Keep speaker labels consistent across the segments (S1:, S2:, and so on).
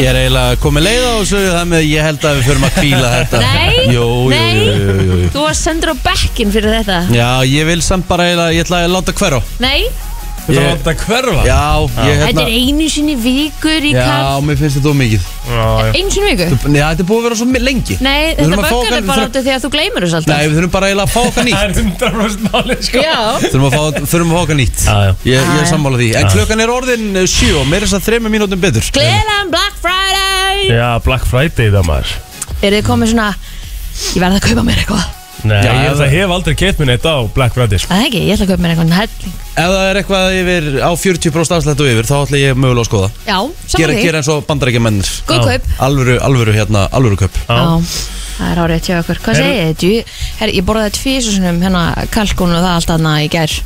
S1: Ég er eiginlega komið leið á þessu Þannig að ég held að við förum að kvíla þetta
S2: Nei,
S1: jú, jú,
S2: nei.
S1: jú, jú, jú, jú.
S2: Þú varst sendur á bekkin fyrir þetta
S1: Já, ég vil samt bara eiginlega Ég ætla að láta hverfa
S2: Nei,
S3: Þú ætlar að láta þetta hverfa?
S1: Já, ég
S2: þetta
S1: hérna
S2: er einu sinni vikur í
S1: Já,
S2: kaff
S1: mér finnst þetta of mikið
S3: Já,
S2: Einu sinni viku?
S1: Nei, þetta er búið að vera svo mi- lengi
S2: Nei,
S1: Við
S2: þetta
S1: þurfum að fá
S2: böggar
S1: okkar-
S2: er bara áttu því að þú gleymur þessu
S1: Nei,
S2: alltaf
S1: við þurfum bara eiginlega að fá okkar nýtt
S3: Það er 100% málið sko
S2: Já,
S1: Þurfum að fá, þurfum að fá okkar nýtt
S3: Já, já.
S1: Ég, ég
S2: Já,
S1: er
S2: já.
S1: sammála því En klukkan er
S3: eh,
S1: orðin 7 Mér er þess að þremur mínútum betur
S2: gleðan Black Friday
S3: Já, Black Friday það maður
S2: Er þið komið svona, ég verð að kaupa mér eitthvað
S3: Nei,
S1: Já,
S3: ég held
S1: það-
S3: að hef aldrei keitt mér neitt á Black Friday sko
S2: Það ekki, ég ætla að kaupa mér eitthvað um helling
S1: Ef það er eitthvað yfir á 40% afslættu yfir Þá ætla ég mögulega að skoða
S2: Já,
S1: Gera,
S2: saman því,
S1: gera eins og bandarækja mennir
S2: góð
S3: Já.
S2: kaup
S1: Alvöru, alvöru hérna, alvöru köp
S3: Já.
S2: Já, það er árið hjá okkur Hvað
S3: Er-
S2: segið þið? Djú- Herri, Ég borðaði tvísusunum hérna kalkun og það allt annað í gær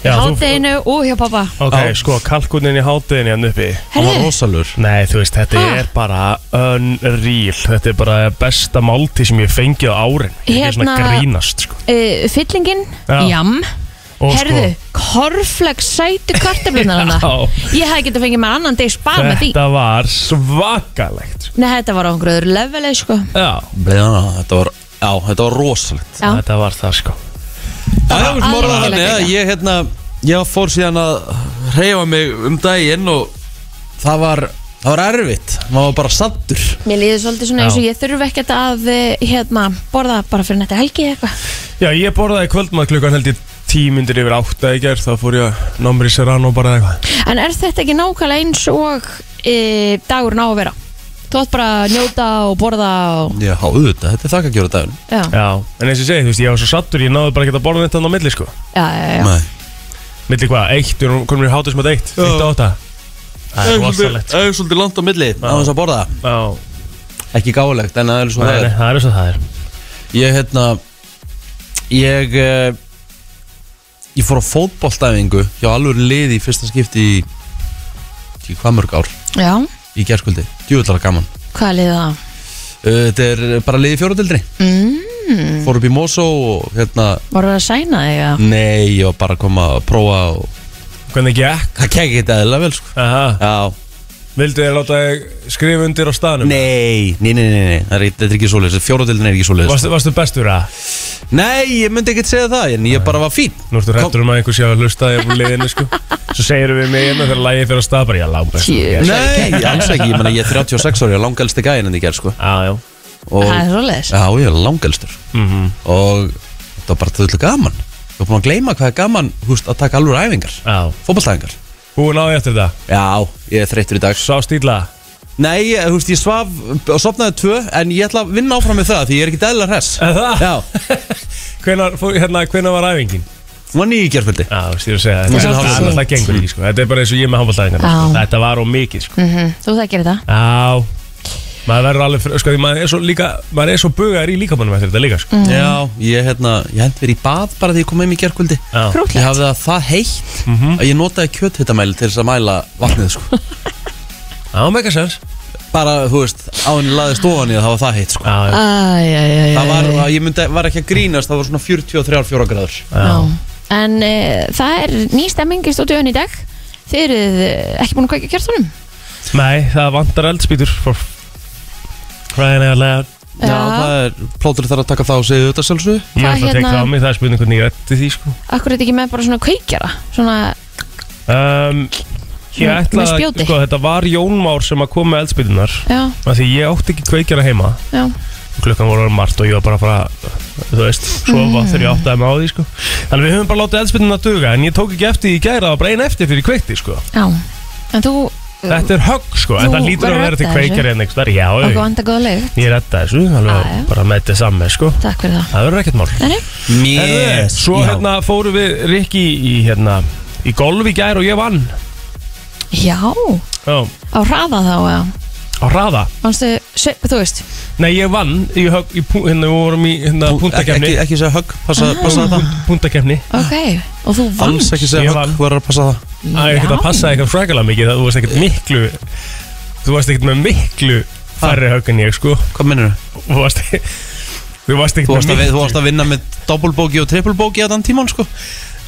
S3: Já, þú-
S2: Hátteginu og hjá pappa
S3: Ok,
S1: Já.
S3: sko, kalkunin í hátuðin hérna uppi
S1: Hann var
S2: Herri.
S1: rosalur
S3: Nei, þú veist, þetta
S2: Ha?
S3: er bara unreal Þetta er bara besta málti sem ég hef fengið á árin Ég er svona
S2: Hérna-
S3: að grínast sko
S2: uh, Fyllingin,
S3: Já.
S2: jam
S3: Og sko,
S2: Herðu, korflex sætu kartaflunar hana
S3: Já.
S2: Ég hefði getað fengið mér annan deg spara með því
S3: Þetta var svakalegt sko.
S2: Nei, þetta var á einhverju öðru leveli, sko
S3: Já,
S1: Bleðana, þetta var, já, þetta var rosalegt
S2: Já,
S3: þetta var það sko
S1: Já, já, við smáraði
S2: alveg
S1: þannig að
S2: geggjað.
S1: ég hérna Ég fór síðan að reyfa mig um daginn Og það var, það var erfitt Maður var bara sattur
S2: mér líður svolítið svona
S3: Já.
S2: eins og ég þurfi ekkert að eh, hérna, borða bara fyrir nætti helgi eða eitthvað
S3: Já, ég borðaði kvöldmað klukkan held ég tímyndir yfir átta í gerð Þá fór ég að námri sér ann og bara eitthvað
S2: En er þetta ekki nákvæmlega eins og e, dagur ná að vera? Þú átt bara að njóta og borða og...
S1: Já, auðvitað, þetta er þakka að gera daginn
S2: Já, já,
S3: Já, en eins og ég segi, þú veist, ég var svo sattur Ég náði bara ekki að borða þetta á milli sko
S2: já, já.
S1: Nei.
S3: Milli hvað, eitt, við erum komin í hátus með eitt Eitt á átta Það er rosalegt sko.
S1: Það er svolítið langt á milli á þess að borða
S3: Já,
S1: Ekki gáðlegt, en það er
S3: nei,
S1: svona
S3: nei, það er eins og það er
S1: Ég, hérna Ég eh, Ég fór á fótboltæfingu hjá alvöru liði í fyrsta skipti í ekki hvað mörg ár
S2: já.
S1: í gerskvöldi, djúvillara gaman
S2: Hvað er liðið það?
S1: Uh, Þetta er bara liði fjóratildri
S2: Mm,
S1: Fór upp í Mosó og hérna
S2: var það að sæna þig að...
S1: Nei, ég var bara að koma að prófa og
S3: Hvernig gekk?
S1: það kekk ekki þetta eðla vel sko
S3: Aha,
S1: Já,
S3: vildu þið láta þig skrifa undir á staðnum?
S1: nei, nei, nei, nei, nei. það er ekki- Þetta er ekki svoleiðis, fjóratildin er ekki svoleiðis
S3: Varstu, varstu bestur að?
S1: Nei, ég myndi ekkert segja það, en ég bara var fín
S3: Nú ertu hrettur um að einhver sé að hlusta þig á liðinu sko Svo segir við mig hérna þegar lægið fyrir að staða bara ég lág best
S2: Jú.
S3: Yes.
S1: Nei, alls ekki, ég meina ég er 36 ári og langelsti gæinn en ég ger sko
S3: Já, já
S1: og,
S2: Það er svoleiðis.
S1: Já, ég er langelstur
S3: Mhm.
S1: og þetta var bara þauðlega gaman Ég var búin að gleyma hvað er gaman, húst, að taka alveg æfingar
S3: Já,
S1: Fótballtæfingar
S3: búin á því eftir þetta
S1: Já, ég er þreyttur í dag
S3: Sá stíla
S1: Nei, ég, húst, ég svaf og sopnaði tvö en ég ætla að vinna áfram með það því ég er ekki dæðilega hress
S3: Er það?
S1: Já,
S3: Hvenar, fór, hérna, hvenar var æfingin?
S1: hún var nýja gerföldi
S3: Já, þú veist, ég er að segja
S1: Þú
S3: þetta Það
S1: veist, það
S3: er
S1: er
S3: alltaf gengur ekki, sko Þetta er bara eins og ég með handbóltæðingar
S2: Já.
S3: sko. Þetta var of mikið, sko
S2: Mm Þú þekkir þetta?
S3: Já Maður verður alveg, fr- sko, því maður er svo líka Maður er svo bugaður í líkamannum eftir þetta líka, sko
S2: Mm.
S1: Já, ég, hérna, ég hend verið í bað bara því ég kom heim í gerföldi
S3: Já,
S1: Ég
S2: Krútlegt.
S1: hafði það það heitt
S3: Mhm.
S1: að ég notaði kjöthitamæli til þess að mæla vatnið sko
S3: já mega sens
S1: bara, þú veist, á henni laði stofan í það, það var það heitt sko.
S3: Já, já,
S2: Æ, já, já, já.
S1: það var, ég myndi, var ekki að grínast það var svona 43-4 gráður
S3: já.
S2: En e, það er ný stemming í stótiðun í dag. Þið eruð eh, ekki búin að kveika kjartunum?
S3: Nei, það vantar eldspýtur for Crying out loud
S2: Já.
S1: það er, plótur þarf að taka það á sig auðvitað sjálfsög
S3: Ég
S2: Hvað
S3: ætla að tekka
S2: hérna-
S3: það á mig, það er spurning hvernig ég rætti því sko.
S2: Akkur er þetta ekki með bara svona kveikjara? Svona,
S3: um,
S2: Hm,
S3: Ég
S2: Með-
S3: ætla
S2: með
S3: að,
S2: spjóti?
S3: sko, þetta var Jón Már sem að kom með eldspýtunar
S2: já,
S3: af Því ég átti ekki kveikjara heima
S2: já.
S3: Klukkan voru orðin margt og ég var bara að fara Þú veist,
S2: Mm.
S3: sofa þegar ég áttaði mig á því sko. Þannig við höfum bara látið eldspýtuna að duga En ég tók ekki eftir því í gæra, það var bara ein eftir fyrir kveikti sko.
S2: Já, en þú
S3: Þetta er högg sko,
S2: Þú
S3: en það lítur að
S2: verður
S3: vera til hérna.
S2: redda
S3: kveikjari en eitthvað, já,
S2: okkur
S3: já,
S2: vanda góða leið
S3: ég redda þessu alveg
S2: Já, já.
S3: bara með þetta samme sko
S2: Takk fyrir það
S3: Það verður ekkert mál
S2: Nei, nei.
S3: Herðu, Svo hérna fórum við Rikki í hérna í golf í gær og ég vann
S2: Já,
S3: Já,
S2: á hraða þá eða?
S3: á hraða
S2: Manstu, se- þú veist
S3: Nei, ég vann í, högg, í pú- hérna, við vorum í hérna,
S1: ekki,
S3: punktakefni
S1: ekki, ekki segja högg, passa, passa það
S3: Punktakefni
S2: Ok, og þú vann
S1: alls ekki
S3: Ég
S1: segja högg,
S3: vann.
S1: þú verður að passa það
S3: Það er ekkert að passa eitthvað frækulega mikið það, Þú varst ekkert miklu Þú varst ekkert með miklu færri högg en ég sko
S1: hvað minnur þú?
S3: Þú varst Þú varst
S1: Þú
S3: ekkert með
S1: varst, að, vi- þú
S3: miklu
S1: varst að vinna með doppelbóki og trippelbóki að þann tíman sko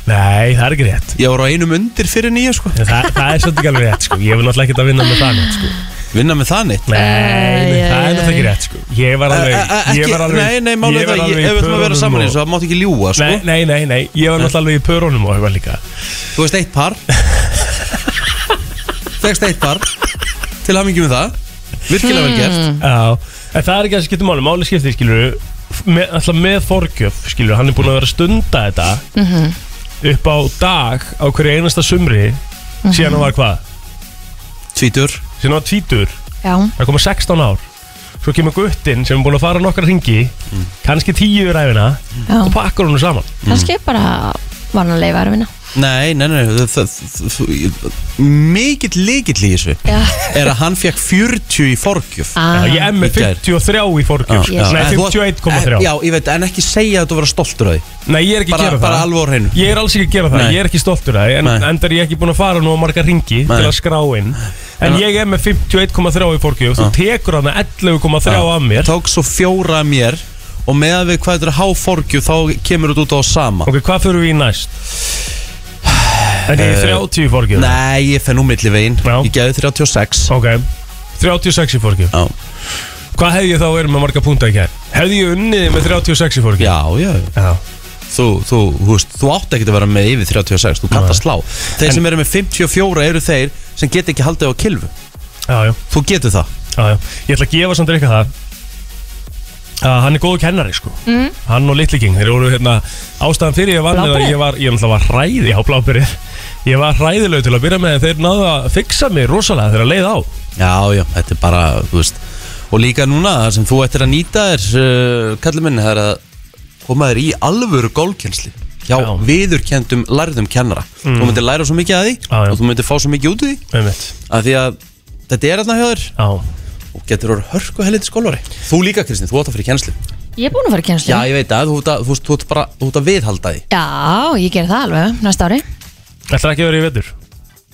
S3: Nei, það er ekki rétt
S1: ég voru á einum undir fyrir nýju sko
S3: En Það, það er svolítið ekki alveg rétt sko Ég vil náttúrulega ekkert að vinna með það neitt, sko.
S1: vinna með það neitt
S3: Nei, nei,
S2: Æ, æ,
S3: það er náttúrulega ekki rétt sko Ég var alveg
S1: Eh, eh,
S3: ég
S1: ekki-
S3: var alveg-
S1: Nei, nei,
S3: ég
S1: málið
S3: var alveg
S1: það, ég-
S3: í
S1: ef við ætlum að vera
S3: pörunum
S1: saman
S3: og-
S1: eins og það mátti ekki ljúa, sko
S3: Nei, nei, nei, nei, ég var náttúrulega alveg í pörunum og eitthvað líka
S1: Þú veist eitt par Fegst eitt par Til hamingjum með það Virkilega vel
S2: Hmm.
S1: gert
S3: Já, en það er ekki að skipta máli Máli skipti, skilur með, Alltaf með forgjöf, skilur Hann er búin að vera að stunda þetta
S2: Mhm.
S3: Upp á dag á hverju einasta sumri
S2: Mhm.
S3: Síðan hann var hvað?
S1: Tvítur
S3: Síðan hann var tvítur
S2: Já,
S3: Það koma 16 ár Svo kemur guttinn sem er búin að fara nokkra ringi
S1: Mm.
S3: kannski tíu í ræfina
S2: já, Mm.
S3: og pakkar honu saman
S2: kannski bara vananlega verfina
S1: Nei, nei, nei, nei það, það, það, Mikill líkill í þessu
S2: Já,
S1: Er að hann fekk 40 í forgjöf
S3: Já,
S2: ah,
S3: ég er með
S1: Í gær.
S3: 53 í forgjöf
S1: Já,
S3: Nei,
S1: en þú-
S3: 51,3
S1: Já, ég veit, en ekki segja að þú vera stoltur á því
S3: Nei, ég er ekki að
S1: Bara,
S3: gera
S1: bara
S3: það
S1: alveg á hreinu
S3: Ég er alls ekki að gera það,
S1: Nei.
S3: ég er ekki stoltur af það En
S1: Nei.
S3: endar ég ekki búin að fara nú á marga ringi til
S1: Nei.
S3: að skrá inn En
S1: En-
S3: ég er með 51,3 í forgjöf Þú
S1: Já.
S3: tekur hana 11,3 af mér
S1: Tók svo fjóra af mér Og með að við hvað þetta er háforgjöf Þá kemur þetta út á sama
S3: Ok, hvað fyrir við í næst? En ég er 30 í forgjöf
S1: Eh, Nei, ég fenn um milli veginn
S3: Já.
S1: Ég geði 36
S3: Ok, 36 í forgjöf
S1: Já,
S3: Hvað hefði ég þá verið með marga púnta í kær? Hefði ég unnið með 36 í forgjöf?
S1: já, já
S3: Já.
S1: þú, þú, þú, veist, þú átt ekki að vera með yfir 36, þú kannt að slá þeir
S3: En-
S1: sem eru með 54 eru þeir sem get ekki haldið á kilvu,
S3: Já, já,
S1: þú getur það
S3: já, já Ég ætla að gefa samt eitthvað það að hann er góðu kennari sko mm. hann og Littliking, þeir eru hérna ástæðan fyrir ég var með að
S2: Bláberið?
S3: ég var ég náttúrulega var hræði á blábyrið ég var hræðilegu til að byrja með en þeir náðu að fixa mig rosalega þegar að leið á
S1: já, já, þetta er bara, þú veist og líka núna, það sem þú ættir að nýta er uh, kallið minni, það er að koma þér í alvöru gólkjensli hjá
S3: Já. Mm.
S1: viðurkendum lærðum kennara þú myndir læra svo mikið að því
S3: Já, já.
S1: og þú myndir fá svo mikið út úr því
S3: einmitt
S1: af því að þetta er hérna hjá þér
S3: á
S1: og getur orðið hörku helið skólari þú líka Kristín, þú átt að fyrir kjensli
S2: ég er búin að fara í kjenslu
S1: já, ég veit að, þú, ert að- þú, veist, þú, ert bara- þú ert að viðhalda því
S2: Já, ég ger það alveg næsta ári
S3: ætlar ekki að vera í vetur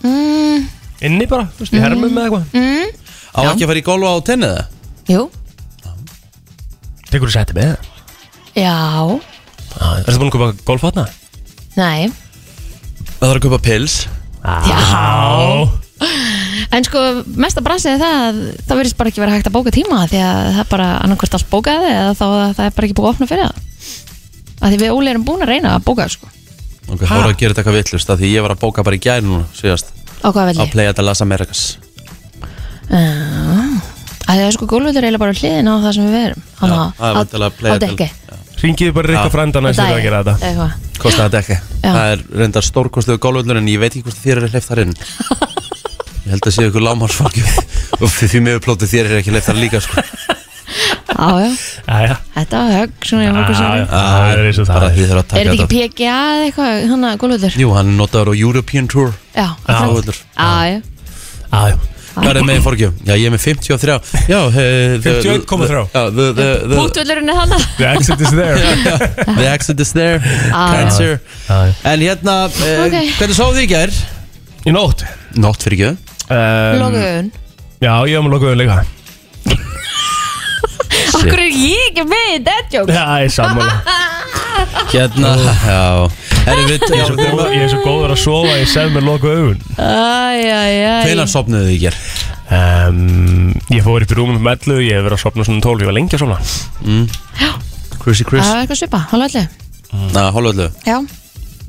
S2: mm,
S3: inni bara, þú veist, í hermum með eitthvað
S2: mm,
S1: Á
S2: Já.
S1: ekki að fara í golfa á tennið það?
S2: Jú,
S3: tekur þú sæti með það
S2: já,
S3: er það búin að koma golfatna?
S2: nei
S1: Það þarf að kaupa pils
S3: já
S2: En sko, mesta bransið er það að það verðist bara ekki verið hægt að bóka tíma því að það er bara annarkvært allt bókaði eða þá að það er bara ekki búið að opna fyrir það að því við Óli erum búin að reyna að bóka það, sko.
S1: Ok, þá voru að gera þetta eitthvað vittlust Því ég var að bóka bara í gæri núna síðast
S2: á hvað
S1: Á
S2: velji
S1: Playa de las Americas
S2: að það er sko gólvöldur eiginlega bara hliðin á það sem við erum hann
S1: Já,
S2: á,
S1: það er
S2: á,
S1: væntanlega Playa
S2: á
S1: del-
S2: dekki
S3: ringiði bara
S1: Já.
S3: Rikka frænda næst þegar
S2: Á
S3: að gera þetta
S2: eitthvað.
S1: Kostaði þetta ekki
S2: Já.
S1: Það er reyndar stórkostlegu golvöllur En ég veit ekki hvort þér er hleyft þar inn Ég held að séu ykkur lámarsfólki Uff, því miður plótið þér er ekki hleyft þar líka sko.
S2: já, já,
S3: Jæja.
S2: þetta var högg svona í mörgum
S3: Já, já.
S2: sérum
S3: Það er eins og það
S1: Bara
S3: er.
S1: því þarf að
S2: er
S1: taka
S2: þetta ekki
S1: þetta
S2: PGA eða eitthvað þannig að gólvöldur já,
S1: Jú, hann er notaður á European Tour
S2: já,
S1: Golvöllur
S2: já, já.
S3: Já, já.
S1: Hvað er með í forgjöf? Já, ég er með 53 Já, eh, the-
S3: 51,3.
S1: Já, the- the- the-
S2: punktvöllurinn er hann
S3: The exit is there
S1: The exit is there
S2: Ah.
S1: Cancer
S3: Já, já.
S1: En hérna, uh,
S2: Ok.
S1: hvernig sáðu þið í gær?
S3: Í nótt
S1: Nótt fyrir gjöðu
S3: um,
S2: lokaðun
S3: Já, ég var með lokaðun líka
S2: okkur er ég ekki með í dead joke
S3: Já, ég sammála
S1: Hérna, já Herri, við,
S3: Ég
S1: já,
S3: er svo
S1: við
S3: góður,
S1: erum að
S3: ég er svo góður að sofa Ég sef með lokaðun
S1: Hvenar
S2: Æjæjæj
S1: sopnuðu þið í gær?
S3: um, Ég fór upp í rúmum með ellu Ég hef verið að sopna svona 12 Ég var lengi að sopna
S1: Chrissy Mm. Chris
S2: Það var eitthvað svipa, hann allir
S1: Na, hálfa öllu
S2: Já,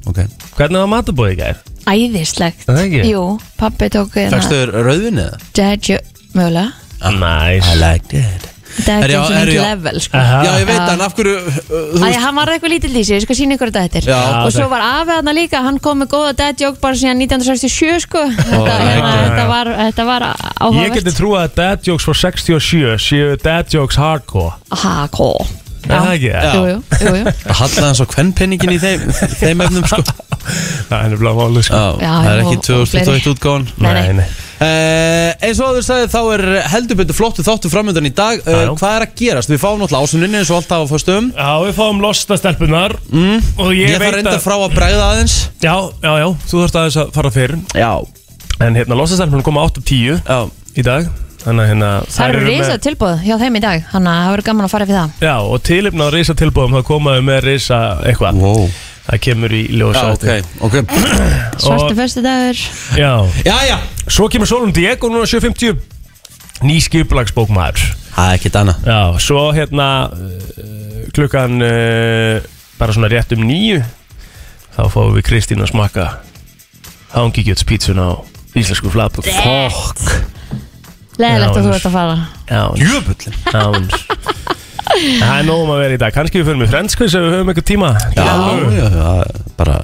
S1: Ok
S3: Hvernig var matabóðið í gær?
S2: æðislegt
S3: Það ekki?
S2: Jú, pappi tók hérna
S1: Fækstu þér rauðvinni eða? Ah,
S2: Dead joke, mögulega
S3: Næs
S1: liked it
S2: Dead
S1: Er ég á-
S2: joke
S1: er
S2: sem
S1: ég
S2: ekki
S1: á-
S2: level sko.
S3: Aha.
S1: Já, ég veit en af hverju uh, Þú
S2: Æ,
S1: veist
S2: hann var eitthvað lítill í sig, ég skal sína ykkur þetta eftir
S1: Já,
S2: Og svo
S3: takk.
S2: var afi hann líka, hann kom með góða dead joke bara síðan 1967 sko Þetta,
S1: Alright,
S2: hérna,
S3: já,
S2: þetta,
S3: já.
S2: var, þetta var
S3: Ég geti
S2: áhugavert
S3: trúið að dad jokes frá 67 Séu dad jokes hardcore
S2: Ha, kó
S3: Er það ekki?
S1: Já.
S2: Jú, jú, jú, jú
S1: Það hallaði hans á kvennpenningin í þeim, þeim efnum sko
S3: Það er nefnilega málið sko
S1: Já,
S2: Já,
S1: það
S2: og-
S1: er ekki
S2: og
S1: 2021 útgáðan
S2: Nei, nei.
S3: nei
S1: Uh, eins og áður sagði þá er heldur betur flottu þáttu framöndan í dag uh,
S3: Já.
S1: Hvað er að gerast? Við fáum náttúrulega ásuninni eins og alltaf á föstum
S3: Já, við fáum losta stelpunar mm. Og ég,
S1: Ég þarf
S3: veit
S1: reynda frá að bregða aðeins
S3: Já, já, já, þú þarfst aðeins að fara fyrr
S1: Já,
S3: En hérna, losta stelpunar koma 8.10
S1: já
S3: í dag Þannig að hérna
S2: Það eru
S3: með-
S2: risa tilbúð hjá þeim í dag, þannig að það verður gaman að fara fyrir það
S3: Já, og tilipna á risa tilbúðum þá komaðu með risa eitthvað
S1: Wow.
S3: Það kemur í ljósa
S1: Já, ok, ok
S2: Svartu föstudagur
S3: Já,
S1: Já, já,
S3: svo kemur Solund Diego núna 7.50 ný skipulagsbókmaður
S1: Það er ekkert annað
S3: Já, svo hérna eh, klukkan eh, bara svona rétt um nýju þá fáum við Kristín að smakka hangikjötspítsun á íslensku flatbók
S2: Fokk. Leðilegt
S3: Já,
S2: að þú
S3: eins.
S2: ert að fara
S3: Já,
S1: Jöfullin
S3: Downs En Það er nógum að vera í dag, kannski við fyrir með frendskvist ef við höfum eitthvað tíma
S1: Já, já, já, bara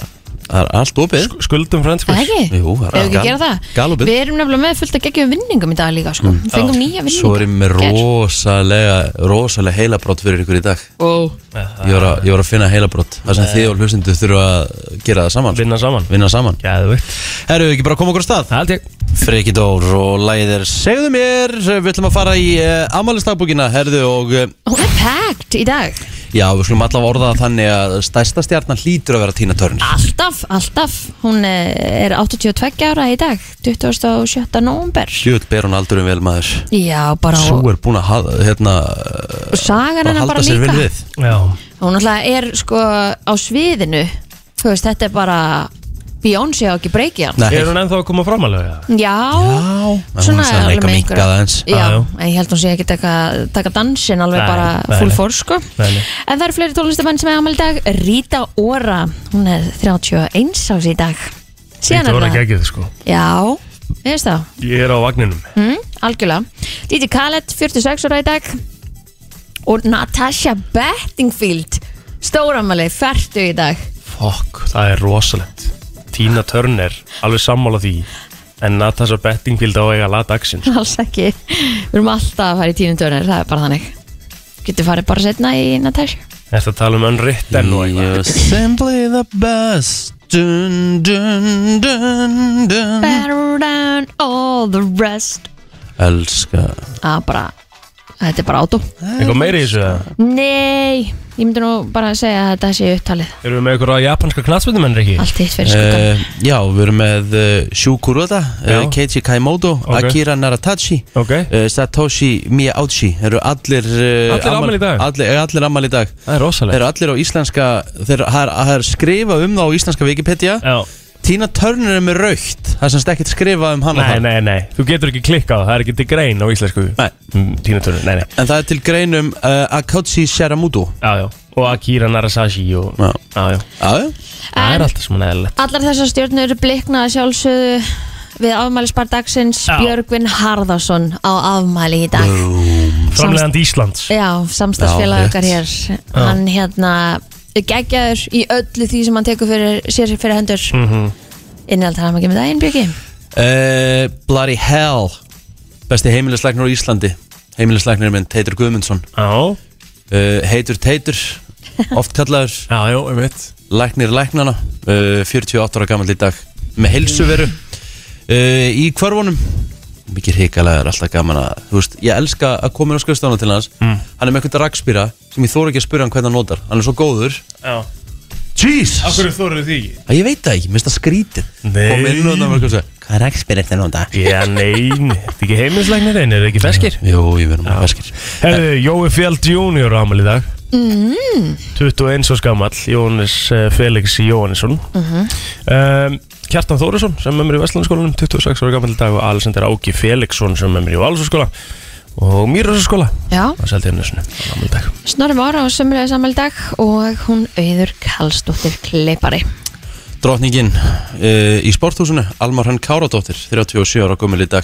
S1: Það er allt opið
S3: Skuldum
S2: Það
S3: frendskvist
S2: ekki?
S1: Jú, það
S2: Ef við ekki
S1: gal-
S2: gera það
S1: galopið.
S2: Við erum nefnilega með fullt að geggjum vinningum í dag líka sko.
S1: Mm.
S2: Við fengum nýja vinninga
S1: Svo er ég með
S2: Ger.
S1: rosalega Rosalega heilabrótt fyrir ykkur í dag
S2: Ó.
S1: Ég var að, ég var að finna heilabrótt Það sem þið og hlustindu þurfa að gera það saman sko.
S3: Vinna saman
S1: Vinna saman
S3: Gæðvikt
S1: Herru, ekki bara að koma okkur á stað
S3: Það held ég
S1: Freki Dór og læðir Segðu mér, við ætlum að fara í uh, Amalistagbúkina, herðu og uh,
S2: Hún er packed í dag
S1: Já, við skulum allavega orða það þannig að stærsta stjarnan hlýtur að vera Tina Turner
S2: Alltaf, alltaf Hún eh, er 82 ára í dag 27. november
S1: Sjúl ber hún aldurum vel maður
S2: Já, bara
S1: Svo
S2: og,
S1: er búin að hafa, hérna,
S2: og sagan
S1: bara
S2: hennar bara
S1: halda sér
S2: líka
S1: vel við
S3: Já
S2: Hún alltaf er sko á sviðinu Þú veist, þetta er bara Beyoncé á ekki breykið hann
S1: Nei,
S3: Er hún ennþá að koma fram alveg? eða?
S2: Já,
S1: já Svona
S2: alveg
S1: er alveg
S2: með
S1: minkað
S2: einhverja-
S1: aðeins
S2: Já,
S3: Já, já.
S2: en ég held hún sé ekki taka, taka dansin alveg
S3: Nei,
S2: bara
S3: nei,
S2: full
S3: nei.
S2: force sko.
S3: Nei, nei.
S2: En það eru fleiri tónlistamenn sem er amal í dag Rita Ora, hún er 31 ás í dag Síðan
S3: Þetta voru
S2: er
S3: ekki
S2: það
S3: ekki sko
S2: Já, veist það
S3: Ég er á vagninum
S2: mm, Algjörlega Didi Khaled, 46 ára í dag Og Natasha Bettingfield Stóramali, færtu í dag
S3: Fokk, það er rosalegt Tina Turner, alveg sammála því En Natasha Bettingfield á að eiga lat dagsins
S2: Alls ekki Við erum alltaf að fara í tínundörnir, það er bara þannig Getur farið bara setna í Natasha
S3: Þetta tala um önritten og
S1: You're
S3: eitthvað
S1: simply the best dun, dun, dun, dun.
S2: Better than all the rest
S1: Elska
S2: að bara, þetta er bara átó
S3: Eitthvað meira í þessu það?
S2: Nei, ég myndi nú bara að segja að þetta sé upptalið
S3: Erum við með eitthvað japanska knatsmyndumenn ekki?
S2: Allt hitt fyrir skuggan
S1: Uh, já, við erum með uh, Shu Kuroda, uh,
S3: Já.
S1: Keiji Kaimoto,
S3: Ok.
S1: Akira Naratachi,
S3: Ok,
S1: uh, Satoshi Miyauchi Eru allir uh,
S3: Allir afmæli í dag?
S1: Allir, eh, allir ammali í dag
S3: það er rosalegt
S1: Eru allir á íslenska Þeir það er- það er skrifað um það á íslenska Wikipedia
S3: Já,
S1: Tina Turner er með raukt Það er semst ekkert skrifað um hann
S3: nei, nei, nei, þú getur ekki klikkað, það er ekki til grein á íslensku
S1: Nei.
S3: Mm, Tina Turner, nei, nei,
S1: En það er til greinum uh, Akotsi Sharamudu
S3: já, já Og Akira Narasashi og,
S1: Já.
S3: já, já
S1: Já, já.
S3: Það
S2: En-
S3: er alltaf svona eðlilegt
S2: Allar þessar stjórnur blikna að sjálfsögðu við afmælisbar dagsins
S3: Já.
S2: Björgvin Harðarsson á afmæli í dag
S3: Framlegand Íslands
S2: Já,
S1: Já,
S2: samstagsfélag okkar
S1: rétt.
S2: hér Hann hérna geggjaður í öllu því sem hann tekur fyrir, sér fyrir hendur mm
S3: Mhm.
S2: -hmm. Innhald hann ekki með daginn, Björgi
S1: uh, Bloody Hell Besti heimilisleiknir á Íslandi Heimilisleiknir minn Teitur Guðmundsson
S3: Já,
S1: uh, Heitur Teitur Oft kallaður
S3: já, já, um veit
S1: læknir læknana uh, 48 ára gammal í dag með heilsuveru uh, í hverfunum mikið hrikalega er alltaf gaman að þú veist, ég elska að koma inn á skrifstofna til hans
S3: Mm.
S1: hann er með einhvern rakspýra sem ég þóra ekki að spyrja hann hvernig hann notar hann er svo góður
S3: Já,
S1: Jesus
S3: hverju þóruðu því?
S1: að ég veit það ekki, minnst það skrítið
S3: Nei.
S1: kom inn og það var eitthvað hvað er rakspýra þetta nota?
S3: Já, nei, nei. þetta er ekki heimilislegnir einn, er það ekki feskir?
S1: Jú, ég verðum að feskir
S3: Herðu, Jói Fjeld Junior á amal í dag mm.
S2: Mm-hmm.
S3: 21 og skamall Jónis eh, Felix Jóhannesson um, Kjartan Þórisson sem er mér í Vestlandskólanum 26 ára gammal í dag og Alexander Áki Felixson sem er mér í Valsaskóla og Mýrasaskóla
S2: Já,
S3: það seldi henni svona amal í dag
S2: Snorri Mára á sömurlega sammáli dag og hún auður Karlsdóttir Kleipari
S1: Drotningin uh, í sporthúsinu Almar Hönn Káradóttir, 37 ára gömul í dag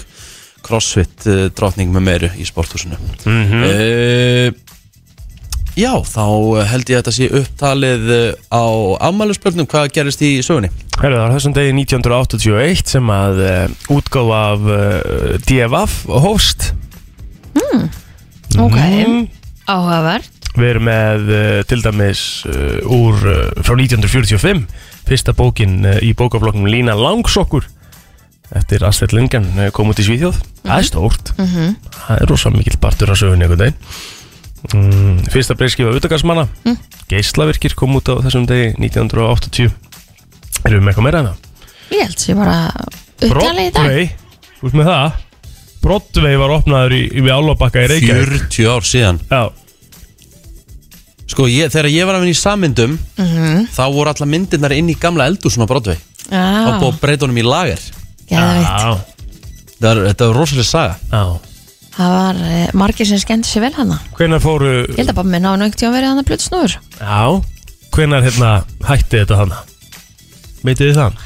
S1: crossfit uh, drotning með meiru í sporthúsinu mm
S3: Mhm.
S1: Já, þá held ég að þetta sé upptalið eh, á afmælusbjörnum hvað gerist í sögunni
S3: Herðu, það var þessum degi 1981 sem að uh, útgáfa af uh, DFF hófst
S2: Ok,
S3: Mm.
S2: áhugaverð
S3: Við erum með uh, til dæmis uh, úr uh, frá 1945 fyrsta bókin uh, í bókaflokknum Lína Langsokkur eftir Astrid Lindgren uh, kom út í Svíþjóð
S2: Mhm.
S3: Það er stórt Það er rosa mikill partur að sögunni einhvern daginn mm, Fyrsta breyskifa utakarsmanna
S2: Mm.
S3: Geislavirkir kom út á þessum degi 1980 Erum við með eitthvað meira en það?
S2: Ég held sér bara upptalið í dag
S3: Broadway, þú veist með það Broadway var opnaður í, í Álabakka í Reykjavík
S1: 40 ár síðan
S3: Já,
S1: Sko, ég, þegar ég var að vinna í sammyndum þá voru alla myndirnar inn í gamla eldúsuna brotvei þá
S2: Mm-hmm. Já,
S1: búið að breyta honum í lager
S2: Ah. geðveikt.
S3: já,
S1: Það er, Þetta er rosalega saga
S3: já
S2: það var eh, margir sem skemmti sér vel hana
S3: Hvenær fóru
S2: ég held að pappa minn á einhvern tíma verið hana blödd snúður
S3: Já Hvenær hérna hætti þetta hana? Meitið þið það?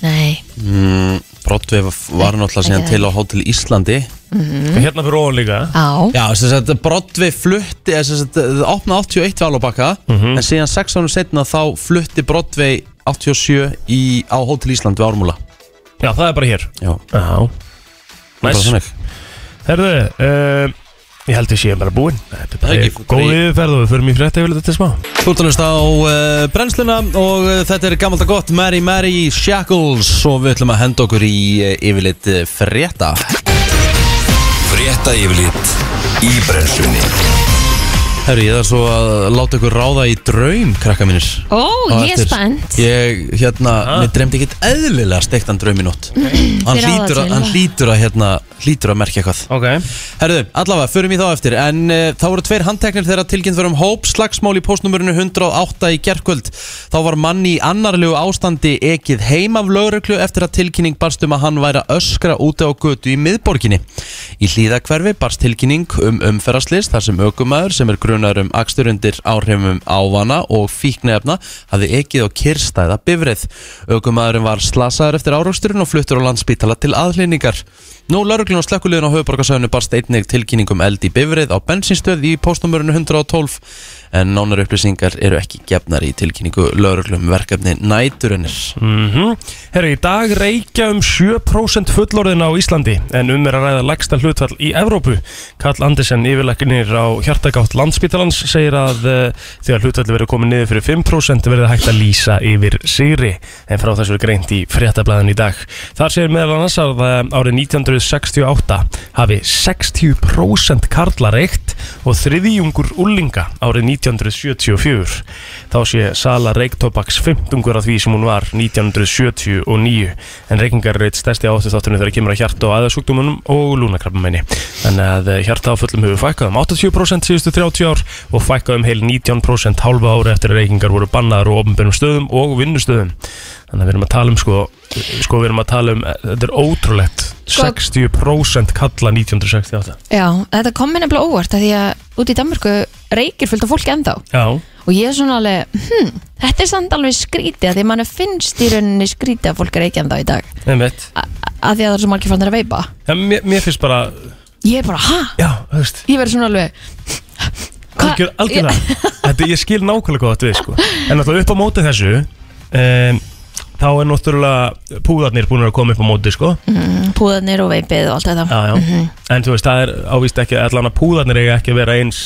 S2: nei,
S1: mm, Brottveif var náttúrulega síðan
S2: ekki
S1: til á Hótel Íslandi
S2: Mm-hmm.
S3: Hérna fyrir ofan líka
S2: á,
S1: Já, sem sagt, Brottveif flutti eða sem sagt, það opnaði 81 valobakka en síðan 6 árum setna þá flutti Brottveif 87 í, á Hótel Íslandi við Ármúla
S3: Já, það er bara hér
S1: Já,
S3: Já
S1: bara
S3: Næs
S1: þannig.
S3: Herðu uh, Ég held ég sé bara búinn Þetta er
S1: Það er
S3: bara
S1: ekki-
S3: góð yfirferð og við förum í frétta yfir þetta smá
S1: Þú ert að hlusta á uh, brennsluna og uh, þetta er gammalt og gott Mary Mary Shackles og við ætlum að henda okkur í uh, yfirleitt uh, frétta
S4: Frétta yfirlit í brennslunni
S1: Herru, ég þarf svo að láta ykkur ráða í draum, krakka mínir
S2: ó,
S1: Á
S2: ég er
S1: eftir.
S2: spennt
S1: Ég, hérna,
S3: Ah.
S1: mér dremdi ekkert eðlilega steiktan draum í nótt Hann
S2: Þið ráða
S1: hlýtur að,
S2: til.
S1: hann hlýtur að, hérna, hlýtur að merkja eitthvað
S3: Ok
S1: Herðu, allavega, förum í þá eftir En uh, þá voru tveir handteknir þegar tilkynnt var um hóp slagsmál í postnumurinu 108 í gerkvöld Þá var manni í annarlegu ástandi ekið heim af lögreglu eftir að tilkynning barst um að hann væri að öskra úti á götu í miðborginni Í hlýðakverfi barst tilkynning um umferðaslist þar sem ökumæður sem er grunar um akstur undir áhrifum ávana og fíknefna hafði ekið á kyrstæða bifrið Ökumæðurinn var slasaður eftir áraksturinn og fluttur á landspítala til aðhlýningar Nú lauruglun og slekkuliðin á höfuborgarsæðinu barst einnig tilkynningum eld í bifrið á bensinstöð í póstnumörinu 112 en nánar upplýsingar eru ekki gefnar í tilkynningu lauruglum verkefni næturinnir.
S3: mm Herru, í dag reykja um 7% fullorðin á Íslandi en um er að ræða lægsta hlutfall í Evrópu Karl Andersen, yfirlæknir á hjartagátt landsbítalans segir að uh, þegar hlutfalli verður komið niður fyrir 5% verður hægt að lýsa yfir sigri en frá þessu er greint í fréttablaðin í dag Þar segir meðal annars að uh, árið 1968 hafi 60% karla reykt og þriðjungur úlinga árið 1974 þá sé sala reyktobaks 15 af því sem hún var 1979 en reykingar er eitt stærsti áttu þáttunni þegar kemur að hjarta og aðeinsúkdómunum og lúnakrabbumenni þannig að hjarta áföllum hefur fækkað um 80% síðustu 30 ár og fækkað um heil 19% hálfa ári eftir að reykingar voru bannaðar og ofnbjörnum stöðum og vinnustöðum þannig að við erum að tala um sko, sko við erum að tala um, þetta er ótrúlegt
S2: Sko-
S3: 60% kalla 1968
S2: já, þetta kom mér nefnilega óvart af því að út í Danmörku reykir fullt af fólki ennþá
S3: Já,
S2: og ég er svona alveg, hm, þetta er samt alveg skrítið af því að mann finnst í rauninni skrítið að fólk reykja ennþá í dag
S3: einmitt
S2: a- að því að það er svo margir fannir að veipa
S3: ja, mér, mér finnst bara,
S2: ég er bara, ha?
S3: já, þú veist
S2: Ég verður svona alveg Hva-
S3: Algjör, algjörlega Þetta ég skil nákvæmlega hvað þetta við sko En náttúrulega upp á móti þessu um, Þá er náttúrulega púðarnir búin að koma upp á móti sko
S2: Mm, Púðarnir og veipið og allt þetta Mhm.
S3: já, já. En þú veist, það er ávist ekki Allan að púðarnir eiga ekki að vera eins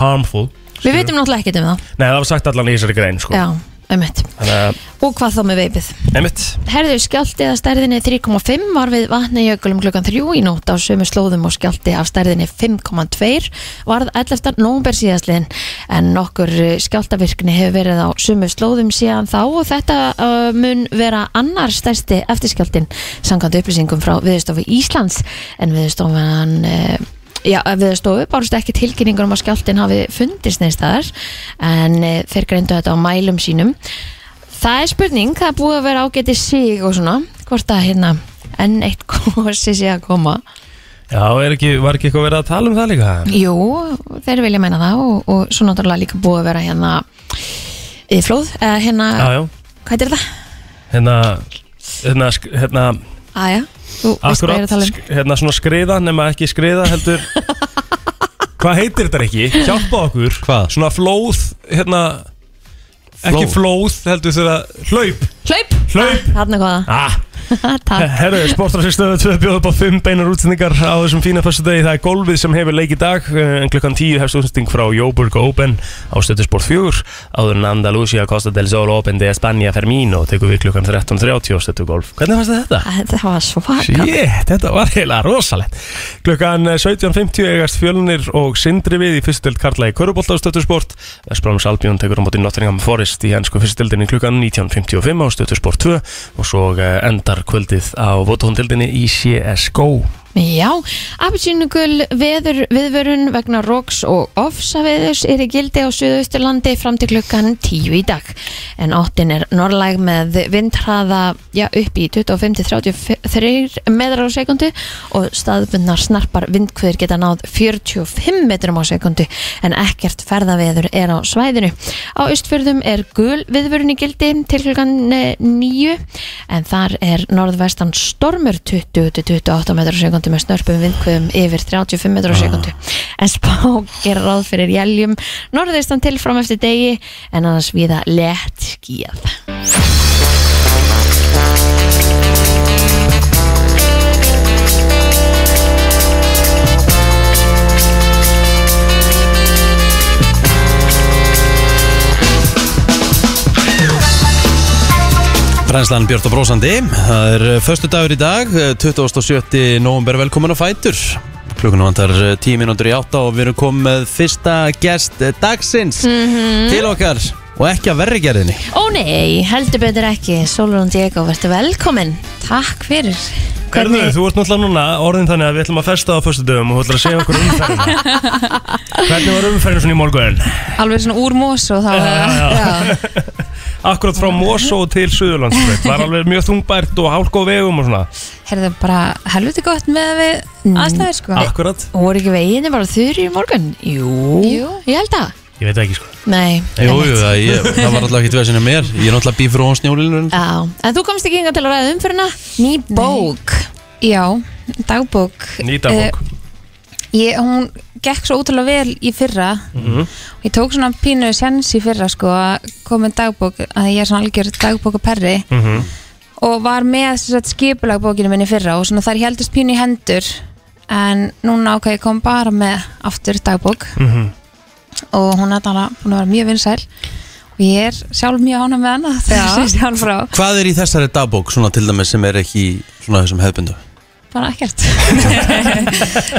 S3: harmful
S2: Við veitum náttúrulega ekkert um það
S3: Nei, það var sagt allan í þessari grein sko
S2: Já, einmitt
S3: Þannig að,
S2: Og hvað þá með veipið?
S3: einmitt
S2: Herðu skjálti að stærðinni 3,5 var við vatnajökulum klukkan 3 í nótt á sömu slóðum og skjálti af stærðinni 5,2 varð 11. nómber síðastliðin en nokkur eh, skjáltavirkni hefur verið á sömu slóðum síðan þá og þetta uh, mun vera annar stærsti eftirskjáltin samkvæmt upplýsingum frá viðstofu Íslands en viðstofan uh, Já, viðstofu bárust ekki tilkynningur um að skjáltin hafi fundist neins staðar en eh, þeir greindu þetta á mælum sínum Það er spurning, það er búið að vera ágæti sig og svona, hvort að hérna enn eitt kosi sé að koma
S3: Já, er ekki, var ekki eitthvað verið að tala um það líka
S2: Jú, þeir vilja meina það og, og svo náttúrulega líka búið að vera hérna í flóð, eða hérna
S3: Já, já,
S2: hvað er það?
S3: hérna Hérna, sk- hérna,
S2: Aja, þú veist hvað ég er
S3: akkurat
S2: að tala um
S3: sk- Hérna svona skriða, nema ekki skriða heldur Hvað heitir þetta ekki? Hjálpa okkur
S1: Hvað?
S3: svona flóð hérna, ekki flóð heldur þegar hlaup
S2: Hlaup!
S3: Hlaup!
S2: Þarna góða,
S3: ah,
S2: takk
S3: herru, sportrasinstöðu 2 bjóð upp á 5 beinar útsendingar á þessum fína fyrstu degi, það er golfið sem hefur leik í dag eh, en klukkan 10 hefst útsending frá Jóburg Open á stöðtusport 4 áður en Andalusia Costa del Sol Open de España Fermino tekur við klukkan 13.30 á stöðtu golf hvernig fannst þér þetta?
S2: Þetta var svaka
S3: Shit, þetta var heila rosalegt Klukkan eh, 17.50 eigast fjölunir og sindri við í fyrstöld Karla í Körubólta á stöttusport Vestbráms Albjón tekur á móti Nottingham Forest í hensku fyrstöldinni klukkan 19.55 á stöttusport 2 og svo eh, endar kvöldið á votóndildinni í CSGO
S2: Já, appelsínugul veður viðvörun vegna roks og ofsaveðurs er í gildi á Suðausturlandi fram til klukkan 10 í dag. En áttin er norrlæg með vindhraða já, upp í 25-33 metrar á sekundu og staðbundnar snarpar vindkvöður geta náð 45 metrum á sekundu en ekkert ferðaveður er á svæðinu. Á austfjörðum er gul viðvörun í gildi til klukkan 9 en þar er norðvestan stormur 20-28 metrar á sekundu með snörpum vindkvöðum yfir 35 metrar á sekundu en spá gerir ráð fyrir jæljum norðistan til fram eftir degi en annars viða lett skíð
S1: Brænslan Björn og Brósandi, það er förstu dagur í dag, eh, 27. november, velkomin á Fætur. Klukkan vantar eh, 10 mínútur í átta og við erum komið með fyrsta gest eh, dagsins
S2: Mhm.
S1: til okkar og ekki að verri gerðinni.
S2: Ó nei, heldur betur ekki Solurón Diego, verður velkomin Takk fyrir
S3: Hvernig, þú ert náttúrulega núna orðin þannig að við ætlum að festa á fyrstu dögum og þú ætlar að segja okkur um umferðina Hvernig var umferðin svona í morgun?
S5: Alveg svona úr mós og þá eh, já.
S3: Akkurat frá Mosó til Suðurlandsbreyt Var alveg mjög þungbært og hálk á vegum og svona
S5: Herðu bara helviti gott með að við aðstæður sko
S3: Akkurat
S2: Hún voru ekki veginni bara þurri í morgun Jú,
S5: Jú.
S2: ég held að
S3: Ég veit það ekki sko
S2: Nei,
S1: Jú,
S2: einmitt.
S1: jú, það, ég, það var alltaf ekki tveið sinni mér, ég er náttúrulega býfur og snjólinu.
S2: Já, en þú komst ekki yngan til að ræða umfyrirna Ný bók
S5: Já, dagbók
S3: Nýta bók
S5: Eh, ég, Hún gekk svo ótrúlega vel í fyrra Ég tók svona pínu sens í fyrra sko að koma með dagbók að ég er svona algjör dagbókaperri
S3: mm -hmm.
S5: og var með sem sagt, skipulagbókinu minni í fyrra og svona þar heldist pínu í hendur en núna ákveð ég kom bara með aftur dagbók
S3: Mhm.
S5: og hún er þarna búin að vera mjög vinsæl og ég er sjálf mjög ánum með hana þegar ég sé sjálf frá
S1: Hvað er í þessari dagbók, svona til dæmis sem er ekki í svona þessum hefðbundu?
S5: bara ekkert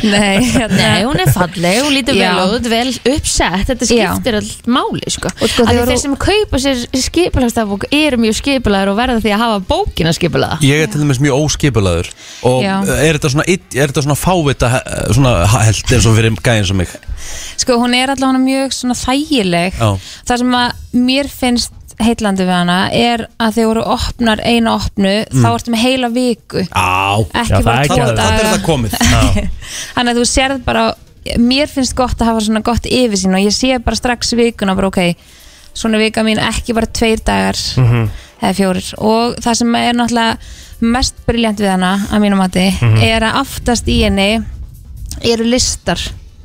S5: Nei, hérna.
S2: Nei, hún er falleg, hún lítur
S5: Já.
S2: vel út, vel uppsett Þetta
S5: Já.
S2: skiptir allt máli sko.
S5: Og sko,
S2: Af því
S5: þegar
S2: þeir
S5: þú-
S2: sem kaupa sér skipulagstafbók eru mjög skipulagur og verða því að hafa bókina skipulaða
S1: Ég er til dæmis mjög óskipulaður og
S5: Já.
S1: er þetta svona, ill- er þetta svona fávita eh, svona held eins og fyrir gæðin sem mig?
S5: sko hún er allavega mjög svona þægileg
S1: Já.
S5: það sem að mér finnst heitlandi við hana er að þegar voru opnar eina opnu þá ertu með heila viku
S1: Á,
S5: ekki
S3: Mm. Já, það
S5: bara tvo
S3: er ekki
S1: þannig
S3: að-
S5: daga.
S1: þannig er það komið.
S5: þannig að þú sérð bara mér finnst gott að hafa svona gott yfirsýn og ég sé bara strax vikuna bara ok svona er vika mín ekki bara tveir dagar
S3: Mhm.
S5: eða fjórir og það sem er náttúrulega mest briljant við hana að mínum mati er að aftast í henni eru listar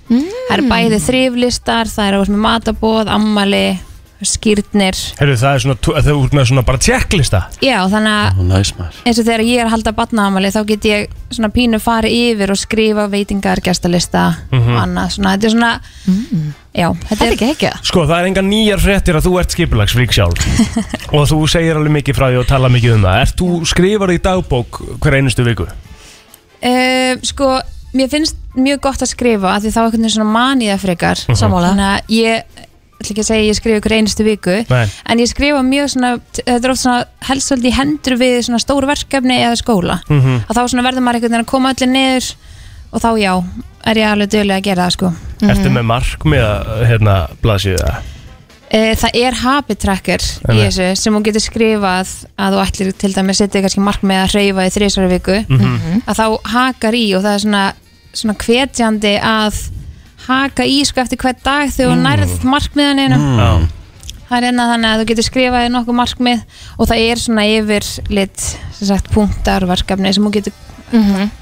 S5: það eru bæði þriflistar það eru með matabóð, ammali skýrtnir
S3: Herru það er svona, þú þú ert með svona bara checklista
S5: já þannig að
S1: Ó, Næs maður.
S5: eins og þegar ég er að halda batnaamali þá get ég svona pínu farið yfir og skrifa veitingar, gestalista
S3: Mhm.
S5: og annað, svona, þetta er svona já, Mm. þetta
S2: Þetta
S5: er
S2: er ekki ekki
S3: Sko það er enga nýjar fréttir að þú ert skipulagsfrík sjálf og þú segir alveg mikið frá því og tala mikið um það Ert þú skrifar í dagbók hver einustu viku?
S5: uh, sko, mér finnst mjög gott að skrifa af því þá er einhvern veginn svona maniða frekar
S3: Mhm.
S2: Sammála.
S5: þannig að ég ætla ekki að segja að ég skrifa ykkur einustu viku
S3: Nei.
S5: en ég skrifa mjög svona, þetta er oft svona helst svolítið í hendur við svona stóru verkefni eða skóla,
S3: Mhm.
S5: að þá svona verður maður einhvern veginn að koma allir niður og þá já, er ég alveg dögulega að gera það sko
S3: Mhm. Ertu með mark með að hérna, blaðsíðu það?
S5: Uh, það er habit tracker í
S3: Einmitt.
S5: þessu sem hún getur skrifað að þú ætlir til dæmis setja kannski mark með að hreyfa í þrísvara viku
S3: Mhm.
S5: að þá hakar í og það er svona, svona hvetjandi að haka í sko eftir hver dag þegar þú nærð markmiðaninu
S3: Mm.
S5: það er einna þannig að þú getur skrifað í nokkuð markmið og það er svona yfirlit sem sagt punktar og verkefni sem hún getur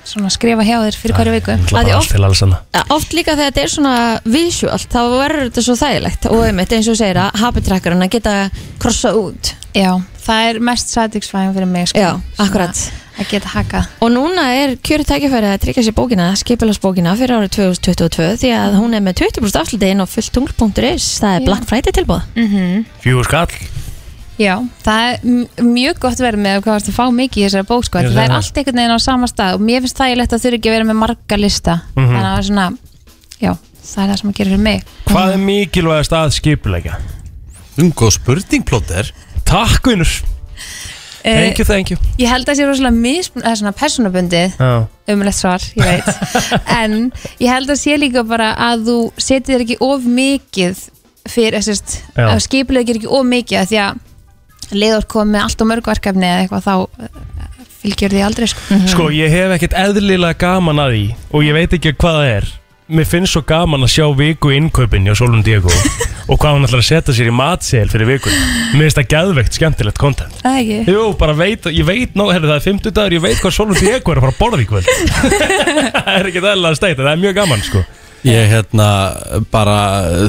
S5: svona skrifa hjá þér fyrir hverju viku
S2: Að ég
S3: Allt til alls annað
S2: Oft líka þegar þetta er svona visual þá verður þetta svo þægilegt og einmitt eins og þú segir að habit trackerinn að geta krossa út
S5: Já, það er mest satisfying fyrir mig sko,
S2: Já,
S5: svona
S2: akkurat.
S5: að geta hakað
S2: Og núna er kjöri tækifæri að tryggja sér bókina, skipilagsbókina fyrir árið 2022 því að hún er með 20% afsluti inn á fulltungl.is, það er
S5: Já.
S2: Black Friday tilbúð.
S3: Mhm. Fjögur skall
S5: Já, það er m- mjög gott verið með hvað varst að fá mikið í þessari bók sko.
S3: Ég
S5: Það
S3: sé
S5: er
S3: það.
S5: allt einhvern veginn á sama stað og mér finnst það ég lett að þurfa ekki að vera með marga lista
S3: Mhm.
S5: Þannig að það er svona, já, það er það sem að gera fyrir mig
S3: Hvað er mikilvægast að skipulegja?
S1: Um góð spurning, Plóter.
S3: Takk vinnur
S5: Eh,
S3: Thank you, thank you
S5: Ég held að það sé rosalega mismun, eða svona personabundið
S3: Já,
S5: umlegt svar, ég veit en ég held að sé líka bara að þú setið þér ekki of mikið fyrir, þessist,
S3: Já.
S5: að skipulega ekki of mikið af því að leiður komið með allt og mörg verkefni eða eitthvað þá eh, fylgjur því aldrei sko.
S1: Mm.
S3: Sko, ég hef ekkert eðlilega gaman að því og ég veit ekki hvað það er Mér finnst svo gaman að sjá viku innkaupin hjá Solun Diego og hvað hann ætlar að setja sér í matsel fyrir vikun Mér finnst það geðveikt skemmtilegt kontent
S5: Það ekki?
S3: Jú, bara veit, ég veit nóg, herri það er 50 dagur, ég veit hvað Solun Diego er að fara að borða í kvöld Það er ekkert eðlilega steita, það er mjög gaman sko
S1: Ég hérna bara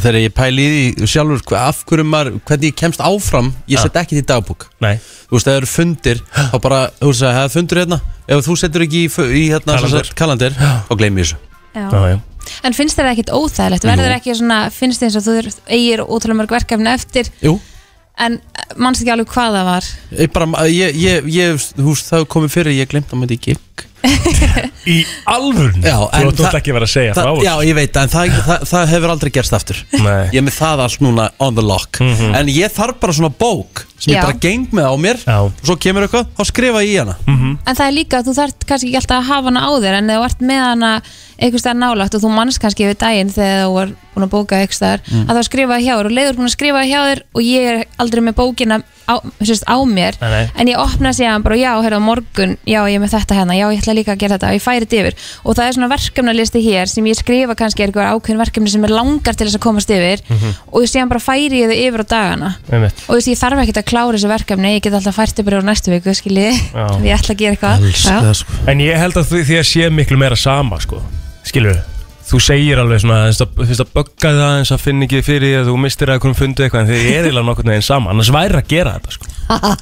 S1: þegar ég pæli í því sjálfur hva- af hverju maður, hvernig ég kemst áfram ég set ekki því dagbúk
S3: Nei,
S1: þú veist, ef það eru fundir þá bara, þú veist, það er fundur hérna ef þú setur ekki í, fu- í hérna
S3: Kalendar.
S1: sem sagt, kalendir þá gleym ég þessu
S5: Já.
S3: já, já
S5: En finnst þér það ekkert óþægilegt? Verður þér ekki svona, finnst þér eins og þú þurft- eigir ótrúlega mörg verkefni eftir
S1: Jú,
S5: en eh, manst ekki alveg hvað það var?
S1: ég bara, ég, ég, ég þú veist, það komið fyrir, ég glemt að maður ekki
S3: Í alvörn,
S1: Já, en
S3: þú ætlum
S1: það-
S3: ekki að vera að segja frá
S1: það, Já, ég veit, en það, það, það hefur aldrei gerst aftur
S3: Nei. Mhm.
S1: Ég er með það allt núna on the lock En ég þarf bara svona bók sem
S5: Já.
S1: ég bara geng með á mér
S3: Já. Mhm.
S1: og svo kemur eitthvað, þá skrifa ég í hana
S5: En það er líka að þú þarft kannski ekki alltaf að hafa hana á þér en þegar þú ert með hana einhvers staðar nálægt og þú manns kannski yfir daginn þegar þú er búin að bóka einhvers staðar
S3: Mm.
S5: að það skrifa hjá þér og leiður búin að skrifa hjá þér og ég er aldrei með bókina á, sérst, á mér
S3: Nei, nei.
S5: en ég opna síðan bara já, hérna á morgun já, ég er með þetta hérna, já, ég ætla líka að gera þetta og ég færi þetta yfir og það er svona verkefnalisti hér sem ég skrifa kannski eitthvað ákveðin verkefni sem er langar til þess að komast yfir
S1: Mhm.
S5: og síðan bara færi ég þau yfir á dagana
S3: Einmitt.
S5: og þú veist, ég þarf ekkert að klára þessu verkefni ég get alltaf fært yfir á næstu viku, skilji
S3: Já.
S5: ég ætla að gera eitthvað Já.
S1: sko.
S3: En ég held að því, því að sé miklu meira sama sko. Skilur Þú segir alveg svona aðeins að- Þú finnst að bögga það eins að finn ekki fyrir því að þú mistir að hvernig fundu eitthvað En þið er eiginlega nokkurn veginn sama Annars væri að gera þetta sko. Já, er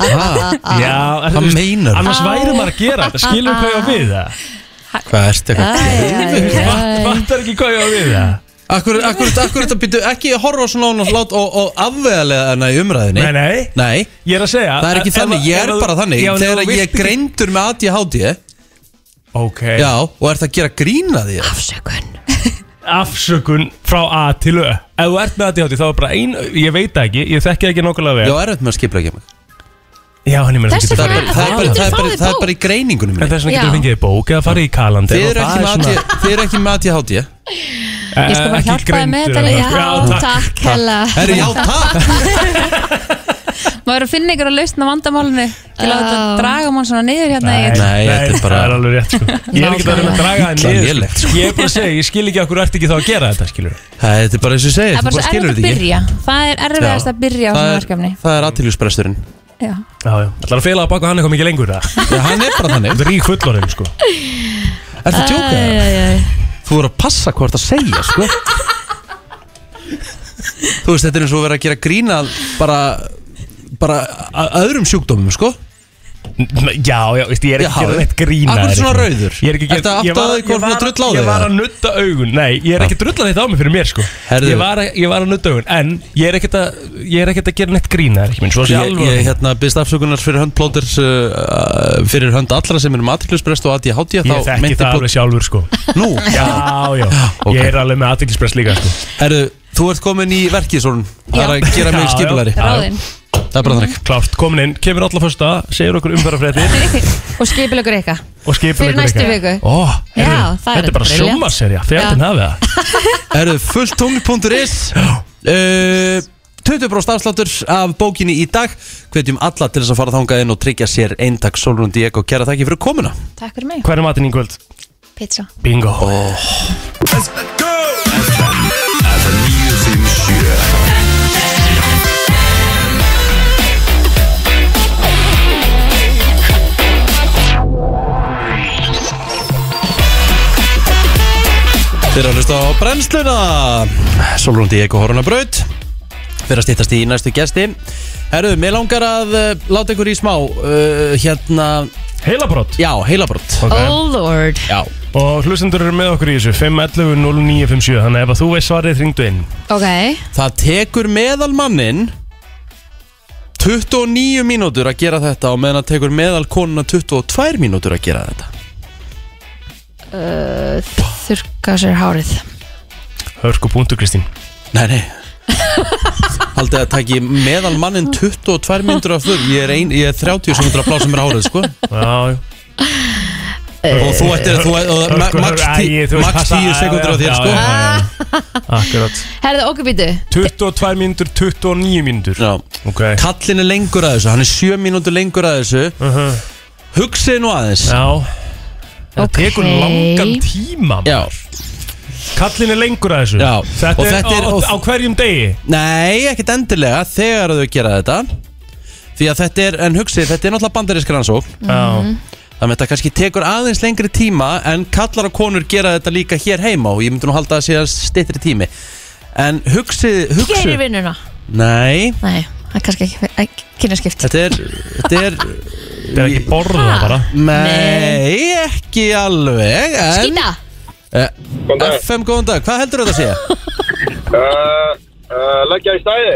S1: Ah. Hvað
S3: þú veist,
S1: meinarðu?
S3: Annars væri maður að gera þetta Skilur hvað ég á við það
S1: Hvað ertu eitthvað?
S3: Fatt- Fattar ekki hvað ég á við það
S1: Akkur, akkur, akkur þetta býtu ekki horfa svona á hún og, lát- og, og afvegalega hana í umræðinni
S3: Nei, nei.
S1: Nei,
S3: Ég er að segja
S1: það er ekki
S3: ef-
S1: þannig,
S3: ef-
S1: ég
S3: ef
S1: er
S3: þú-
S1: bara þannig
S3: Já, en ef þú
S1: Þegar ég
S3: vilt
S1: er
S3: ekki-
S1: greindur með ADHD
S3: Ok,
S1: Já, og ert að gera grína því
S2: Afsökun
S3: afsökun frá A til Ö Ef þú ert með að þá er bara ein Ég veit það ekki, ég þekki það ekki nokkulega
S1: Já,
S3: vel
S1: erfitt með að skipla ekki mig
S3: Já, hann ég meina
S2: Þess
S3: þú
S1: Það er
S3: getur-
S1: bara-
S2: Hvað?
S1: það er bara-
S2: Getur
S1: það er
S2: fáið
S1: bara- það er bara í greiningunum
S3: En
S1: minni
S3: þess vegna
S2: Já.
S3: getur þú fengið þér bók eða farið í kalandi
S1: Þið eru ekki með ADHD Þið eru ekki með ADHD
S3: Eh,
S5: ég skal bara hjálpa það með þetta já, takk hella
S1: Herri, já, takk
S5: maður er að finna ykkur að lausna vandamálinu til að þetta
S2: Já.
S5: draga mann svona niður hérna
S3: Nei,
S5: Egill.
S1: Nei, þetta er bara-
S3: það er alveg rétt sko. Ég er ekki að reyna að draga það
S1: Illa
S3: niður
S1: lélegt,
S3: sko. Ég er bara að segja, ég skil ekki okkur ert ekki þá að gera þetta skilur.
S1: Það þetta er bara eins og ég segi,
S5: það er
S1: þú
S5: bara
S1: bara
S5: svo
S1: skilur
S5: erfitt að
S1: þetta ekki
S5: byrja það er erfiðast að byrja á
S1: Það
S5: svona
S1: er-
S5: verkefni
S1: Það er aðtiljusbresturinn
S5: já.
S3: Já, já Það er að fela að baka hann eitthvað mikið lengur það
S1: Já, hann er bara þannig
S3: Þetta er í fullorðum sko
S1: Ertu að tjóka það? Þú voru að passa hvað þú ert að segja, sko Þú veist, þetta er eins og að vera að gera grína bara, bara að öðrum sjúkdómum, sko
S3: Já, já, veist, ég er ekki
S1: Já,
S3: að gera
S1: já.
S3: neitt grína
S1: Akkur svona rauður?
S3: Ég er ekki að
S1: Ertu
S3: gera
S1: að
S3: ég var-
S1: átta þig hvort
S3: ég var-
S1: þú drulla á þig,
S3: Ég var
S1: eða?
S3: að nutta augun, nei, ég er ekki að drulla þetta á mig fyrir mér sko
S1: Herðu.
S3: Ég var að- ég var að nutta augun, en ég er ekkert að Ég er ekkert að gera neitt grína, ekki sko. minn, svo sé
S1: Ég,
S3: alveg
S1: ég hérna byrst afsökunar fyrir hönd plóters uh, fyrir hönd allra sem er um aðtiljusbrest og ADHD
S3: Ég þekki það alveg sjálfur sko
S1: Nú,
S3: Já, já,
S1: Ah, ok.
S3: ég er alveg með aðtillispress líka sko.
S1: herru, þú ert komin í verkið svona Það er
S5: Já.
S1: að gera mig
S3: Já, já.
S1: skipulari
S5: ráðinn
S1: Það er bara þannig
S3: Klárt, komin inn, kemur alla fyrsta, segir okkur umfærafréttir
S2: Og skipilegur eitthvað
S3: og skipar
S2: Fyrir næstu viku
S3: Ó,
S2: Já,
S3: heyrðu,
S2: það er
S3: þetta er bara
S2: brilliant.
S3: sjómaserja, fjandinn hafið það
S1: Herru, fulltungl.is uh, 20% afsláttur af bókinni í dag Hvetjum alla til þess að fara þangað inn og tryggja sér eintak Solrún Diego Kæra þakki fyrir komuna
S5: takk fyrir mig
S3: Hver er matinn í kvöld?
S5: pizza
S3: Bingo
S4: FM 957
S1: Þeir að hlusta á brennsluna Solrún Diego Horona Braut Fyrir að stýttast í næstu gesti Herru, mér langar að uh, láta ykkur í smá uh, Hérna,
S3: Heilabrott
S1: já, heilabrott
S3: okay.
S2: Oh lord
S1: Já,
S3: Og hlustendur eru með okkur í þessu 511 0957 Þannig ef að þú veist svarið hringdu inn
S2: Ok
S1: það tekur meðalmannin 29 mínútur að gera þetta og meðan það tekur meðal konuna 22 mínútur að gera þetta
S2: Þurka Uh, sér hárið
S3: Hörku punktu Sko, Kristín
S1: Nei, nei Haldið að taki meðal mannin 22 myndur af þurr Ég er, ein, ég er 30 sem hundur að blásum mér hárið sko.
S3: Já, já.
S1: Og þú ættir þú, ættir- og, ma, max, tí,
S3: Æ, þú veist,
S1: max
S3: passa-
S1: 10 sekundur á þér
S3: já,
S1: sko.
S3: já, já, já. Akkurat
S2: Herðu okkur býtu
S3: 22 mínútur, 29 mínútur
S1: Já.
S3: Ok
S1: Kallin er lengur að þessu, hann er 7 mínútur lengur að þessu
S3: uh -huh.
S1: Hugsið nú aðeins
S3: Já Það
S2: Ok.
S3: tekur langan tíma maður.
S1: Já,
S3: Kallin er lengur að þessu
S1: Já.
S3: Þetta
S1: Og
S3: er,
S1: þetta er-
S3: á, á hverjum degi
S1: nei, ekkert endilega þegar þau gera þetta Því að þetta er, en hugsið, þetta er náttúrulega bandarísk rannsókn
S3: Já Mhm.
S1: Þannig að þetta kannski tekur aðeins lengri tíma en kallar og konur gera þetta líka hér heima og ég myndi nú halda að sé að stittri tími en hugsið,
S2: Gerir
S1: hugsið
S2: vinnuna
S1: Nei,
S2: Nei, það er kannski ekki kynarskipt
S1: þetta er, þetta er
S3: Þetta er ekki borða bara
S1: Nei, ekki alveg en,
S2: Skýta
S1: eh, FM, góðan dag, hvað heldur þetta að sé?
S6: Eh, Leggja í stæði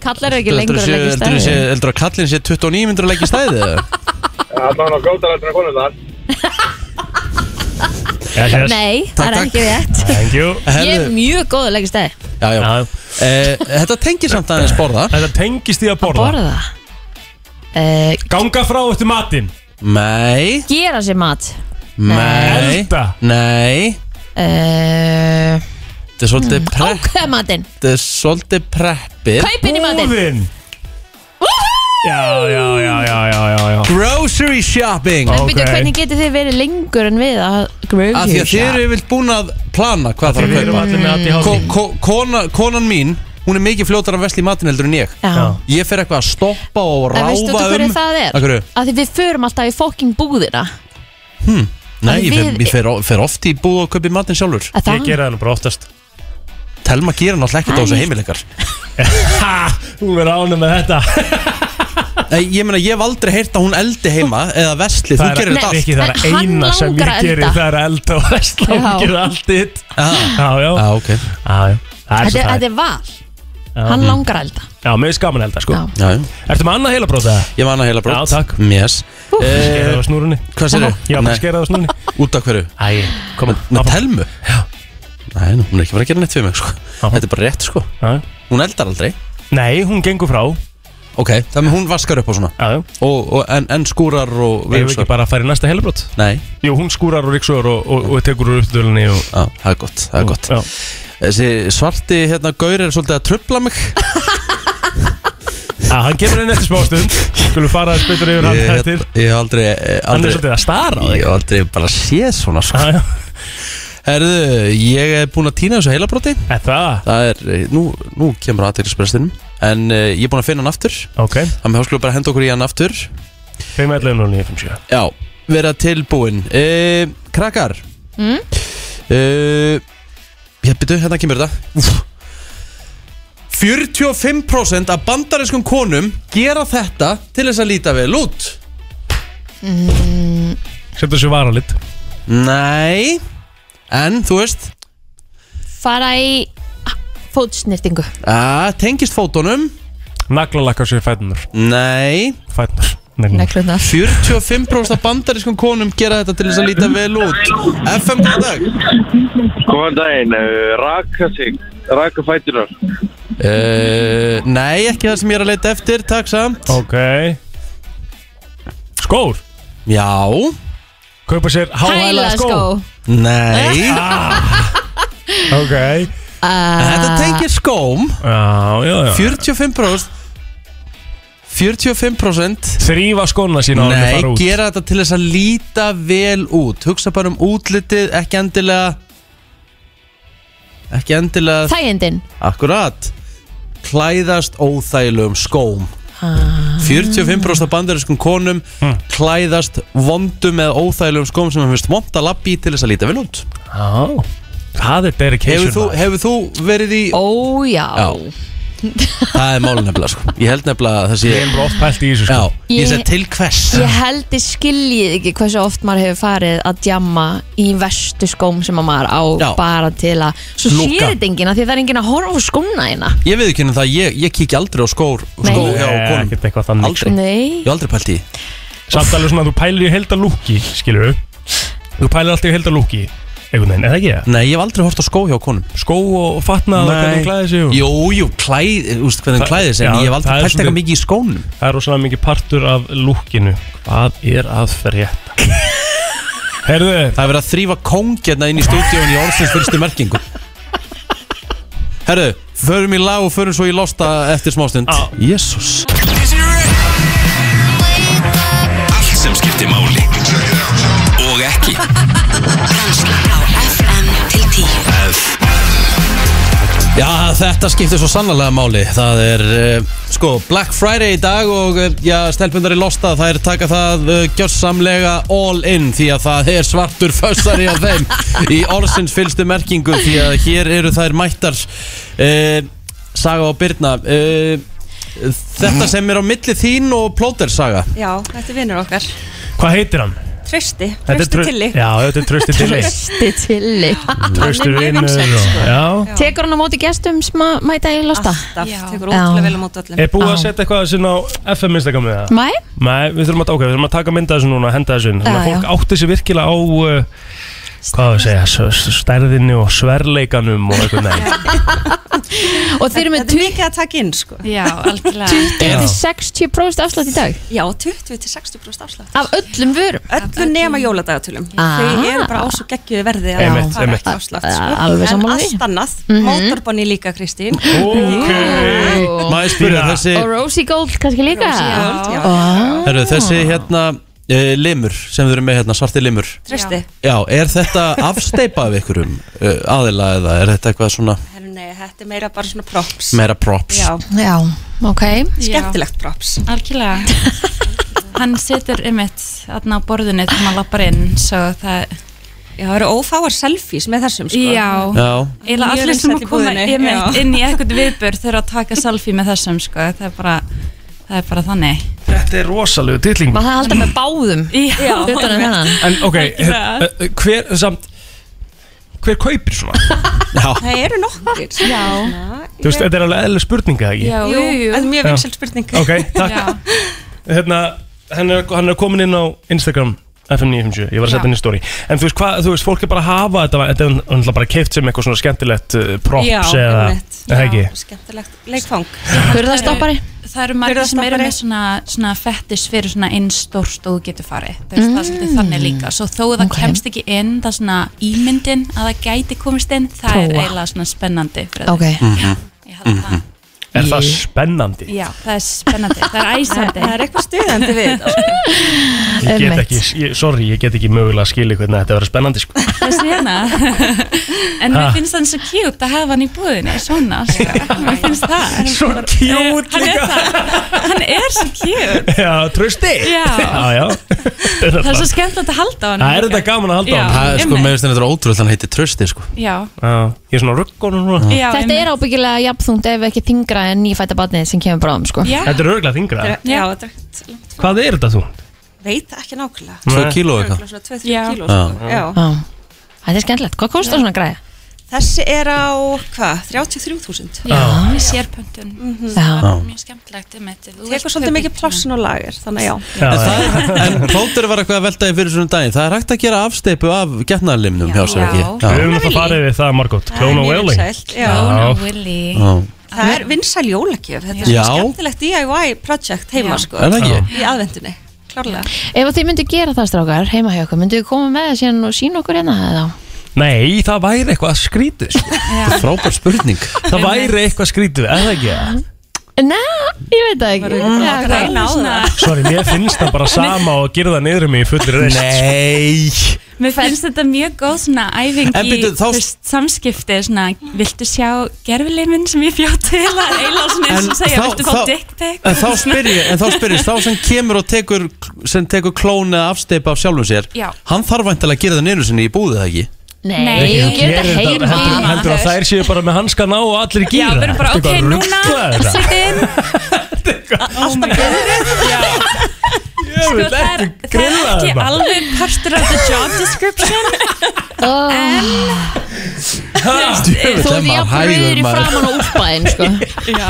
S2: Kallar eru ekki lengur að
S1: Heldur
S2: leggja í
S1: þetta
S2: stæði
S1: sé, heldur að kallin sé 29 myndur að leggja í stæði? eða?
S6: Allan á góðar heldur en konur þar
S3: yes, yes.
S2: Nei, það er
S1: Takk,
S2: ekki rétt
S3: Thank you
S2: Ég er
S1: Herðu,
S2: mjög góð að leggja í stæði
S1: já, já.
S3: Já.
S1: Eh, Þetta tengir samt aðeins borða
S3: Þetta tengist í að borða
S2: Borða uh,
S3: Ganga frá eftir matinn
S1: Nei,
S2: Gera sér mat
S1: nei,
S3: Elda
S1: nei
S2: uh,
S1: Þetta er
S2: Mm.
S1: svolítið prep
S2: Ákveða matinn
S1: þetta er svolítið preppið
S2: Kaupin í matinn
S3: Búðin Já, já, já, já, já, já, já
S1: Grocery shopping
S3: Ó.
S1: Af
S2: En byrju,
S3: Ok.
S2: hvernig getið þið verið lengur en við að
S1: því að
S2: grocery
S1: þið eru
S2: shop?
S1: yfirlt búin að plana
S3: Við
S1: hvað þarf að
S3: erum
S1: kaupa
S3: allir með aðti
S1: ko
S3: hálfum
S1: ko kona, Konan mín, hún er mikið fljótar að vesla í matin heldur en ég
S2: Já.
S1: Ég fer eitthvað að stoppa og
S2: En
S1: ráfa
S2: veistu þú
S1: um
S2: hverju það er?
S1: Af hverju?
S2: Að því við förum alltaf í fokking búðina
S1: Nei, ég fer,
S2: við-
S1: ég fer, fer oft í búið og kaupi matin sjálfur
S2: Að
S3: Ég
S2: það
S3: gera það nú bara oftast
S1: Telma gerir náttúrulega ekkert á þessu heimileikar
S3: Ha, hún er ánum með þetta
S1: Nei, Ég meina, ég hef aldrei heyrt að hún eldi heima eða vesli, þú
S3: Það er-
S1: gerir
S2: Nei.
S1: þetta allt
S3: Rikki, það er
S2: En hann
S3: eina sem
S2: langar
S3: ég
S2: að
S3: gerir
S2: elda.
S3: Það er að elda og vesla og
S2: Já.
S3: ég gerir allt þitt
S1: Já,
S3: Já, já,
S1: ah, ok
S3: já, já Það er
S2: Þetta
S3: svo
S2: þetta
S3: það er.
S2: er val Hann langar að elda
S3: Já, mér er skaman að elda, sko
S2: Já.
S1: Já, já.
S3: Ertu með annað heila bróða?
S1: Ég man að heila brótt
S3: Já, takk.
S1: yes.
S3: Skeraði á snúrunni
S1: Eh, Hvað sér þau?
S3: Já, bara skeraði á snúrunni
S1: Út af hverju?
S3: Æ, koma
S1: Með telmu? Já Nei, nú, hún er ekki bara að gera neitt fyrir mig sko.
S3: Áfram.
S1: Þetta er bara rétt sko
S3: Já.
S1: Hún eldar aldrei
S3: Nei, hún gengur frá
S1: Ok, þannig að hún vaskar upp á svona
S3: Já, já
S1: og, og, en, en skúrar og
S3: Við erum ekki
S1: rífsar.
S3: bara að fara í næsta heilabrót
S1: Nei,
S3: Jú, hún skúrar og ríksugur og, og, og tekur úr uppdölunni og...
S1: á, það er gott, það er gott
S3: Já.
S1: Þessi svarti hérna gaur er svolítið að trubla mig
S3: Já, hann kemur inn eftir smástund Skulum fara að spytur yfir hann
S1: Ég hef
S3: eftir
S1: ég hef aldrei, eh,
S3: Hann
S1: aldrei
S3: er svolítið að stara á
S1: Ég
S3: þig
S1: hef aldrei bara séð svona sko
S3: Já, já.
S1: Herðu, ég er búin að týna þessu heilabróti
S3: Er Það,
S1: Það er, eh, nú, nú kemur aðteglisprestinum En uh, ég er búin að finna hann aftur
S3: ok
S1: Þannig að skulum bara henda okkur í hann aftur
S3: 511 og 957
S1: Já, vera tilbúin e, Krakkar
S2: Mm.
S1: e, Ég byrju, hérna kemur þetta Úff. 45% af bandarískum konum gera þetta til þess að líta vel út
S2: Mm,
S3: Setur þessu vara lit
S1: Nei En, þú veist,
S2: Fara í fótsnýrtingu
S1: að tengist fótunum
S3: Naglalakka sér fætunar
S1: Nei
S3: Fætunar Nei,
S2: Neklunar
S1: 45% af bandarískum konum gera þetta til þess að líta vel út FM, góðan dag
S6: Góðan daginn, uh, raka sig Raka fætunar
S1: e, Nei, ekki það sem ég er að leita eftir Takk samt
S3: Ok Skór
S1: Já,
S3: Kaupa sér háhæla
S2: Hæla
S3: skó
S2: skó
S1: Nei
S3: Ah. Ok
S1: Þetta
S2: Ah,
S1: tengir skóm
S3: Já, já, já
S1: 45% 45%
S3: Þrýfa skóna sína áður en
S1: Nei,
S3: fara út.
S1: gera þetta til þess að líta vel út Hugsa bara um útlitið, ekki endilega Ekki endilega
S2: Þægindin
S1: Akkurat Klæðast óþægilegum skóm 45% af bandarískum konum
S3: Hm.
S1: klæðast vondum eða óþægilegum skóm sem hann finnst vond að lappi til þess að líta vel út
S3: Já Það er dedication
S1: Hefur þú,
S3: maður.
S1: hefur þú verið í
S2: Ó já
S1: Já. Það er málin nefnilega sko Ég held nefnilega að það sé
S3: Ég er bara oft pælt í þessu
S1: Já,
S3: sko
S1: ég
S2: Ég-
S1: sé til hvers
S2: Ég held ég skiljið ekki hversu oft maður hefur farið að djamma í vestu skóm sem að maður á
S1: Já.
S2: bara til að svo
S1: Lúka.
S2: sér þetta enginn að því það er enginn að horfa á skóna hérna
S1: Ég veit ekki um það, ég, ég kíkja aldrei á skór
S2: Nei.
S1: Skó hjá
S3: Nei,
S1: konum
S3: ekkert eitthvað þannig,
S1: Aldrei,
S2: Nei
S1: ég hef aldrei pælt í því.
S3: Samt alveg svona að þú pælir í heldalúki, skilur Þú pælir alltaf í heldalúki einhvern veginn, eða ekki það?
S1: Nei, ég hef aldrei hort á skó hjá konum
S3: Skó og fatnað og hvernig hún klæði sig og-
S1: Jú, jú, klæð, þú veist hvernig hún
S3: Það-
S1: klæðir sig
S3: já,
S1: En ég
S3: það
S1: hef
S3: er
S1: aldrei pælt
S3: svolítið-
S1: eitthvað mikið í skónum
S3: Það er rosalega mikið partur af lúkinu Hvað er að frétta? Herðu,
S1: Það er verið að þrýfa kóngjarna hérna inn í stúdíun í orðsins fyrstu merkingu Herðu, förum í lag og förum svo í losta eftir smástund
S3: Á.
S1: Jésús
S4: Allt sem skiptir máli Og ekki
S7: Brennslan á FM til 10
S1: Já, þetta skiptir svo sannlega máli Það er, uh, sko, Black Friday í dag og, uh, já, stelpundar í Losta það er taka það uh, gjörsamlega all in því að það er svartur fössari á þeim í orðsins fylstu merkingu því að hér eru þær mættar uh, Saga og Birna uh, Þetta sem er á milli þín og plóter Saga
S8: Já, þetta er vinnur okkar
S3: hvað heitir hann?
S8: Trösti,
S3: Þetta er
S8: trösti
S3: Trau-
S8: tilli
S3: Já, þetta er trösti tilli
S2: Kristi tilli
S3: Trösti
S8: Hann er mjög
S3: vinnur
S8: vinsæll,
S3: og-
S8: sko.
S3: Já
S2: Tekur hann á móti gestum sem að mæta í losta?
S8: Alltaf,
S5: Já.
S8: tekur
S2: Já.
S8: ótrúlega vel á móti öllum
S3: Er búið að
S2: Já.
S3: setja eitthvað sinn á FM Instagram með það?
S2: Mæ?
S3: Nei, við þurfum að, ok, við þurfum að taka mynda þessu núna og henda þessu inn Þannig að
S2: Já,
S3: fólk
S2: já.
S3: átti sig virkilega á uh, Hvað á að segja, s- s- stærðinni og sverleikanum og eitthvað neginn
S2: Og þeir eru með
S8: Þetta er mikið að taka inn sko
S5: Já, algjörlega
S2: 20-60% afslátt í dag
S8: Já, 20-60% afslátt
S2: af öllum vörum
S8: Öllu nema jóladagatölum
S2: Ah.
S8: Þau eru bara á svo geggjuðu verði að
S3: Einmitt,
S8: fara
S3: einmitt.
S8: ekki afslátt sko.
S2: Al- alveg
S8: En
S2: sammála því. Mhm.
S8: allt annað, mótorbonni líka Kristín
S3: Ok
S1: Má ég spyrja
S3: Stína.
S1: þessi,
S2: Og Rosie Gold kannski líka
S8: Já,
S2: Ó,
S1: heru, þessi hérna uh, limur sem þau eru með hérna, svarti limur
S8: Trösti
S1: Já, er þetta afsteipað af ykkurum uh, aðila eða er þetta eitthvað svona
S8: Herru, Nei, þetta er meira bara svona props
S1: meira props?
S8: Já,
S2: Já, ok
S8: skemmtilegt props
S9: Algjörlega Hann situr um eitt aðna á borðinu þegar maður lappar inn svo það,
S8: Já, það eru ófáar selfies með þessum sko
S9: já,
S1: Já,
S9: eiginlega
S8: Mjög
S9: allir sem
S8: vinsæll
S9: að
S8: í
S9: koma
S8: búðinni,
S9: einmitt
S8: já.
S9: inn í eitthvað viðbör þurfa að taka selfie með þessum sko, það er bara það er bara þannig
S3: Þetta er rosalegu tilling
S2: Má það halda með báðum
S9: Já,
S3: um
S2: Utan en hennan
S3: En ok,
S9: það.
S3: eh, eh, hver samt Hver kaupir svona?
S1: já,
S8: Það eru nokkur Já,
S3: Þú veist, þetta er alveg eðlileg spurninga, ekki?
S9: já,
S8: Jú,
S9: jú,
S8: þetta er
S9: jú.
S8: mjög vinsælt spurning
S3: Ok, takk
S9: Já.
S3: Hérna, hann er, hann er komin inn á Instagram FM950, ég var að
S9: Já.
S3: setja inn í story En þú veist hvað, þú veist, fólk er bara að hafa þetta var- Þetta er náttúrulega bara keift sem eitthvað svona skemmtilegt uh, Props
S8: Já,
S3: eða,
S8: einmitt.
S3: eða ekki
S8: Skemmtilegt leikfang
S2: Hver er það stoppari?
S9: það eru margir sem eru
S8: Hurðarstoppari.
S9: með svona, svona fettis fyrir svona inn stórst og þú getur farið það er, mm. það er svolítið þannig líka svo þó að það
S2: Ok.
S9: kemst ekki inn, það er svona ímyndin að það gæti komist inn, það er
S2: Prófa.
S9: eiginlega svona spennandi fyrir
S2: Ok,
S1: Mhm.
S9: þau. Ég held það.
S3: Er það spennandi?
S9: Já, það er spennandi, það er æsandi
S8: Það er eitthvað stuðandi við þetta, sko.
S3: Ég get
S2: einmitt.
S3: ekki, ég, sorry, ég get ekki mögulega að skilja hvernig þetta verður spennandi sko.
S9: Þess vegna hérna. En mér finnst hann svo cute að hafa hann í búðinu Svona, sko. mér finnst það
S3: Svo cute
S9: Hann er það, hann er svo cute
S3: Já, trösti
S9: Já.
S3: já, já. Það,
S9: Það er svo skemmtilegt að halda á hann
S3: Hérna. Það er þetta gaman að halda á
S9: Já.
S1: það er sko
S9: einmitt.
S1: með þess að þetta er ótrúlega hann heitir Trösti sko
S9: Já,
S3: hann Ég er svona ruggunum núna
S9: já
S2: Þetta er ábyggilega jafnþungt ef ekki þingra en nýfæta barnið sem kemur bráðum sko
S9: Já,
S3: Þetta er örgulega þingra
S8: Já, þetta er ekkert langt.
S3: Hvað er þetta þú?
S8: Veit ekki nákvæmlega.
S1: 2 kíló eitthvað
S8: Örugglega svona 2-3
S9: Já.
S8: kíló, sko. Já.
S2: Já. Ah. Þetta er skemmtilegt, hvað kostar svona græða?
S8: Þessi er á, hvað, 33.000?
S9: já, sérpöntun
S2: Já,
S9: Það er mjög skemmtilegt um þetta
S8: Mhm. Tekur svolítið mikið plássin og lager, þannig já.
S3: Já,
S1: En,
S3: já.
S1: það er, en plótur var eitthvað að velta í fyrir svona um daginn Það er hægt að gera afsteipu af getnaðarlimnum hjá sér
S9: Já.
S1: ekki
S3: Við
S1: Já,
S3: höfum alltaf farið við það margótt Klóna
S8: Það er mjög
S3: Welling
S8: vinsælt, Já.
S9: Lóna Willi
S1: já.
S8: Það er vinsæl jólagjöf, þetta er
S1: Já.
S8: svona skemmtilegt DIY project heima,
S9: Já.
S8: sko.
S1: Er það ekki?
S8: Í aðvendunni, klárlega.
S2: ef að þið myndu gera það strákar heima hjá okkur, myndu þið koma með það síðan og sína okkur hérna eða?
S3: Nei, það væri eitthvað skrítið sko.
S1: Þetta er frábær spurning
S3: Það væri eitthvað skrítið, eða ekki
S9: Mhm.
S2: Næ, ég veit það ekki Já,
S8: Það er
S2: hvað?
S8: eina á það.
S3: Sorry, mér finnst það bara sama og gyrða niður um mig í fullri reist
S1: Nei
S9: Mér finnst þetta mjög góð svona æfing
S1: En
S9: í
S1: byrju, þá-
S9: þú veist, samskipti svona, viltu sjá gerfileimin sem ég fjótt til að eila svona eins og segja, viltu fá dick pic
S1: en þá spyr ég, en þá spyr ég, þá sem kemur og tekur, sem tekur klón eða afsteipa af sjálfum sér,
S9: Já.
S1: hann þarf væntanlega að gera það niður sinni í búðið eða ekki?
S2: Nei, þú gerir þetta heima
S3: heldur, heldur, heldur að þær séu bara með hanska ná og allir
S9: Já,
S3: gýra
S9: við erum bara, ok, núna setja inn Oh my god Já. Sko,
S3: vil
S9: það, er,
S3: ekki
S9: það er
S3: grilla hérna.
S9: ekki
S3: þetta.
S9: alveg partur af the job description
S8: Oh.
S2: Ó, Þú ert jafn rauður í framan og úlpaðin sko.
S9: Já,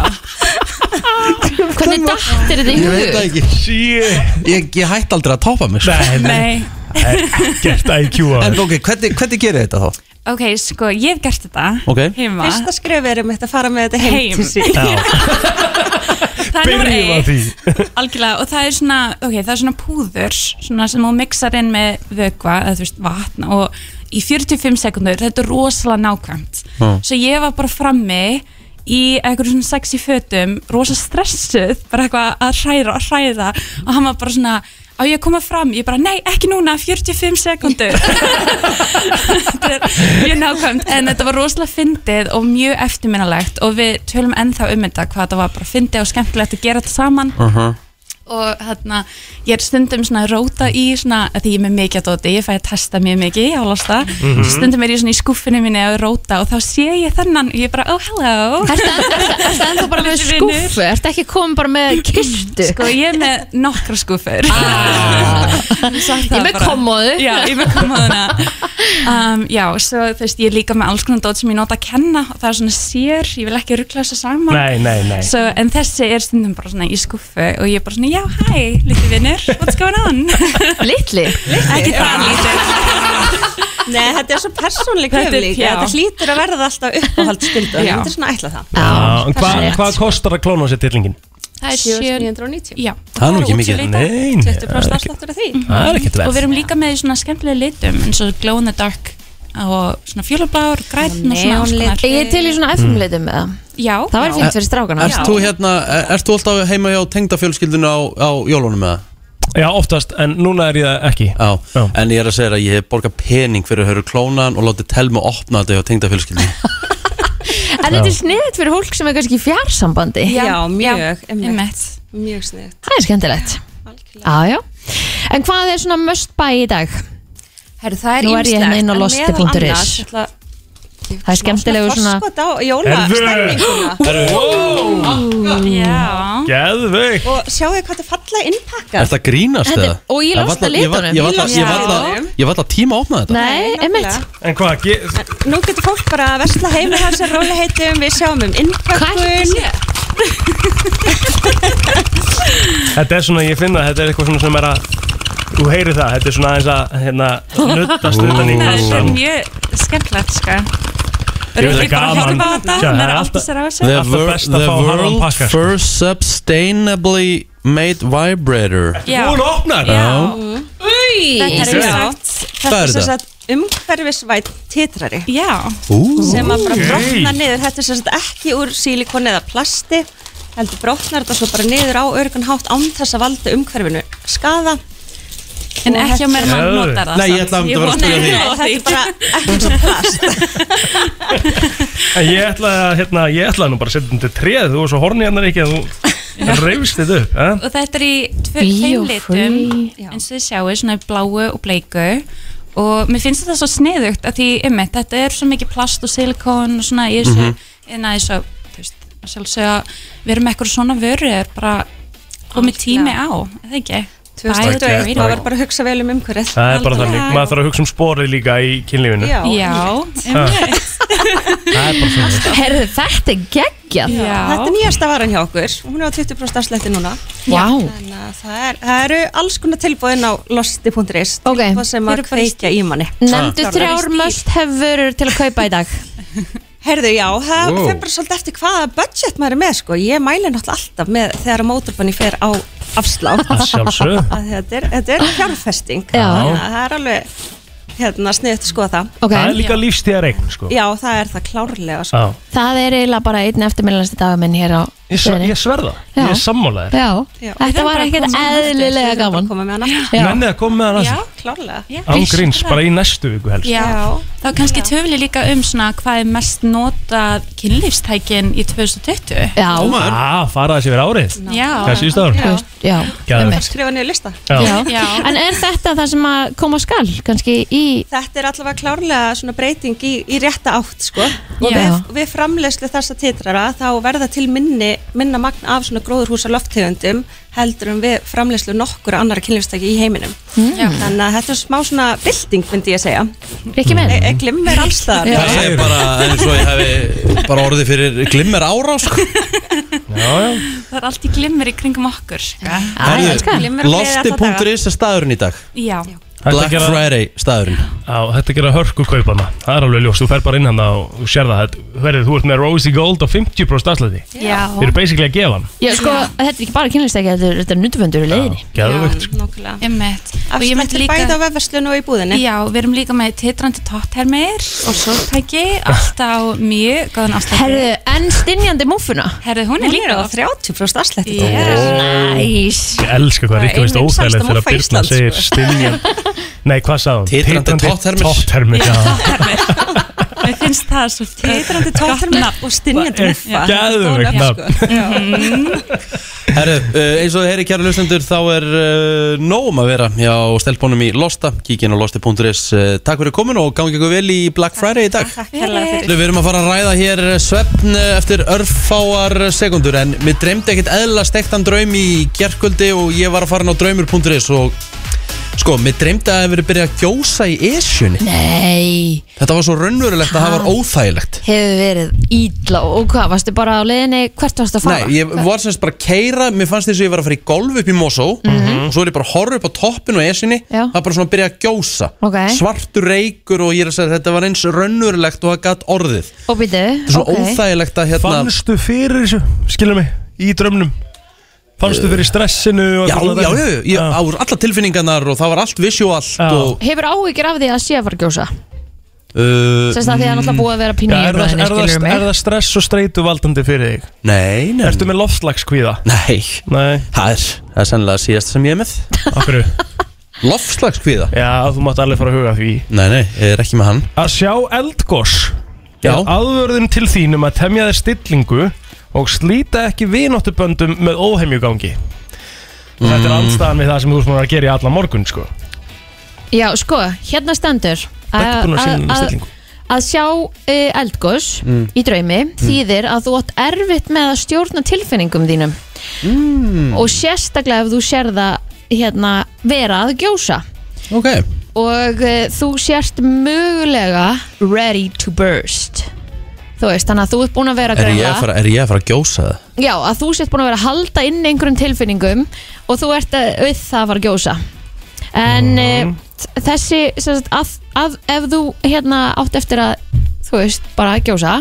S2: Hvernig dattir þetta í
S1: Ég veit það
S2: hug?
S1: ekki
S3: Shit
S1: Ég, ég hætti aldrei að topa mig sko.
S3: Nei, nei
S9: nei,
S3: Það er ekkert IQ á
S1: En
S3: þessu.
S1: ok, hvernig, hvernig gerir þetta þá?
S9: Ok, sko, ég hef gert þetta
S1: Ok.
S9: heima
S8: Fyrsta skref er um þetta að fara með þetta heim,
S9: Heim.
S8: til sín.
S9: Það er númer
S3: Byrjum á
S9: eitt,
S3: því
S9: algjörlega Og það er svona, ok, það er svona púður Svona sem þú mixar inn með vökva Eða þú veist, vatn Og í 45 sekundur, þetta er rosalega nákvæmt
S1: Já.
S9: Svo ég var bara frammi Í eitthvað svona sexy fötum Rosa stressuð, bara eitthvað að hræra og hræða Og hann var bara svona á ég að koma fram, ég bara, nei, ekki núna 45 sekundur þetta er mjög nákvæmt en þetta var rosalega fyndið og mjög eftirminnalegt og við tölum ennþá um þetta hvað þetta var bara fyndið og skemmtilegt að gera þetta saman
S2: Uh-huh.
S9: og hérna ég er stundum svona að róta í svona að því ég er með mikið að dóti, ég fæ að testa mjög mikið ég álasta,
S3: Mhm.
S9: mm stundum er ég svona í skúffinu minni að róta og þá sé ég þennan og ég er bara, oh hello
S2: Ertu ennþá bara með
S9: Litli vinur.
S2: skúfu? Ertu ekki komin bara með kistu? Ah.
S9: sko ég er með nokkra skúfur
S2: Ég er með kommóðu
S9: Já, ég með komaðuna um, Já, svo þú veist, ég er líka með alls konar dót sem ég nota að kenna og það er svona sér, ég vil ekki ruggla þessu saman
S3: Nei, nei, nei
S9: Svo, en þessi er stundum bara svona í skuffu og ég er bara svona, já, hæ, litli vinnur, what's going on?
S2: Litli
S9: ekki það lítið.
S8: Nei, þetta er svo persónleik
S9: Þetta er-
S8: höf líka
S9: já.
S8: Þetta hlýtur að verða alltaf uppáhald stund
S9: Já.
S8: Þetta er svona ætla það
S3: Já, en Hvað
S2: rétt.
S3: hva kostar að klóna sér tillingin?
S9: Það er sjö,
S8: 7.990
S9: já.
S1: Það er nú ekki mikið.
S3: Nei, nei, það
S8: 20%
S3: er ekki-
S8: afsláttur af því
S3: það er ekkert
S9: Og við
S3: verð
S9: erum líka með svona skemmtilega litum eins og glow in the dark og svona fjólublár, græn og svona alls konar.
S2: Ég er til í svona FM-litum með það
S9: Já,
S2: Það var fint fyrir strákana
S1: Erst þú hérna, er- ert þú alltaf heima hjá tengdafjölskyldinu á, á jólunum eða?
S3: Já, oftast, en núna er ég það ekki
S1: Já,
S3: Já.
S1: en ég er að segja þér að ég hef borgað pening fyrir að höra klónan og látið telma opna þetta hjá tengdafjölskyldinu
S2: En þetta er sniðið fyrir fólk sem er kannski í fjársambandi
S8: Já, mjög, einmitt.
S9: einmitt.
S8: mjög sniðt
S2: Það er skemmtilegt Já, já En hvað er svona must buy í dag?
S5: Herru, það er
S2: Nú er ég hérna inn á losti.is
S8: Það
S2: Það er skemmtilegu svona
S8: Forskot á jólastemninguna
S9: Já.
S3: Geðveik
S8: Og sjáu hvað þetta er fallega
S1: Er
S8: innpakkað
S1: það grínast
S2: Þetta er-
S1: eða?
S2: og í
S1: var
S2: losta
S1: alltaf- ég var-
S2: litunum.
S1: ég var
S8: Í losta
S1: alltaf- Ég var
S8: litunum.
S1: alltaf- ég var alltaf tíma að opna þetta
S2: Nei, einmitt
S8: nákvæmlega.
S3: En hvað, ge-
S8: Nú getur fólk bara að versla heima hjá sér róliheitum Við sjáum um innpakkun
S3: þetta er svona, ég finna að þetta er eitthvað svona sem er að Þú heyrir það, þetta er svona aðeins að hérna, nuttast utan í
S9: Það er
S3: kassan
S9: mjög skemmtilegt sko
S3: Ég veit
S9: Rúli
S3: það
S9: bara að
S3: gaman.
S9: hjálpa þetta Hún
S3: Já, það
S9: er
S3: er
S9: að
S3: alltaf-
S9: átta sér á þessu
S1: The,
S3: Alltaf
S1: wor-
S3: best að
S1: the
S3: fá hálfan
S1: world
S3: pakka, sko.
S1: first sustainably made vibrator
S9: Já.
S3: Hún opnar
S9: Já.
S2: Új
S8: Þetta er
S3: Ok.
S8: sem sagt- þetta
S1: er
S8: er sem
S1: þetta?
S8: sagt umhverfisvætt titrari
S9: Já,
S8: sem að bara
S3: Ókei.
S8: brotna niður þetta er sem sagt ekki úr sílikon eða plasti heldur brotnar þetta svo bara niður á örgun hátt án þess að valda umhverfinu skada
S9: en ekki á mér mann
S3: Geðveikt.
S9: notar það
S1: Nei, ég ætla að
S9: samt.
S1: vera að spyrja
S9: vona-
S1: þig.
S9: Já,
S8: og þetta er
S9: því.
S8: bara ekki svo plast
S3: En ég ætlaði að, hérna, ég ætlaði nú bara að setja þetta treð, þú var svo horni hennar ekki að þú reyfst þetta upp, eh?
S9: Og þetta er í tve-
S2: Bí
S9: tveim
S2: og
S9: litum
S2: frí.
S9: eins og þið sjáu, svona bláu og bleiku og mér finnst þetta svo sniðugt að því, einmitt, þetta er svo mikið plast og silikon og svona í þessu
S3: Mhm.
S9: mm -hmm. eins og, þú veist, að sjálfsög að vera með eitthvað svona vöru er bara komið tími á, er það ekki? Biodegradable.
S8: 2021, maður var bara að hugsa vel um umhverfið
S3: Það er bara
S9: Aldrei.
S3: þannig, maður þarf að hugsa um sporið líka í kynlífinu
S8: já,
S9: Já, einmitt
S3: Það er bara þannig
S2: Herðu, þetta er geggjað
S9: Já.
S8: þetta er nýjasta varan hjá okkur hún er á 20% afslætti núna
S2: Vá
S8: þannig að það, er, það eru alls konar tilbúðin á losti.is
S2: Ok.
S8: tilbúð sem
S9: Eru
S8: að
S9: bara í
S8: kveikja í manni
S2: Nefndu
S8: Ah.
S2: þrjár must have vörur til að kaupa í dag
S8: Herðu, já, það
S1: Wow.
S8: wow. fer bara svolítið eftir hvaða budget maður er með, sko. Ég mæli náttúrulega alltaf með þegar að mótorbanni fer á afslátt.
S3: Að sjálfsög
S8: Að þetta, er, þetta er fjárfesting.
S2: Já.
S8: Þannig að Það er alveg, hérna, sniðið að skoða það.
S2: Ok
S3: Það er líka lífstíðareign, sko
S8: Já, það er það klárlega, sko.
S3: Já.
S2: Það er eiginlega bara einn eftirminnlasti dagur minn hér á
S3: Ég, svo,
S2: stöðinni.
S3: ég sverða,
S2: Já.
S3: ég er sammálaðir
S2: Já,
S8: Já.
S2: þetta var ekkert eðlilega
S8: Við þurfum bara
S2: gaman
S8: að Koma með hann aftur.
S2: Já.
S3: Mennið að koma með hann
S8: Já,
S3: að
S8: klárlega.
S3: Án gríns, bara í sko. næstu viku helst
S9: Já.
S8: Já.
S9: Þá kannski töfli líka um svona hvað er mest notað kynlífstækin í 2020.
S2: Já,
S3: Já, fara það sér verið árið
S9: Já.
S3: Hvað síðust ár?
S9: Já.
S2: já,
S3: Geðveikt.
S2: einmitt.
S8: Skrifa niður lista.
S2: já.
S9: Já.
S2: En er þetta það sem að koma á skall kannski í
S8: Þetta er allavega klárlega svona breyting í, í rétta átt, sko. Og
S2: Já.
S8: við, við framlegslu þessa titrara þá verða til minni, minna magn af svona gróðurhúsa lofttegundum heldur en við framlegslu nokkur annara kynlífstæki í heiminum.
S2: Hmm.
S8: Þannig að þetta er smá svona bylting, myndi ég að segja.
S2: Rikki minn?
S8: E glimmer alls þar.
S2: Já.
S1: Það er bara eins og ég hefi bara orðið fyrir glimmer ára sko.
S3: Já, já
S9: Það er allt í glimmer í kringum okkur. sko.
S2: Æ,
S1: Herðu,
S2: elskan.
S8: Glimmer og gleði alla daga.
S1: Losti.is er staðurinn í dag
S9: Já.
S3: Hægt að
S1: Black
S3: gera-
S1: Friday staðurinn
S3: á, þetta er að gera hörku kaupana það er alveg ljós, þú fer bara inn hann og þú sér það, þetta- herri, þú ert með Rosy Gold á 50% afslæti,
S5: Já.
S3: þeir eru basically að gefa hann
S2: Já, sko, þetta er ekki bara kynlistæki, þetta er, þetta er nutuföndur í leiðinni.
S3: geðvögt,
S8: nokkulega.
S9: Einmitt. Og ég myndi
S8: Afslættir
S9: líka-
S8: bæði á vefverslun og í búðinni.
S9: Já, við erum líka með titrandi tótthermir og sóltæki, allt á mjög góðan afslætti.
S2: Herðu, en stinjandi múfuna.
S9: Herðu, hún er líka á
S8: 30% afslætti.
S2: Næs.
S3: ég elska
S8: Það
S3: hvað
S8: er
S3: Rikka veist
S8: ein vinsælasta
S3: óþægilegt þegar
S8: múffa
S3: Birna
S8: Íslands,
S3: segir stinjan nei, hvað sagði hún?
S1: Titrandi totthermir.
S3: totthermir, já.
S9: Mér finnst það svo titrandi
S8: Tóttarmöf og stinjandi muffa.
S3: Geðveikt nafn.
S9: Mhm.
S1: Herru, uh, eins og þið heyri kæra hlustendur þá er uh, nóg um að vera hjá stelpunum í Losta, kíkin á losti.is uh, Takk fyrir komin og gangi ykkur vel í Black Friday í dag
S8: Takk hérlega fyrir.
S1: Við erum að fara að ræða hér eh, svefn eftir örfáar sekundur en mér dreymdi ekkert eðla stektan draum í gerkvöldi og ég var að fara inn á draumur.is og sko, mér dreymdi að það hefur byrjað að gjósa í esjunni
S2: Nei,
S1: Þetta var svo raunverulegt að það var óþægilegt
S2: hefur verið ídla og hvað, varstu bara á leiðinni, hvert varstu að fara?
S1: Nei, ég var semst bara að keira, mér fannst þess að ég var að fara í golf upp í Mosó og svo er ég bara að horfa upp á toppinu og esjunni
S2: Mhm. Já.
S1: það er bara svona að byrja að gjósa
S2: Ok.
S1: svartur reykur og ég er að segja þetta var eins raunverulegt og það gat orðið Þetta
S2: Og býtu,
S1: er svona
S2: ok.
S1: óþægilegt að hérna
S3: fannstu fyrir þessu, skilur mig í drömnum, fannstu fyrir stressinu og
S1: Já,
S3: allan
S1: já, já,
S3: þetta?
S1: já, já, á alla tilfinningarnar og það var allt visuált
S3: Já.
S1: og
S2: Hefur áhyggjur af því að sé að fara að gjósa?
S1: uh,
S2: Sérst að því að það er náttúrulega búið að vera
S3: Já,
S2: pínu í
S3: er, það,
S2: umræðinni,
S3: er, það,
S2: skilur
S3: er
S2: mig.
S3: það stress og streitu valdandi fyrir þig?
S1: Nei, nei
S3: Ertu með loftslagskvíða?
S1: Nei,
S3: Nei,
S1: það er, það er sennilega síðast sem ég er með
S3: okkur
S1: Lofslagskvíða
S3: Já, þú mátt alveg fara að huga að því
S1: Nei, nei, ég er ekki með hann
S3: Að sjá eldgós
S1: Já.
S3: er aðvörðun til þín um að temja þér stillingu og slíta ekki vináttuböndum með óhemjugangi mm. Þetta er andstæðan við það sem þú sem að gera í allan morgun sko.
S2: Já, sko, hérna stendur
S3: Þetta er búin að sína
S2: að-
S3: stillingu
S2: að sjá uh, eldgós
S1: Mm.
S2: í draumi þýðir að þú átt erfitt með að stjórna tilfinningum þínum
S1: Mm.
S2: og sérstaklega ef þú sér það hérna, vera að gjósa
S1: Ok
S2: og uh, þú sért mögulega ready to burst þú veist, þannig að þú ert búin að vera að
S1: Er ég
S2: græla
S1: að fara, er ég að, fara að gjósa það?
S2: já, að þú sért búin að vera að halda inn einhverjum tilfinningum og þú ert að, auð það að fara að gjósa en
S1: Mhm.
S2: mm. þessi sem sagt, að, að, ef þú hérna átt eftir að þú veist, bara að gjósa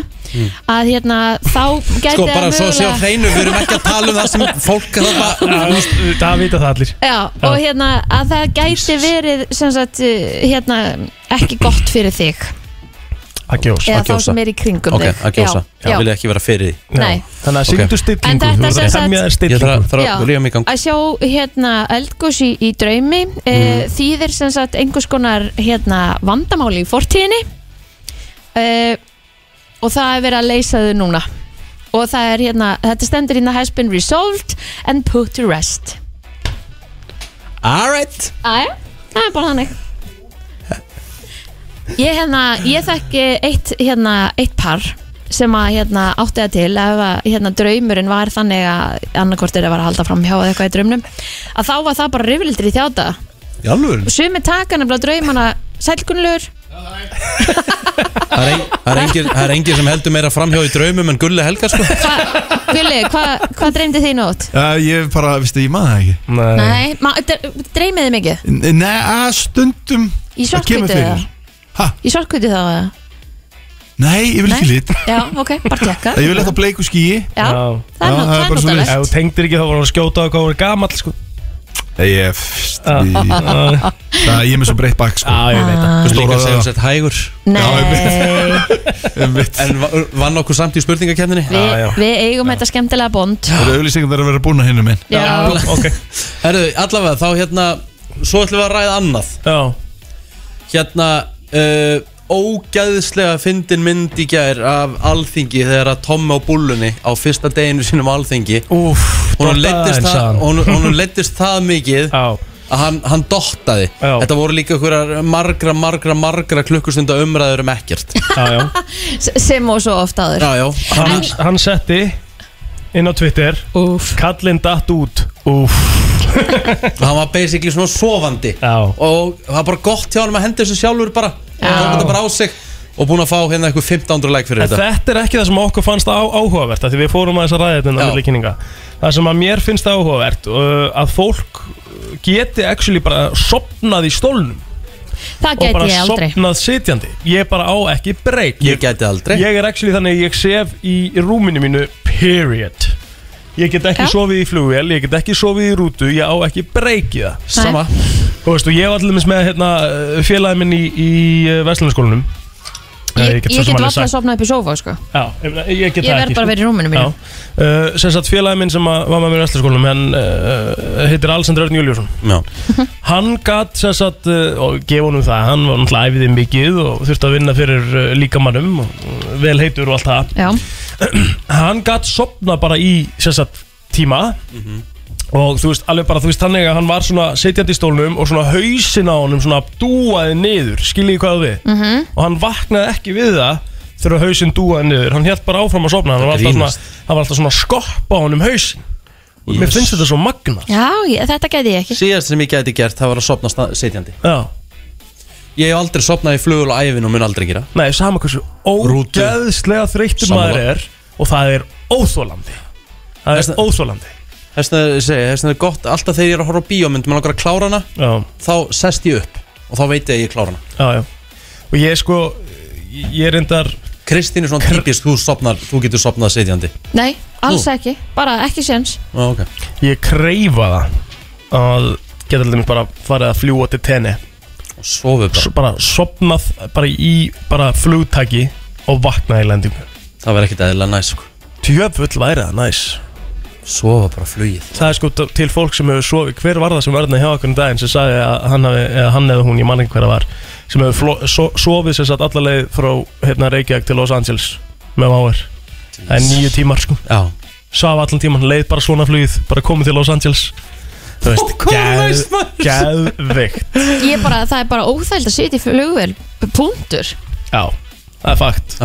S2: að hérna, þá gæti
S1: Mm. Sko, bara svo að sjá
S2: mögulega-
S1: hreinu, við erum ekki að tala um það sem fólk er þarna
S3: Já, þú veist, Það vita það allir
S2: Já, og hérna að það gæti verið sem sagt, uh, hérna, ekki gott fyrir þig
S3: að gjós
S2: eða þá
S1: gjósa.
S2: sem er í kringum
S1: Ok,
S2: þig
S1: að gjósa
S2: já,
S1: Ég vil
S2: já.
S1: ekki vera fyrir því
S2: Nei.
S3: Þannig að
S1: Ok.
S3: sýndu
S2: En
S3: stillingu
S2: þetta
S3: Þú verður
S2: sem
S3: að
S2: sagt-
S3: temja þér
S1: Ég
S3: stillingu
S1: þarf að, þarf
S2: Já.
S1: að ríða mig í gang
S2: Að sjá hérna, eldgós í, í draumi mm.
S1: Mhm.
S2: þýðir sem sagt einhvers konar hérna, vandamáli í fortíðinni uh, og það er verið að leysa þau núna og það er hérna, þetta stendur hérna has been resolved and put to rest
S1: Alright
S2: Æja, það er bara þannig Ég, hérna, ég þekki eitt, hérna, eitt par sem að hérna, átti það til ef að hérna, draumurinn var þannig að annarkort er að vera að halda fram hjá eða eitthvað í draumnum að þá var það bara rifildir í þjáta
S1: Í alvöru?
S2: sumi taka nefnilega draumana sælgunlur
S1: Það er ein- það er engin- það er engin sem heldur meira framhjá í draumum en Gulli Helga sko
S2: Gulli, hvað hva dreymdi þið nótt?
S10: Já, ég bara, veistu, ég maður það ekki
S3: Nei.
S2: Nei, ma- dr- dreymið þið mikið?
S10: N- Nei, að stundum
S2: Í
S10: það kemur
S2: svartkvítu eða?
S10: fyrir. Ha?
S2: Í sorgkviti þá eða?
S10: Nei, ég vil ekki
S2: Nei?
S10: lit
S2: Já, ok, bara tekka
S10: Ég vil eitthvað bleiku skýi
S2: Já,
S3: Já.
S2: það er
S10: Já,
S2: nú-
S10: það er
S2: það er
S10: bara svoleiðis.
S3: Ef
S2: nótalegt
S3: þú tengdir ekki þá voru að skjóta á hvað voru gamall sko. Ah.
S10: Ég, fyrst, ég, það, ég er með svo breytt bak sko.
S3: Já, ég veit það
S1: Líka
S10: Stóra
S1: að segja um sett hægur
S2: Nei
S10: Einmitt.
S1: En va- vann okkur samt í spurningakefninni
S2: Vi,
S3: Já, já.
S2: við eigum þetta skemmtilega bond
S10: Það eru auðlýsingar að vera búin að hinum minn
S2: Já,
S3: ok
S1: Herðu, allavega þá hérna Svo ætlum við að ræða annað
S3: Já,
S1: Hérna uh, Ógæðslega fyndin mynd í gær Af alþingi þegar að Tommi á búllunni Á fyrsta deginu sínum á alþingi
S3: úf
S1: Hún leittist það, honum- honum leiddist það mikið
S3: Já,
S1: að hann, hann dottaði
S3: Já.
S1: Þetta voru líka einhverjar margra, margra, margra klukkustunda umræður um ekkert
S3: já, já
S2: s- sem og svo oft áður
S1: Já, já,
S3: hann, hann setti inn á Twitter
S2: Úf.
S3: Kallinn datt út Úf
S1: hann var basically svona sofandi
S3: Já
S1: og það var bara gott hjá hann að henda þessu sjálfur bara
S2: Já.
S1: og þetta bara á sig og búin að fá hérna eitthvað 1500 like fyrir
S3: En
S1: þetta
S3: þetta er ekki það sem okkur fannst á, áhugavert af Því við fórum að þess að ræða þetta
S1: Já.
S3: innan milli kynninga. Það sem að mér finnst áhugavert uh, Að fólk geti actually bara sopnað í stólnum
S2: Það
S3: og
S2: gæti
S3: bara
S2: ég aldrei
S3: sopnað sitjandi ég bara á ekki breyk
S1: Ég gæti aldrei
S3: ég er actually þannig að ég sef í rúminu mínu period ég get ekki sofið í flugvél, ég get ekki sofið í rútu ég á ekki breyk í það
S1: Sama.
S3: og veistu, ég var allir með hérna, félagin minn í, í eh, Vestlandskólanum
S2: Ég, ég get valla að sopna upp í sofa sko.
S3: Já, ég, meina, ég get
S2: Ég
S3: það
S2: verð
S3: ekki sko.
S2: bara að vera í rúminu mínu.
S3: uh, Sem sagt félagi minn sem að, var með mér í æslaskólanum Hann uh, heitir Alexander Örn Júliusson
S1: Já.
S3: Hann gat sem sagt uh, Og gefa honum það, hann var náttúrulega æfiði mikið Og þurfti að vinna fyrir uh, líkamannum og, uh, Vel heitur og allt
S2: það
S3: Hann gat sopna bara í sem sagt tíma Og þú veist, alveg bara, þú veist þannig að hann var svona setjandi í stólnum og svona hausinn á honum svona dúaði niður, skiljiði hvað á við
S11: Mhm.
S3: og hann vaknaði ekki við það þegar hausinn dúaði niður, hann held bara áfram að sofna hann var alltaf svona,
S1: Grínast.
S3: hann var alltaf svona að skoppa honum hausin yes. mér finnst þetta svo magna
S2: Já, ég, þetta gæti ég ekki
S1: Síðast sem ég gæti gert það var að sopna sta- sitjandi
S3: Já.
S1: Ég hef aldrei sopnað í flugul og ævin og mun aldrei gera
S3: nei, sama hversu ógeðslega þreyttur
S1: Sammála.
S3: maður er og það er óþólandi það er óþólandi
S1: Þess vegna segi, þess vegna er gott Alltaf þegar ég er að horfa á bíómynd Mér langar að klára hana
S3: Já.
S1: Þá sest ég upp Og þá veit ég að ég klára hana
S3: já, já. og ég sko, ég er reyndar
S1: Kristín er svona típist, þú, sopnar, þú getur sopnað sitjandi
S2: Nei, alls ekki, bara ekki séns
S1: Já, ok
S3: ég kreifa það að geta alltaf bara farið að fljúa til tenni
S1: og sofið bara
S3: bara sopnað bara í bara flugtaki og vaknað í lendingu
S1: Það verður ekkert eðlilega næs sko.
S3: Tjöfull væri það næs
S1: Sofa bara flugið
S3: Það er sko t- til fólk sem hefur sofið Hver var það sem verðna hjá okkur um daginn sem sagði að hann, hafi, eða hann eða hún, ég man ekki hver það var sem hefur fló- so, sofið sem satt allalegið frá hérna, Reykjavík til Los Angeles með máir Það er nýju tímar sko
S1: Já.
S3: Saf allan tíman, leið bara svona flugið bara komið til Los Angeles Þú veist,
S2: næst,
S3: geð,
S2: maður?
S3: geðvikt
S2: Ég bara, það er bara óþæld að sitja í flugvel Puntur
S3: Já, það er fakt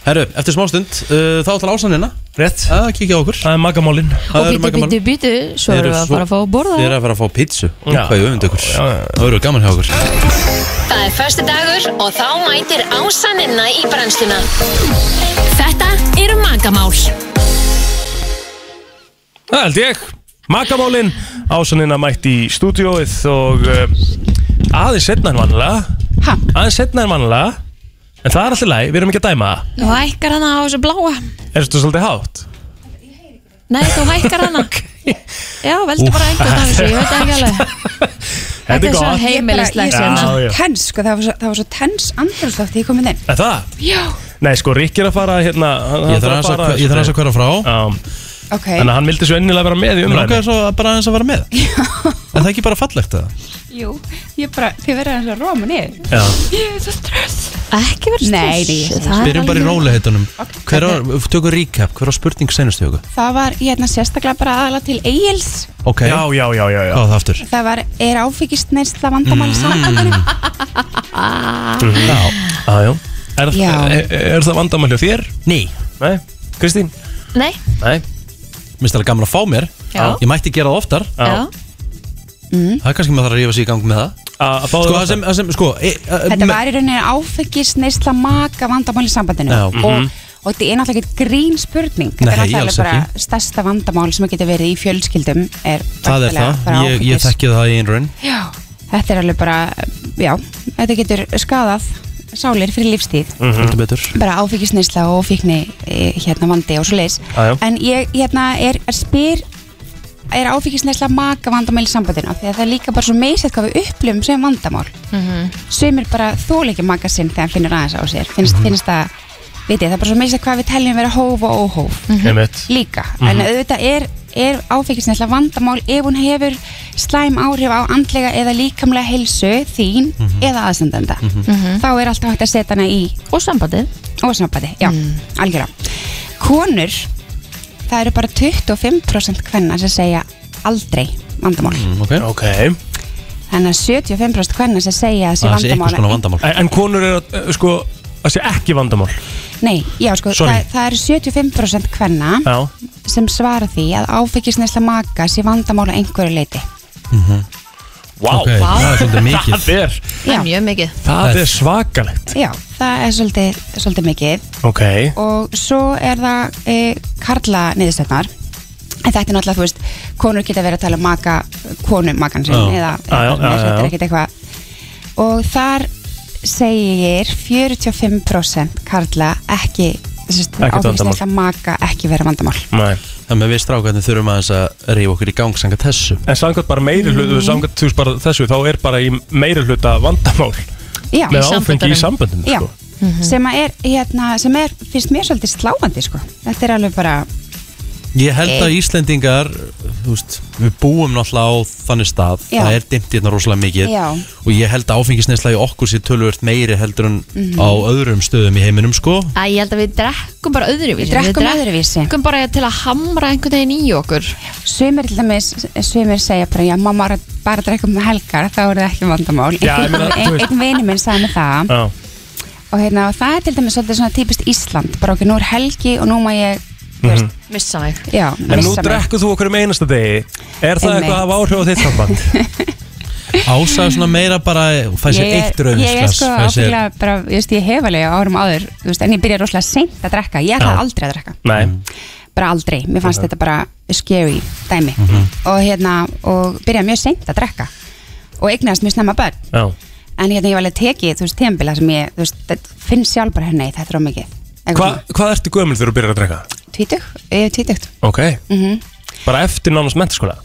S1: Herru, eftir smá stund uh, Þá ætlar ásanina
S3: Rétt
S1: Að kíkja á okkur
S3: Það er magamálin
S2: Og býtu, býtu, býtu, svo erum við að fara að fá að borða
S1: Þeir eru að fara að fá pítsu
S3: Já.
S1: Hvað ég öfund ykkur Það verður gaman hjá okkur
S12: Það er förstu dagur og þá mætir ásaninna í brennsluna. Þetta eru magamál.
S3: Það held ég Makamálin Ásanina mætti í stúdióið og uh, aðeins setna en vanlega aðeins setna en vanlega en það er alltaf læg, við erum ekki að dæma það
S2: Þú hækkar hana á þessu bláa
S3: Er þetta svolítið hátt?
S2: Nei, þú hækkar hana Já, veldu bara einhvern af þessu, ég veit ekki alveg
S3: Þetta er gott
S13: heimilislegt
S3: Já, já.
S13: Tens, sko, það var svo, það var svo tens andrúrslöft þegar ég kom inn inn
S3: Er það?
S13: Já,
S3: Nei, sko, Rík er að fara hérna
S1: Ég þarf aðeins að- ég þarf aðeins að hverja frá
S3: Já,
S13: ok
S3: þannig að hann vildi svo ennilega vera með í
S1: Mér langaði
S3: umræðinu
S1: svo að- bara aðeins að vera með En það er ekki bara fallegt það
S13: Jú, ég bara, þið verður aðeins að róma niður
S1: Já.
S13: Ég er svo stress
S2: Ekki verður
S13: Nei, nei, ég-
S1: Byrjum bara í róliheitunum Hver á, tökum recap, hver á spurning senustu okkur
S13: Það var, ég hérna sérstaklega bara aðalega til Egil's
S1: Ok Já,
S3: já, já, já, já
S1: Hvað var það aftur?
S13: Það var, er áfengist neysla vandamáli mm. saman
S3: Já, já, já. Er,
S13: Ah. Mhm. Já.
S3: er, er það vandamæli á þér?
S1: Nei
S3: Nei, Kristín?
S2: Nei,
S3: Nei
S1: Mér stæði gaman að fá mér
S2: Já.
S1: Ég mætti gera það oftar
S2: já
S1: Það er kannski maður þarf að rífa sig í gang með það
S3: A, að
S1: Sko, það sem, það sem, sko e, a,
S13: Þetta var í rauninni áfengist neysla maka vandamáli sambandinu
S1: Já.
S13: og,
S1: Mhm.
S13: og þetta er náttúrulega ekkert grín spurning Þetta er
S1: Nei,
S13: náttúrulega
S1: alls
S13: bara
S1: ekki.
S13: stærsta vandamál sem getur verið í fjölskyldum er
S1: Það er
S13: náttúrulega
S1: það,
S13: bara
S1: ég, ég
S13: áfengis-
S1: þekki það í einrun
S13: Já, þetta er alveg bara, já, þetta getur skadað sálir fyrir lífstíð.
S3: Mhm.
S1: Heldur betur
S13: Bara áfengisneisla og fíkni eh, hérna vandi og svo leis.
S1: Já, já.
S13: En ég hérna er, er spyr, er áfengisneisla maka vandamál í sambandinu? Af Því að það er líka bara svo meðsett hvað við upplifum sem vandamál. Sumir bara þóla ekki maka sinn þegar hann finnur aðeins á sér. Finnst, finnst það, veit ég, það er bara svo meðsett hvað við teljum vera hóf og óhóf
S3: Einmitt.
S13: líka.
S3: Mhm.
S13: En auðvitað er, er áfengisneisla vandamál ef hún hefur slæm áhrif á andlega eða líkamlega heilsu þín eða aðsendenda.
S2: Mhm.
S13: Þá er alltaf hægt að setja hana í...
S2: Og sambandið.
S13: Og sambandið, já, algjörlega. Konur, það eru bara 25% hvenna sem segja aldrei vandamál.
S3: Mm,
S1: Ok,
S3: okay.
S13: Þannig að 75% hvenna sem segja að þessi
S3: Það sé
S13: vandamál.
S3: einhvers konar vandamál. En, en konur er að, eh, sko, það sé ekki vandamál
S13: Nei, já, sko,
S3: Sorry.
S13: það, það eru 75% hvenna
S3: Já,
S13: sem svara því að áfengisneisla maka sé vandamál á einhverju leiti.
S3: Mhm. Vá,
S1: Ok, Vá. það er svolítið mikið.
S3: Það er,
S2: Það er mjög mikið
S3: það er svakalegt
S13: Já, það er svolítið, svolítið mikið
S3: Ok
S13: og svo er það e, karla niðurstöðnar en þetta er náttúrulega, þú veist, konur geta verið að tala um maka, konu makan sinn
S3: Já.
S13: eða,
S3: Já, já,
S13: eða
S3: já,
S13: þetta
S3: já.
S13: er ekkert eitthvað og þar segir 45% karla ekki
S1: Ekkert vandamál.
S13: áfengisleika maka ekki vera vandamál
S3: Nei.
S1: Þannig að við strákarnir þurfum aðeins að rífa okkur í gang sanga þessu
S3: En samkvæmt bara meiri hluta, mm. samkvæmt þú veist bara þessu, þá er bara í meiri hluta vandamál
S13: Já.
S3: með áfengi í samböndum
S13: Já, Mhm.
S3: sko.
S13: sem, að er, hérna, sem er, finnst mér svolítið sláandi sko. þetta er alveg bara
S1: Ég held að Íslendingar, þú veist, við búum náttúrulega á þannig stað
S13: Já.
S1: Það er dimmt hérna rosalega mikið
S13: Já.
S1: Og ég held að áfengisneisla í okkur sér tölvöld meiri heldur en
S2: Mhm.
S1: á öðrum stöðum í heiminum sko
S2: Æ, ég held að við drekkum bara öðruvísi
S13: Við drekkum öðruvísi.
S2: drekkum bara til að hamra einhvern veginn í okkur
S13: sumir til dæmis, sumir segja bara já, mamma er að- bara að drekka um helgar þá eru það ekki vandamál
S3: Já, ég meina, þú
S13: einn
S3: veist.
S13: ein vini minn sagði með það
S3: Já.
S13: og, hérna, og það er til dæmis svolítið svona típist Ísland bara okkur, nú er helgi og nú má ég
S3: Mhm.
S2: missa mig
S13: já,
S3: En nú
S13: missa mig.
S3: drekkuð þú okkur um einasta degi Er
S13: Einmitt.
S3: það eitthvað að hafa áhrif á þitt samband?
S1: Ásaði svona meira bara, hún fæði sér
S13: Ég er-
S1: eitt rauðinsglas
S13: Ég er sko áfenglega bara, ég veist, ég hef alveg á árum áður, þú veist, en ég byrja rosalega seint að drekka, ég ætlaði
S1: Já.
S13: aldrei að drekka
S3: Nei
S13: bara aldrei, mér fannst
S3: Mhm.
S13: þetta bara scary dæmi og hérna, og byrjaði mjög seint að drekka og eignast mjög snemma börn
S3: Já
S13: en hérna ég var alveg tekið, þú veist, tíðanbila sem ég, þú veist, þetta- finn sjálf bara hérna, þetta er á mikið
S3: Hva, Hvað ertu gömul þegar þú byrjar að drekka?
S13: tvítug, ég er tvítugt
S3: Ok,
S13: mm
S3: bara eftir nánast mentaskóla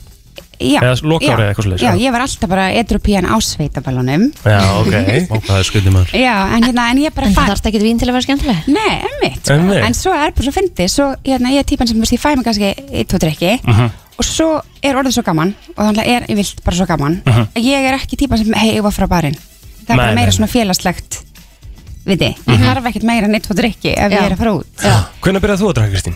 S13: já,
S3: Eða lokaári eða eitthvað svoleiðis,
S13: já,
S3: já.
S13: ég var alltaf bara edrupían á sveitaballunum
S3: Já, ok
S1: Og hvað er skuldið maður?
S13: Já, en hérna, en ég bara
S2: En það þarfst ekki vín til að vera skemmtileg
S13: Nei, emmitt
S1: Einmitt.
S13: En svo er bara svo fyndið Svo hérna, ég er típan sem, þú veist, ég fæ mig kannski eitt, tvo drikki
S1: Mhm.
S13: Og svo er orðið svo gaman Og þannig er ég vilt bara svo gaman
S1: Mhm.
S13: Ég er ekki típan sem, hei, ég var frá barinn Það er
S1: Nei,
S13: bara meira
S1: nei,
S13: svona félagslegt Við þið, ég
S3: Mhm.
S13: þarf ekkert meira en eitt, tvo drikki Ef ég
S2: Já.
S13: er að fara út
S3: Hvernig byrjar þú að drekka, Kristín?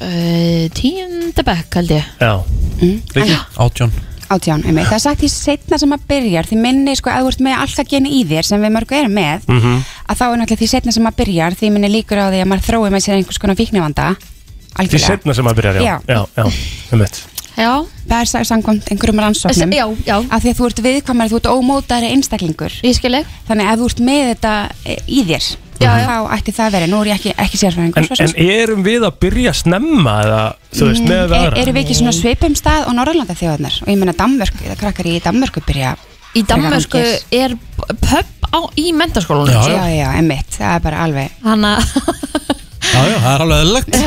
S2: uh, Tíundabæk held ég
S3: Já
S13: Mm,
S3: Riki?
S1: Átjón
S13: Átján, einmitt Það er sagt því setna sem að byrjar Því minni, sko, að þú ert með alltaf geni í þér Sem við mörgu erum með
S1: Mm.
S3: Mhm.
S13: Að þá er náttúrulega því setna sem að byrjar Því minni líkur á því að maður þrói með sér einhvers konar fíknivanda
S3: Því
S13: Algjörlega.
S3: setna sem maður byrjar, já
S13: Já.
S3: Já, já, um mitt
S2: Já.
S13: Það er sa- samkvæmt einhverjum rannsóknum.
S2: Já, já.
S13: Af því að þú ert viðkvæmari, þú ert ómótaðari einstaklingur.
S2: Ég skilji.
S13: Þannig að þú ert með þetta e, í þér, já, já. þá ætti það að vera. Nú er ég ekki, ekki sérfræðingur.
S3: en,
S13: svo sem.
S3: en erum við að byrja snemma eða, þú veist, með við
S13: er,
S3: aðra?
S13: e- Erum við ekki svona á svipum stað og Norrlanda þjóðarnar? Og ég meina Danmörk, eða krakkar í Danmörku byrja.
S2: Í Danmörku er pub á, í mentaskólanum
S13: Já, já, já, emmitt. Það er bara alveg.
S2: Þannig
S1: Já, já, það er alveg eðlilegt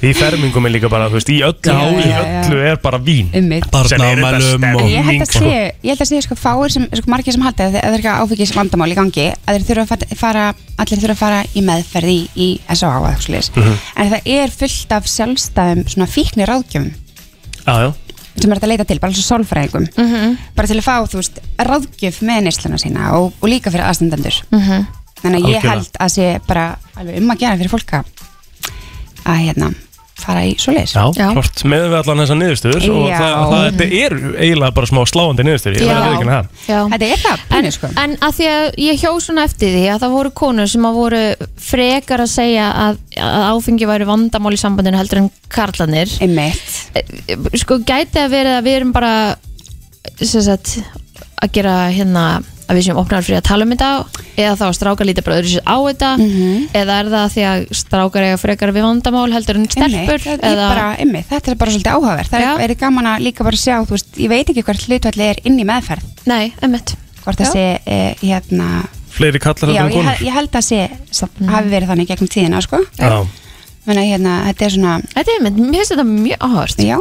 S2: að
S3: Í fermingum er líka bara, þú veist, í öllu,
S13: Já,
S3: í
S13: já, já.
S3: öllu er bara vín
S13: Einmitt.
S3: Sem er þetta
S1: Barnaafmælum
S3: stemning,
S13: um Ég held að
S3: sko.
S13: sé, ég held að sé sko fáir sem, sko margir sem halda að það er ekki áfengis vandamál í gangi að þeir þurfa að fara- fara, allir þurfa að fara í meðferð í, í SOA og eitthvað sliðis
S3: Mhm.
S13: en það er fullt af sjálfstæðum svona fíknir ráðgjöfum
S3: Já, já
S13: sem er hægt að leita til, bara eins og sálfræðingum
S2: Mhm.
S13: bara til að fá, þú veist, ráðgjöf með neysluna sína og, og líka fyrir aðstandendur
S2: Mhm.
S13: þannig að ég
S2: Algjörlega.
S13: held að sé bara alveg um að gera fyrir fólk að að hérna fara í svoleiðis
S3: Já, klart, með við allan þessar niðurstöður og
S13: Já.
S3: það, það, þetta er eiginlega bara smá sláandi niðurstöður, ég verði að viðkynna það
S13: Þetta er það,
S2: en, sko. en að því að ég hjó svona eftir því að það voru konur sem að voru frekar að segja að, að áfengi væri vandamál í sambandinu heldur en karlanir
S13: Einmitt.
S2: sko gæti að verið að við erum bara sem sagt að gera hérna að við séum opnar fyrir að tala um þetta eða þá að strákar líta bara öðru sér á þetta
S13: Mhm.
S2: eða er það af því að strákar eiga frekar við vandamál heldur en stelpur
S13: Einmitt, ég bara, um einmitt, þetta er bara svolítið áhugaverð það er, er gaman að líka bara sjá þú veist, ég veit ekki hvert hlutvalli er inn í meðferð
S2: Nei, einmitt
S13: hvort það
S2: Já.
S13: sé e, hérna
S3: Fleiri
S13: já,
S3: kallar þetta en
S13: ég,
S3: konur
S13: he- ég held að sé samt,
S2: Mm.
S13: hafi verið þannig gegnum tíðina sko.
S3: Já,
S13: Menna, hérna, þetta er svona
S2: Þetta er einmitt, mér finnst þetta mjög áhört
S13: já.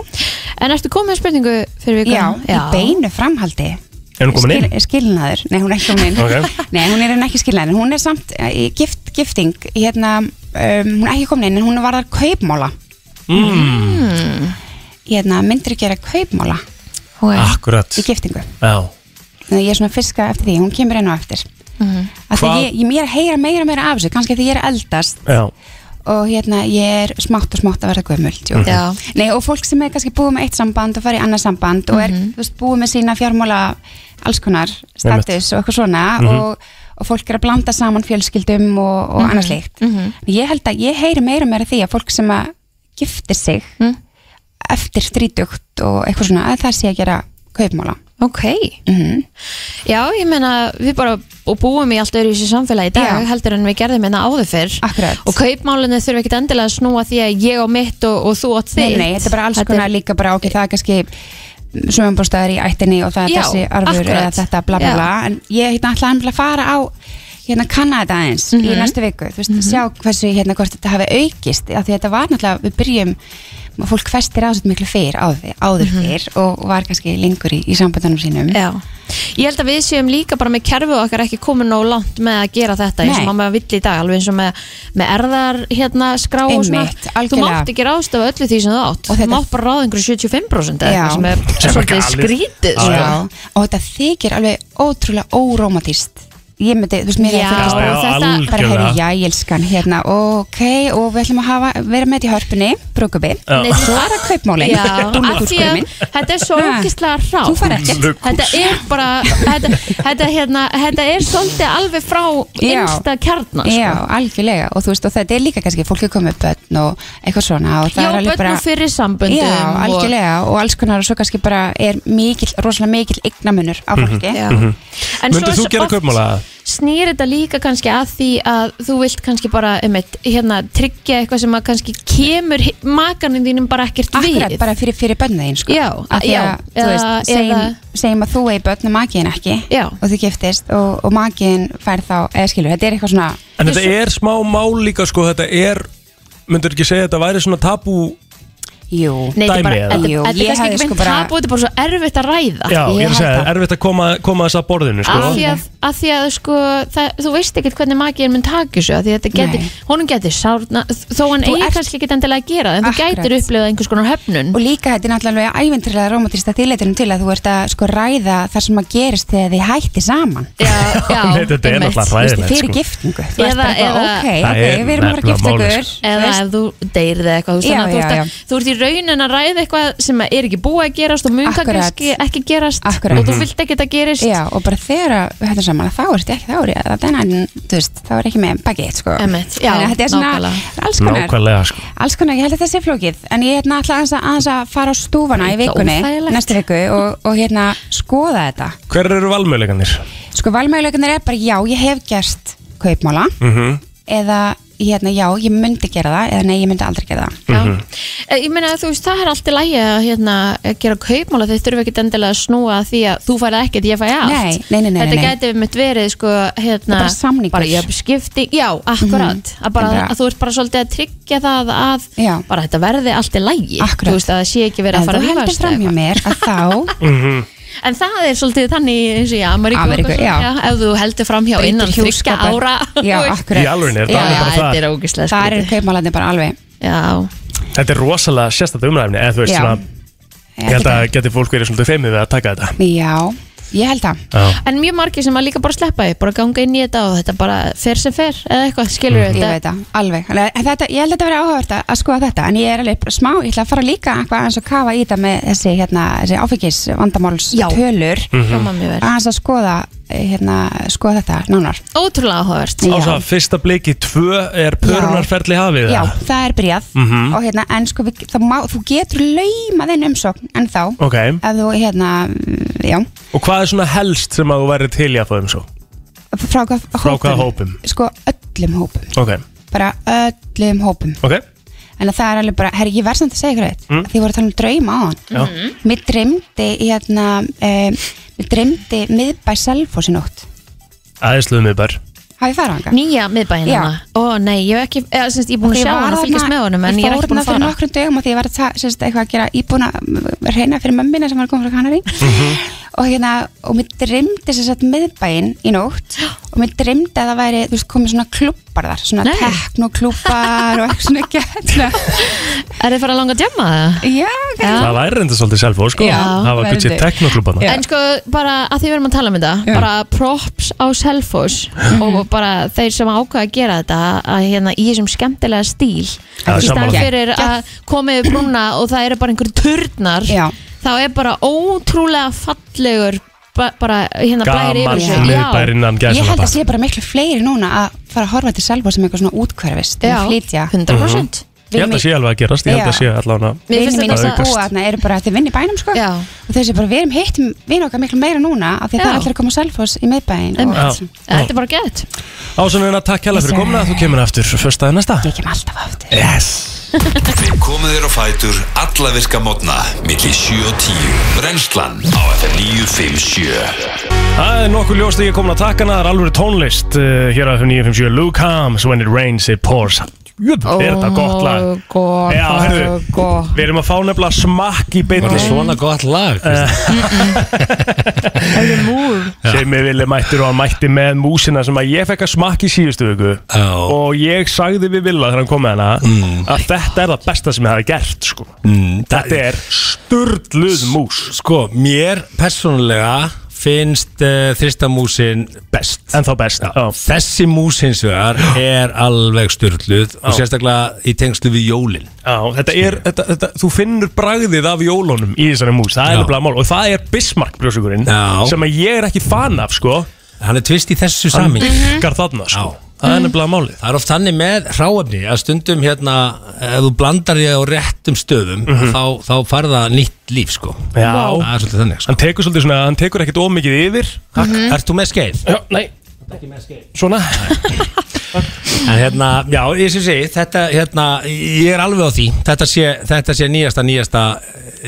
S2: En ertu komið með spurningu fyrir vikun?
S13: Já, í beinu framhaldi
S3: Er hún komin inn?
S13: skilnaður, nei hún er ekki komin inn
S3: Ok.
S13: nei hún er raunar ekki skilnaður, en hún er samt eh, í gift, gifting hérna, um, hún er ekki komin inn en hún varðar kaupmála
S3: mm.
S13: hérna, myndir gera kaupmála
S2: okay.
S3: Akkurat
S13: í giftingu
S3: Já,
S13: Þannig að ég er svona að fiska eftir því, hún kemur inn á eftir Af því
S3: Hvað-
S13: ég, ég, ég er að heyra meira og meira af þessu, kannski af því ég er að eldast
S3: já,
S13: og hérna ég er smátt og smátt að verða gömult jú.
S3: Mhm. Já.
S13: Nei, og fólk sem er kannski búið með eitt samband og farið í annað samband og er
S2: Mhm.
S13: þú veist, búið með sína fjármála alls konar status og eitthvað svona
S2: Mhm.
S13: og, og fólk er að blanda saman fjölskyldum og, og annað slíkt
S2: Mhm.
S13: Ég held að ég heyri meira og meira því að fólk sem að giftir sig
S2: Mhm.
S13: eftir þrítugt og eitthvað svona að það sé að gera kaupmála Mhm.
S2: Ok Já, ég meina við bara og búum í allt öðru í þessu samfélagi í dag
S13: Já.
S2: heldur en við gerðum hérna áður fyrr
S13: Akkurat.
S2: og kaupmálinu þurfa ekkit endilega að snúa því að ég á mitt og, og þú átt þitt
S13: Nei, nei, þetta er bara alls konar líka bara ok, það er kannski sumabústæður í ættinni og það er
S5: Já,
S13: þessi arfur
S5: akkurat.
S13: eða þetta bla bla
S5: Já.
S13: bla en ég hérna ætlaði nefnilega að fara á hérna kanna þetta aðeins í
S5: Mhm.
S13: næstu viku þú veist, sjá hversu hérna hvort þetta hafi aukist af því þetta var náttúrulega, við byrjum fólk festir á þetta miklu fyrr áður, áður
S5: Mhm.
S13: fyrr og var kannski lengur í, í sambandunum sínum
S2: Já. Ég held að við séum líka bara með kerfið okkar ekki komin nóg langt með að gera þetta eins
S13: Nei.
S2: og maður vill í dag, alveg eins og með, með erðar hérna skrá og svona
S13: Einmitt,
S2: þú
S13: algjörlega.
S2: mátt ekki ráðstafa öllu því sem þú átt þú mátt bara ráða einhverju 75% eða
S13: Já.
S2: eitthvað sem er svolítið skrítið sko.
S13: Já, og þetta þykir alveg ótrúlega órómatist ég myndi, þú veist, mér
S2: Já,
S13: er að
S2: já,
S13: þetta
S2: algjörlega.
S13: bara hefur jælskan hérna, ok, og við ætlum að hafa, vera með þetta í hörpunni, brúkubi
S2: Já. Nei, þú-
S13: svo er það kaupmáli,
S2: Já, af því að
S13: dúllukúskurinn
S2: þetta er svo ógislega rá
S13: Þú færð ekkert.
S2: Þetta er bara þetta, þetta, hérna, þetta er svolítið alveg frá innsta sko. kjarnar
S13: Já, algjörlega, og þú veist, og þetta er líka kannski fólk er komið börn og eitthvað svona og það
S2: Já,
S13: er alveg
S2: börn
S13: bara
S2: og fyrir samböndum
S13: Já,
S2: og-
S13: algjörlega, og alls konar og svo kannski bara er mikill, rosalega mikill eignamunur á
S2: Mhm.
S3: Mhm.
S13: fólki En svo
S3: Myndið
S13: er
S3: þú
S13: svo
S3: gera
S13: oft-
S3: kaupmála?
S2: snýr þetta líka kannski að því að þú vilt kannski bara einmitt, hérna, tryggja eitthvað sem að kannski kemur hi- makanum þínum bara ekkert við
S13: Akkurat, bara fyrir, fyrir bönniðin sko.
S2: Já,
S13: Af því að,
S2: já,
S13: þú veist,
S2: eða-
S13: segjum,
S2: eða-
S13: segjum að þú eigi börn og makiðin ekki já. og þú giftist og, og makiðin fær þá, eða skilur, þetta er eitthvað svona
S3: En þetta er smá mál líka sko, þetta er Myndur ekki segja að þetta væri svona tabú
S13: Jú,
S2: Nei, þetta er bara, þetta,
S3: Jú,
S2: þetta er
S13: sko
S2: kannski ekki beint bara... tabu, þetta er bara svo erfitt að ræða
S3: Já, ég er að segja, erfitt að koma, koma þess að borðinu sko.
S2: Af því að, að, því að sko, það, þú veist ekkert hvernig makiðin mun taka þessu af því að þetta getur, honum getur sárna þó hann
S13: Þú
S2: eigi
S13: ert-
S2: kannski ekki endilega að gera það, en þú gætir upplifað einhvers konar höfnun
S13: Og líka þetta er náttúrulega æventurlega romantista þýleitunum til að þú ert að sko ræða það sem að gerist þegar þið hætti saman Já,
S2: já,
S3: Nei, þetta er náttúrulega hræðilegt,
S13: Fyrir
S3: sko.
S13: giftingu, þú ert
S2: eða,
S13: bara eitthvað,
S2: eða,
S13: ok,
S3: Það
S13: ok,
S3: er
S13: við erum að fara að
S3: nefnilega
S13: gifta
S3: málið,
S13: ykkur
S3: sko.
S2: eða
S13: veist.
S2: ef þú deyrið eitthvað þú,
S13: Já,
S2: já,
S13: já,
S2: þú, ert
S13: já.
S2: að, þú ert í raunin að ræða eitthvað sem að er ekki búið að gerast og mun
S13: Akkurat.
S2: kannski ekki gerast
S13: Akkurat.
S2: og þú vilt ekki að gerist
S13: Já, og bara þegar að við hættum saman að þá er þetta ekki, þá er ég, það er, þú veist, þá er ekki með bakið, sko.
S2: Einmitt, já,
S13: Þannig að þetta er svona
S2: nákvæmlega.
S13: alls konar,
S3: Nákvæmlega sko.
S13: alls konar, ég held að þetta sé flókið, en ég hérna ætla aðeins að, aðeins að fara á stúfana í
S3: Þetta er
S13: vikunni,
S3: óþægilegt.
S13: næstu viku, og, og hérna skoða þetta.
S3: Hver eru valmöðleikanir?
S13: Sko, valmæguleikunir er bara, já, ég hef gert kaupmála,
S3: Mm -hmm.
S13: eða, hérna, já, ég myndi gera það, eða nei, ég myndi aldrei gera það.
S3: Mhm.
S2: Eh, ég meina þú veist það er allt í lægi að hérna, gera kaupmála þeir þurfa ekki endilega að snúa að því að þú færði ekkert ég fæði allt
S13: Nei, nei, nei, nei,
S2: þetta
S13: nei.
S2: gæti við mitt verið sko, hérna,
S13: Bara samningur. Mhm.
S2: bara jöfnskipti já, akkurat að, bara,
S13: Bara-
S2: að þú ert bara svolítið að tryggja það að
S13: Já.
S2: bara þetta verði allt í lægi
S13: Akkurat.
S2: þú veist að það sé ekki verið
S13: En
S2: að fara
S13: þú
S2: að
S13: heldur
S2: rífast
S13: fram hjá mér að þá
S3: Mhm.
S2: En það er svolítið þannig eins og í Ameríku, og
S13: Ameríku,
S2: eitthvað
S13: já.
S2: svona, Ef þú heldur fram hjá
S13: Breytir
S2: innan þryggja
S13: hjúskapar.
S2: ára
S13: Já,
S2: þú veist.
S13: akkurat.
S3: Í alvörunni, er þetta
S13: Já,
S3: alveg bara það?
S13: þetta
S2: er ógislega
S13: Það eru kaupmálanir bara alveg
S2: Já,
S3: Þetta er rosalega sérstætt umræfni eða þú veist
S13: Já.
S3: svona
S13: Ég
S3: Ég held að geti fólk verið svolítið feimið við að taka þetta
S13: já, ég held það
S3: Já.
S2: En mjög margir sem að líka bara sleppa því, bara ganga inn í þetta og þetta bara fer sem fer eða eitthvað, skilur
S13: Mm. Ég
S2: við
S13: veit það, alveg Þannig að þetta, Ég held að þetta verið áhugavert að- að skoða þetta En ég er alveg smá, ég ætla að fara líka eitthvað aðeins að kafa í þetta með þessi, hérna, þessi áfengis vandamáls tölur
S3: Mhm. Hljómar mjög vel.
S13: Aðeins að skoða, eh, hérna, skoða þetta nánar
S2: Ótrúlega áhugavert
S3: Ása, fyrsta blikið tvö er pörunarferli hafið
S13: Já,
S3: það?
S13: það er byrjað
S3: Mhm.
S13: og hérna, en sko, við, það má, þú getur lauma þinn umsókn en þá
S3: Ok,
S13: ef þú, hérna, já,
S3: og hvað er svona helst sem að þú væri til í að fóðum svo?
S13: frá hvað
S3: Frá hvaða hópum?
S13: Sko, öllum hópum,
S3: Ok,
S13: bara öllum hópum
S3: ok
S13: en að það er alveg bara, herri, ég verð samt að segja ykkur eitt
S3: Mm.
S13: mm. því voru að tala um drauma á hann
S3: Já.
S2: Mm.
S13: mér dreymdi hérna, um, mér dreymdi miðbæ Selfoss í nótt,
S3: Æðisluðum við bara
S13: hafið farað hann?
S2: Nýja miðbæinn
S13: Já.
S2: hana Ó nei, ég hef ekki, eða, semst, ég er búin að sjá hana og fylgjast með honum en ég er ekki búin
S13: fór hann
S2: að fara
S13: fyrir nokkrum dögum og því ég var að ta- sem sagt, eitthvað að gera íbúin að reyna fyrir mömmina sem var að koma frá Kanari
S3: Mhm.
S13: og hérna, og mér dreymdi sem sagt miðbæinn í nótt og mér dreymdi að það væri, þú veist, komið svona klubbar þar, svona teknoklubbar og eitthvað svona gætna
S2: Er þið farið að langa að jamma það?
S13: Já,
S3: Það væri reynda svolítið selvo, sko
S2: Já,
S3: Það var
S2: væri
S3: gutt sér
S2: þið.
S3: teknoklubana
S2: En sko, bara að því við erum að tala um þetta bara props á Selfoss og bara þeir sem ákvaða að gera þetta að hérna í þessum skemmtilega stíl
S3: Já,
S2: í staðan
S3: sammála.
S2: fyrir að koma yfir brúna og það eru bara einhver turnar Já. þá er bara ótrúlega fallegur ba bara hérna blæri
S3: Gamall
S2: yfir þessu.
S3: miðbær innan gæsalappa.
S13: Ég held að sé bara miklu fleiri núna að fara að horfa til Selvo sem eitthvað svona útkverfist
S2: Já,
S13: og flytja
S2: 100%.
S3: Mhm. Ég held að sé alveg að gerast, ég held að
S13: Já.
S3: sé allavega
S13: Mér finnst þetta að
S3: aukast.
S13: búa þarna eru bara þeir vinni í bænum sko
S2: Já.
S13: og þessi bara við erum hitt vinn okkar miklu meira núna af því
S2: Já.
S13: það er allir að koma á Selfoss í miðbæin og allt
S3: Já.
S13: svona.
S2: Þetta er bara gett
S3: Ásunina, takk hella fyrir komna, þú kemur aftur Fyrstaði næsta
S13: Ég kem alltaf aftur
S3: Yes
S4: Við komum þér á fætur alla virka mótna milli 7 og 10 Brennslan á FM 957
S3: Það er nokkuð ljóst að ég er komin að taka hana, það er alveg tónlist uh, hér að 957 Luke Hams, When It Rains It Pours Jöfn, er þetta gott lag
S2: God,
S3: Já, heyrðu.
S2: God.
S3: Við erum að fá nefnilega smakk í beinni
S2: Var það svona
S1: gott
S3: Eh,
S1: lag?
S3: sem ég vilja mættur og hann mætti með músina sem að ég fekk að smakka í síðustu viku og ég sagði við Villa þegar hann kom með hana að þetta er það besta sem ég hafi gert sko.
S14: Mm,
S3: Þetta er sturdluð mús
S14: Sko, mér persónulega finnst uh, þrista músin best
S3: En þá best Já.
S14: Þessi mús hins vegar er alveg styrluð og sérstaklega í tengslu við jólin
S3: Já, þetta er, þetta, þetta, þú finnur bragðið af jólunum í þessari mús, það er
S14: Já.
S3: nefnilega mál og það er Bismarck brjósugurinn
S14: Já.
S3: sem að ég er ekki fan af sko
S14: Hann er tvist í þessu
S3: Hann
S14: samhengi.
S3: virkar þarna sko Það er nefnilega málið
S14: Það er oft þannig með hráefni að stundum hérna ef þú blandar þig á réttum stöðum þá, þá farða nýtt líf sko
S3: Mhm. Já.
S14: Það er svolítið þannig sko
S3: Hann tekur svolítið svona, hann tekur ekkert ómikið yfir
S14: Takk, ert þú með skeið?
S3: Já, nei,
S14: ekki með skeið
S3: Svona
S14: En hérna, já, ég sem segi, þetta, hérna, ég er alveg á því Þetta sé, þetta sé nýjasta, nýjasta,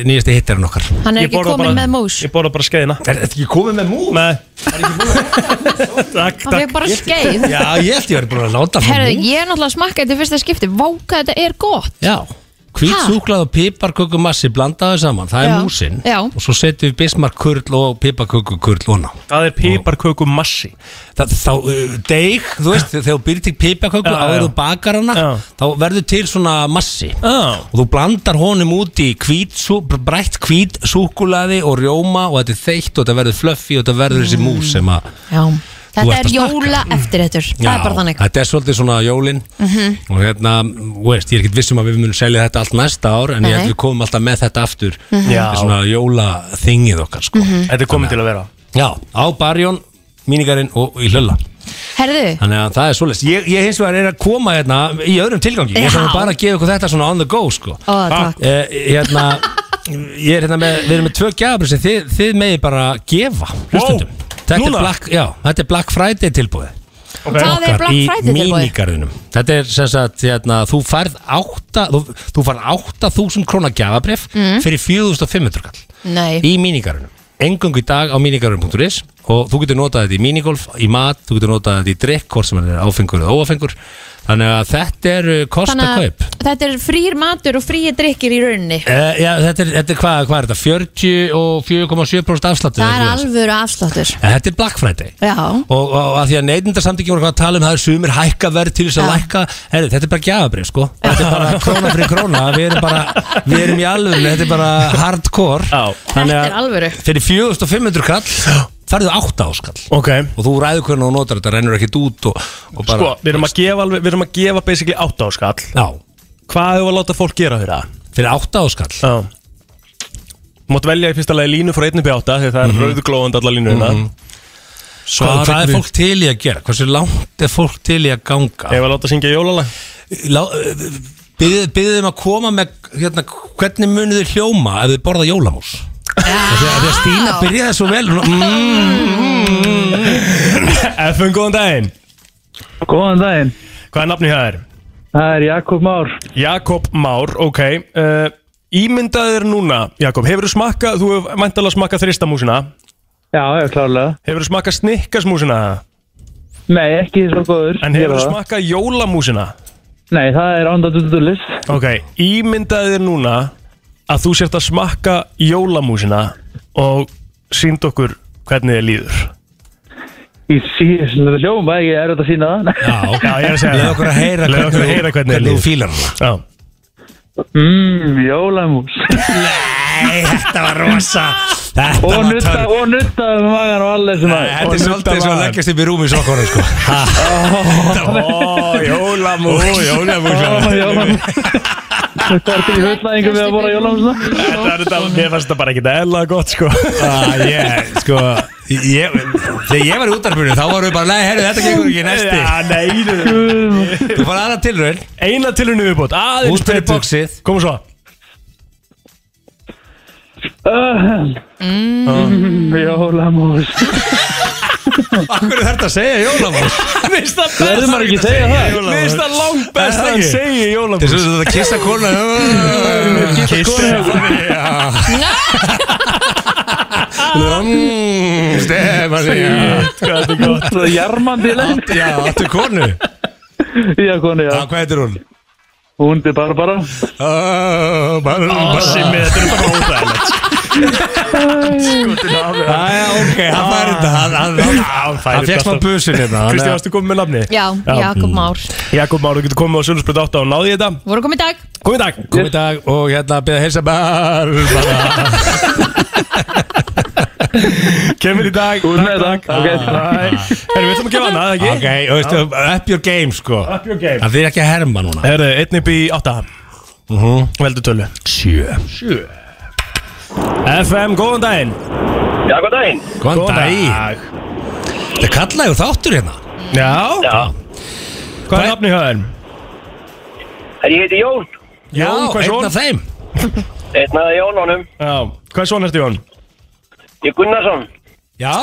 S14: nýjasta hittarinn okkar
S2: Hann er Ég ekki borða kominn bara- með mús.
S3: Ég borða bara skeiðina
S14: Er þetta ekki komið með mús?
S3: Nei Takk,
S2: Hann fékk bara skeið.
S14: Já, ég held ég verið búin að láta frá
S2: Herðu,
S14: mús.
S2: ég er náttúrulega að smakka þetta í fyrsta skipti Váka, þetta er gott
S14: Já,
S2: Ha?
S14: kvítsúklað og piparkökumassi blandaðu saman, það er
S2: Já.
S14: músin
S2: Já.
S14: og svo setjum við bismarkurl og piparkökukurl og ná
S3: Það er piparkökumassi
S14: Þá, uh, deig, þú veist, þegar þú byrjir til piparköku
S3: Já, já.
S14: áður þú bakar hana þá verður til svona massi
S3: Já.
S14: og þú blandar honum út í kvítsú, brætt kvítsúkulaði og rjóma og þetta er þeitt og þetta verður fluffy og þetta verður þessi mús sem að
S2: Já,
S14: Þú
S2: þetta er
S14: ert að smakka.
S2: jóla eftir þetta Það er bara þannig
S14: þetta er svolítið svona jólin
S2: Mhm.
S14: og hérna, þú veist, ég er ekkert vissum að við munum selja þetta allt næsta ár en ég held
S2: Nei.
S14: við komum alltaf með þetta aftur
S2: Mhm.
S14: þetta
S3: Já.
S14: er svona jóla þingið okkar sko.
S2: Mhm.
S3: Þetta er komið til að vera
S14: Já, á barjón, mínigarinn og, og í hlölla
S2: Herðu,
S14: Þannig að það er svolítið ég, ég hins vegar er að koma hérna í öðrum tilgangi Ég er svona
S2: Já.
S14: bara að gefa ykkur þetta svona on the go sko.
S2: Ó, takk.
S14: Eh, hérna, Ég er hérna með, við erum með tvö gjafur sem þið, þið megið bara gefa hlustendum. þetta, er
S3: Núna?
S14: Black, já, þetta er Black Friday tilbúið
S3: Hvað er Black Friday
S14: Í
S3: tilboðið?
S14: mínigarðinum Þetta er sem sagt, hérna, þú færð 8 þú, þú færð 8000 krónar gjafabrif
S2: Mm.
S14: fyrir 4500 kall
S2: nei
S14: í mínigarunum engungu í dag á mínigarun.is og þú getur notað þetta í mínigolf, í mat þú getur notað þetta í drikk, hvort sem hann er áfengur eða óafengur, þannig að þetta er uh, kosta
S2: að
S14: kaup
S2: þetta er frýr matur og frýir drikkir í rauninni
S14: Uh, já, þetta er, þetta er hvað, hvað er þetta? 44,7% afsláttur
S2: Það er
S14: eða eitthvað svoleiðis.
S2: alvöru afsláttur
S14: En þetta er Black Friday
S2: Já,
S14: og, og, og að því að neytindarsamtökin voru hvað að tala um það er sumir hækka verð til þess að lækka Heri, þetta er bara gjafabrif sko þetta er bara króna fyrir króna við erum bara, við erum í alvöru þetta er bara hardcore Já. þannig
S2: þetta er alvöru
S14: fyrir 4500 kall færðu 8 áskall
S3: okay.
S14: og þú ræður hvernig þú notar þetta rennur ekkert út og, og bara
S3: Sko, við erum að gefa, alveg- við erum að gefa basically 8 áskall
S14: Já.
S3: Hvað hefur að láta fólk gera fyrir það?
S14: Fyrir 8 áskall?
S3: Já Mátt velja í fyrsta lagi línu frá 1 upp í 8 Þegar það
S14: Mhm.
S3: er mm rauðglóðandi alla línu hérna
S14: hvað, hvað er fólk til í að gera hversu langt er fólk til í að ganga
S3: Hefur að láta syngja jólalag
S14: Byðið byðið um að koma með hérna, hvernig munið þið hljóma ef þið borða jólamús Þegar Stína byrjaði svo vel Mm. hún-
S3: Mm. FN, góðan daginn
S15: Góðan daginn
S3: Hvað er nafnið það er?
S15: Það er Jakob Már
S3: Jakob Már, ok uh, Ímyndaðu þér núna, Jakob Hefur þú smakkað, þú hefur mæntalega smakkað þristamúsina
S15: Já, já, klárlega
S3: Hefur þú smakkað snikkasmúsina?
S15: Nei, ekki svo góður
S3: En
S15: Ég
S3: hefur
S15: var
S3: þú
S15: það.
S3: smakkað jólamúsina?
S15: Nei, það er ándadudullis
S3: Ok, ímyndaðu þér núna að þú sért að smakka jólamúsina og sínd okkur hvernig þið líður
S15: Í síðan það hljóma, ég er auðvitað að sína það
S14: Já,
S3: Já, ég er að segja
S14: Leið okkur að heyra
S3: Leið okkur að
S14: hvernig-
S3: heyra hvernig,
S14: hvernig þú
S3: fílar hana Já
S15: Mmm, jólamús
S14: Nei, þetta var rosa Þetta
S15: Og
S14: var
S15: nutta,
S14: törn
S15: og nutta um magan og allir sem að
S14: Þetta er svolítið eins og að leggjast upp í rúmi sokkunum sko
S3: Ó, jólamús Ó, jólamús
S15: Þetta er til í hullæðingum við að bóra jólamúsna
S3: Þetta er þetta, mér fannst þetta bara ekki eðla gott sko
S14: Ah, ég, sko ég, Þegar ég var í útarpunni þá varum við bara Nei, herru, þetta gengur ekki næsti
S3: Já, nei
S14: Þú fara aðra tilraun
S3: Eina tilraun viðbútt Aðeins
S14: Útbyrði
S3: betur.
S14: boxið.
S3: Komum svo
S14: Mm.
S15: Mmm, jólamús
S14: Akkur er þetta að segja jólamús? Mista
S3: Verður maður ekki að segja það? Mist það langt best að hann segi jólamús
S14: Þess að þetta kissa kona Stefán
S3: Hvað þetta er gott
S14: Það er jarmandi land Já, áttu konu
S15: Já, konu, já
S14: Hvað heitir hún?
S15: Hún er Barbara
S14: Barbara
S3: Simmi, þetta er bara óþægilegt
S15: Skotin af
S14: Æja, ok, hann fær þetta Hann- hann- Hann
S3: fær
S14: hann
S3: þetta
S14: fékk smá
S3: alltaf.
S14: busin hérna hann-
S3: Kristi, varstu komið með nafni?
S2: Já, Jakob
S14: Mm.
S2: Már
S3: Jakob Már, þú getur komið á Sjölusbröð 8 og náði þetta
S2: Voru komið dag
S3: Komið dag
S14: Komið dag og hérna beða heilsa Barbara
S3: Kemur í dag Góð með dag
S14: Ok.
S3: Erum við ætlum að gefa hana, eða ekki?
S14: Ok, og veistu, up your game sko
S3: Up your game.
S14: Það er ekki að herma núna Mhm.
S3: Herðu, einn upp í 8 Veldu tölu
S14: 7
S3: 7 FM, góðan daginn
S16: Já, góðan daginn
S14: Góðan daginn. Þetta er kallaður þáttur hérna
S3: Já Já Hvað er nafni hjá þér?
S16: Herri, ég heiti Jón
S3: Jón, hvað er Jón?
S16: einn af þeim. Einn af Jón honum
S3: Já, hvað er svona eftir Jón?
S16: Ég er Gunnarsson
S14: Já,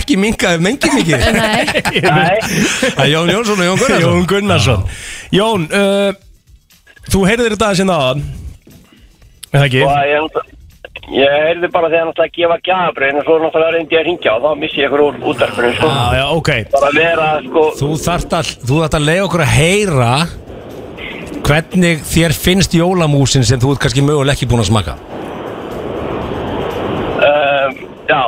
S14: ekki mingaði mengi mikið Það er Jón Jónsson og Jón Gunnarsson
S3: Jón Gunnarsson Jón, uh, þú heyrðir þetta sinna aðan Er það ekki?
S16: Og ég, ég heyrði bara þegar hann ætlaði að gefa gjafabröðin og svo náttúrulega reyndi ég að ringja og þá missi ég ykkur úr útarpunum sko.
S14: Já, já, ok
S16: Bara vera sko
S14: Þú þarft að, þú þarft að leiða okkur að heyra hvernig þér finnst jólamúsin sem þú ert kannski möguleg ekki búin að smaka
S16: um, Já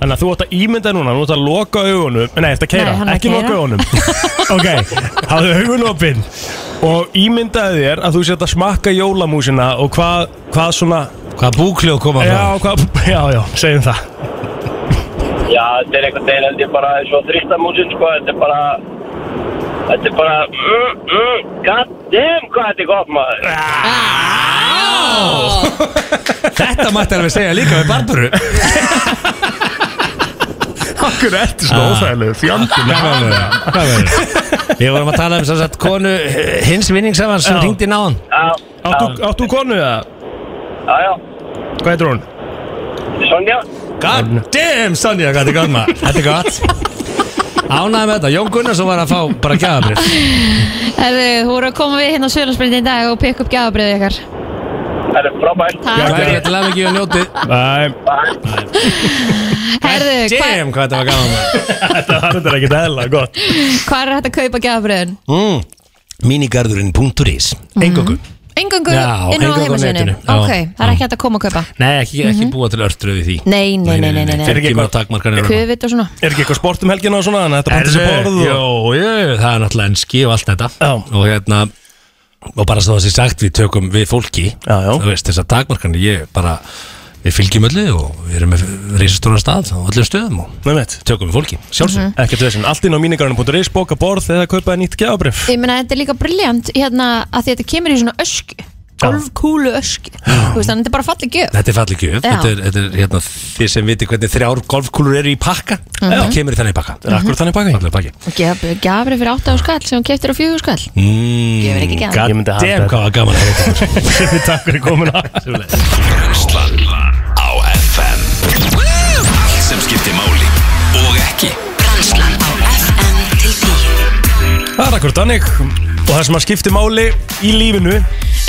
S3: Þannig að þú átt að ímynda þér núna, þú átt að loka augunum Nei, þetta
S16: Nei,
S3: keira,
S16: hann er að
S3: ekki
S16: keyra.
S3: loka augunum Ok, hafðu augun opinn Og ímyndaði þér að þú sétt að smakka jólamúsina Og hvað, hvað svona
S14: Hvað búkljóð koma
S3: já, hvað, já, já, segjum það
S16: Já, þetta er einhvern veginn held ég bara eins og þristamúsin sko Þetta er bara Þetta er bara mm, mm, God damn hvað þetta er gott maður
S14: Þetta mætti alveg segja líka við Barburu
S3: Akkur ertu svona
S14: Ah.
S3: óþægilegu fjandinn
S14: Hvað verður það? Hvað verður það? Við vorum að tala um þess að konu eh, hins vinningsefans sem
S3: Já.
S14: ringdi náðan
S3: Áttu, áttu konu það?
S16: Já, já
S3: Hvað heitir hún?
S16: Sonja
S14: God damn Sonja, hvað þetta er gott maður Þetta er gott Ánæði með þetta, Jón Gunnarsson var að fá bara gæðabrið
S2: Herðu, þú voru að koma við hérna á Sjölandsbyrðin í dag og pikka upp gjafabriðið ykkar
S16: Það er frábært
S14: Hvað er þetta lag ekki um að njótið?
S3: Bæ
S2: Herðu, hva,
S14: Damn, hvað þetta var gæðan maður
S3: Þetta var þetta ekki eðla, gott
S2: hvað er hægt að kaupa gjafabriðin?
S14: mm, Minigarðurinn.is Engöku
S2: Engangu
S14: Já,
S2: inn Mm. á
S14: eingöngu á
S2: heimasíðinu
S14: netinu, já.
S2: Ok, það er ekki hægt að koma og kaupa
S14: Nei, ekki, ekki
S2: Mhm.
S14: búa til örtröð við því
S2: Nei, nei, nei, nei, nei, nei.
S14: Fyrir kemur að takmarkanir
S2: Kufið og svona
S3: Er ekki eitthvað sport um helgina og svona þannig að þetta bætti sér borð
S14: Jó,
S3: og...
S14: jó, það er náttúrulega enski og allt þetta já. Og hérna Og bara svo það sé sagt, við tökum við fólki já, já. Það veist, þessar takmarkanir, ég bara Við fylgjum öllu og við erum með reisastóra stað á öllum stöðum og
S3: Nei, veit
S14: Tökum við fólki,
S3: Sjálfsög,
S14: sjálfsög
S3: ekkert þessin Allt inn á mínigarunum.is, bóka borð eða kaupaði nýtt gjafabrif
S2: Ég meina, þetta er líka briljant hérna að því þetta kemur í svona ösku Golfkúlu ösku Þú veist, þannig að þetta er bara fallið gjöf
S14: Þetta er fallið gjöf,
S2: Já.
S14: þetta er, þetta er hérna, þið sem viti hvernig þrjár golfkúlur eru í pakka
S2: Mhm.
S14: Það kemur í þannig pakka Það er akkur þannig pakka Fallega pakki
S2: Og gjafabrið gjafri fyrir 8 á skall sem hún keftir á 4 á skall
S14: mm,
S2: Gjöf er ekki gjafir.
S14: God
S2: Ég myndi
S14: damn
S2: halda
S14: hvað það var gaman að heita
S3: Við takk fyrir komuna
S4: Brennslan á FM Allt sem skiptir máli og ekki
S7: Brennslan á FM til 10
S3: Það er akkur þannig Og það sem að skipti máli í lífinu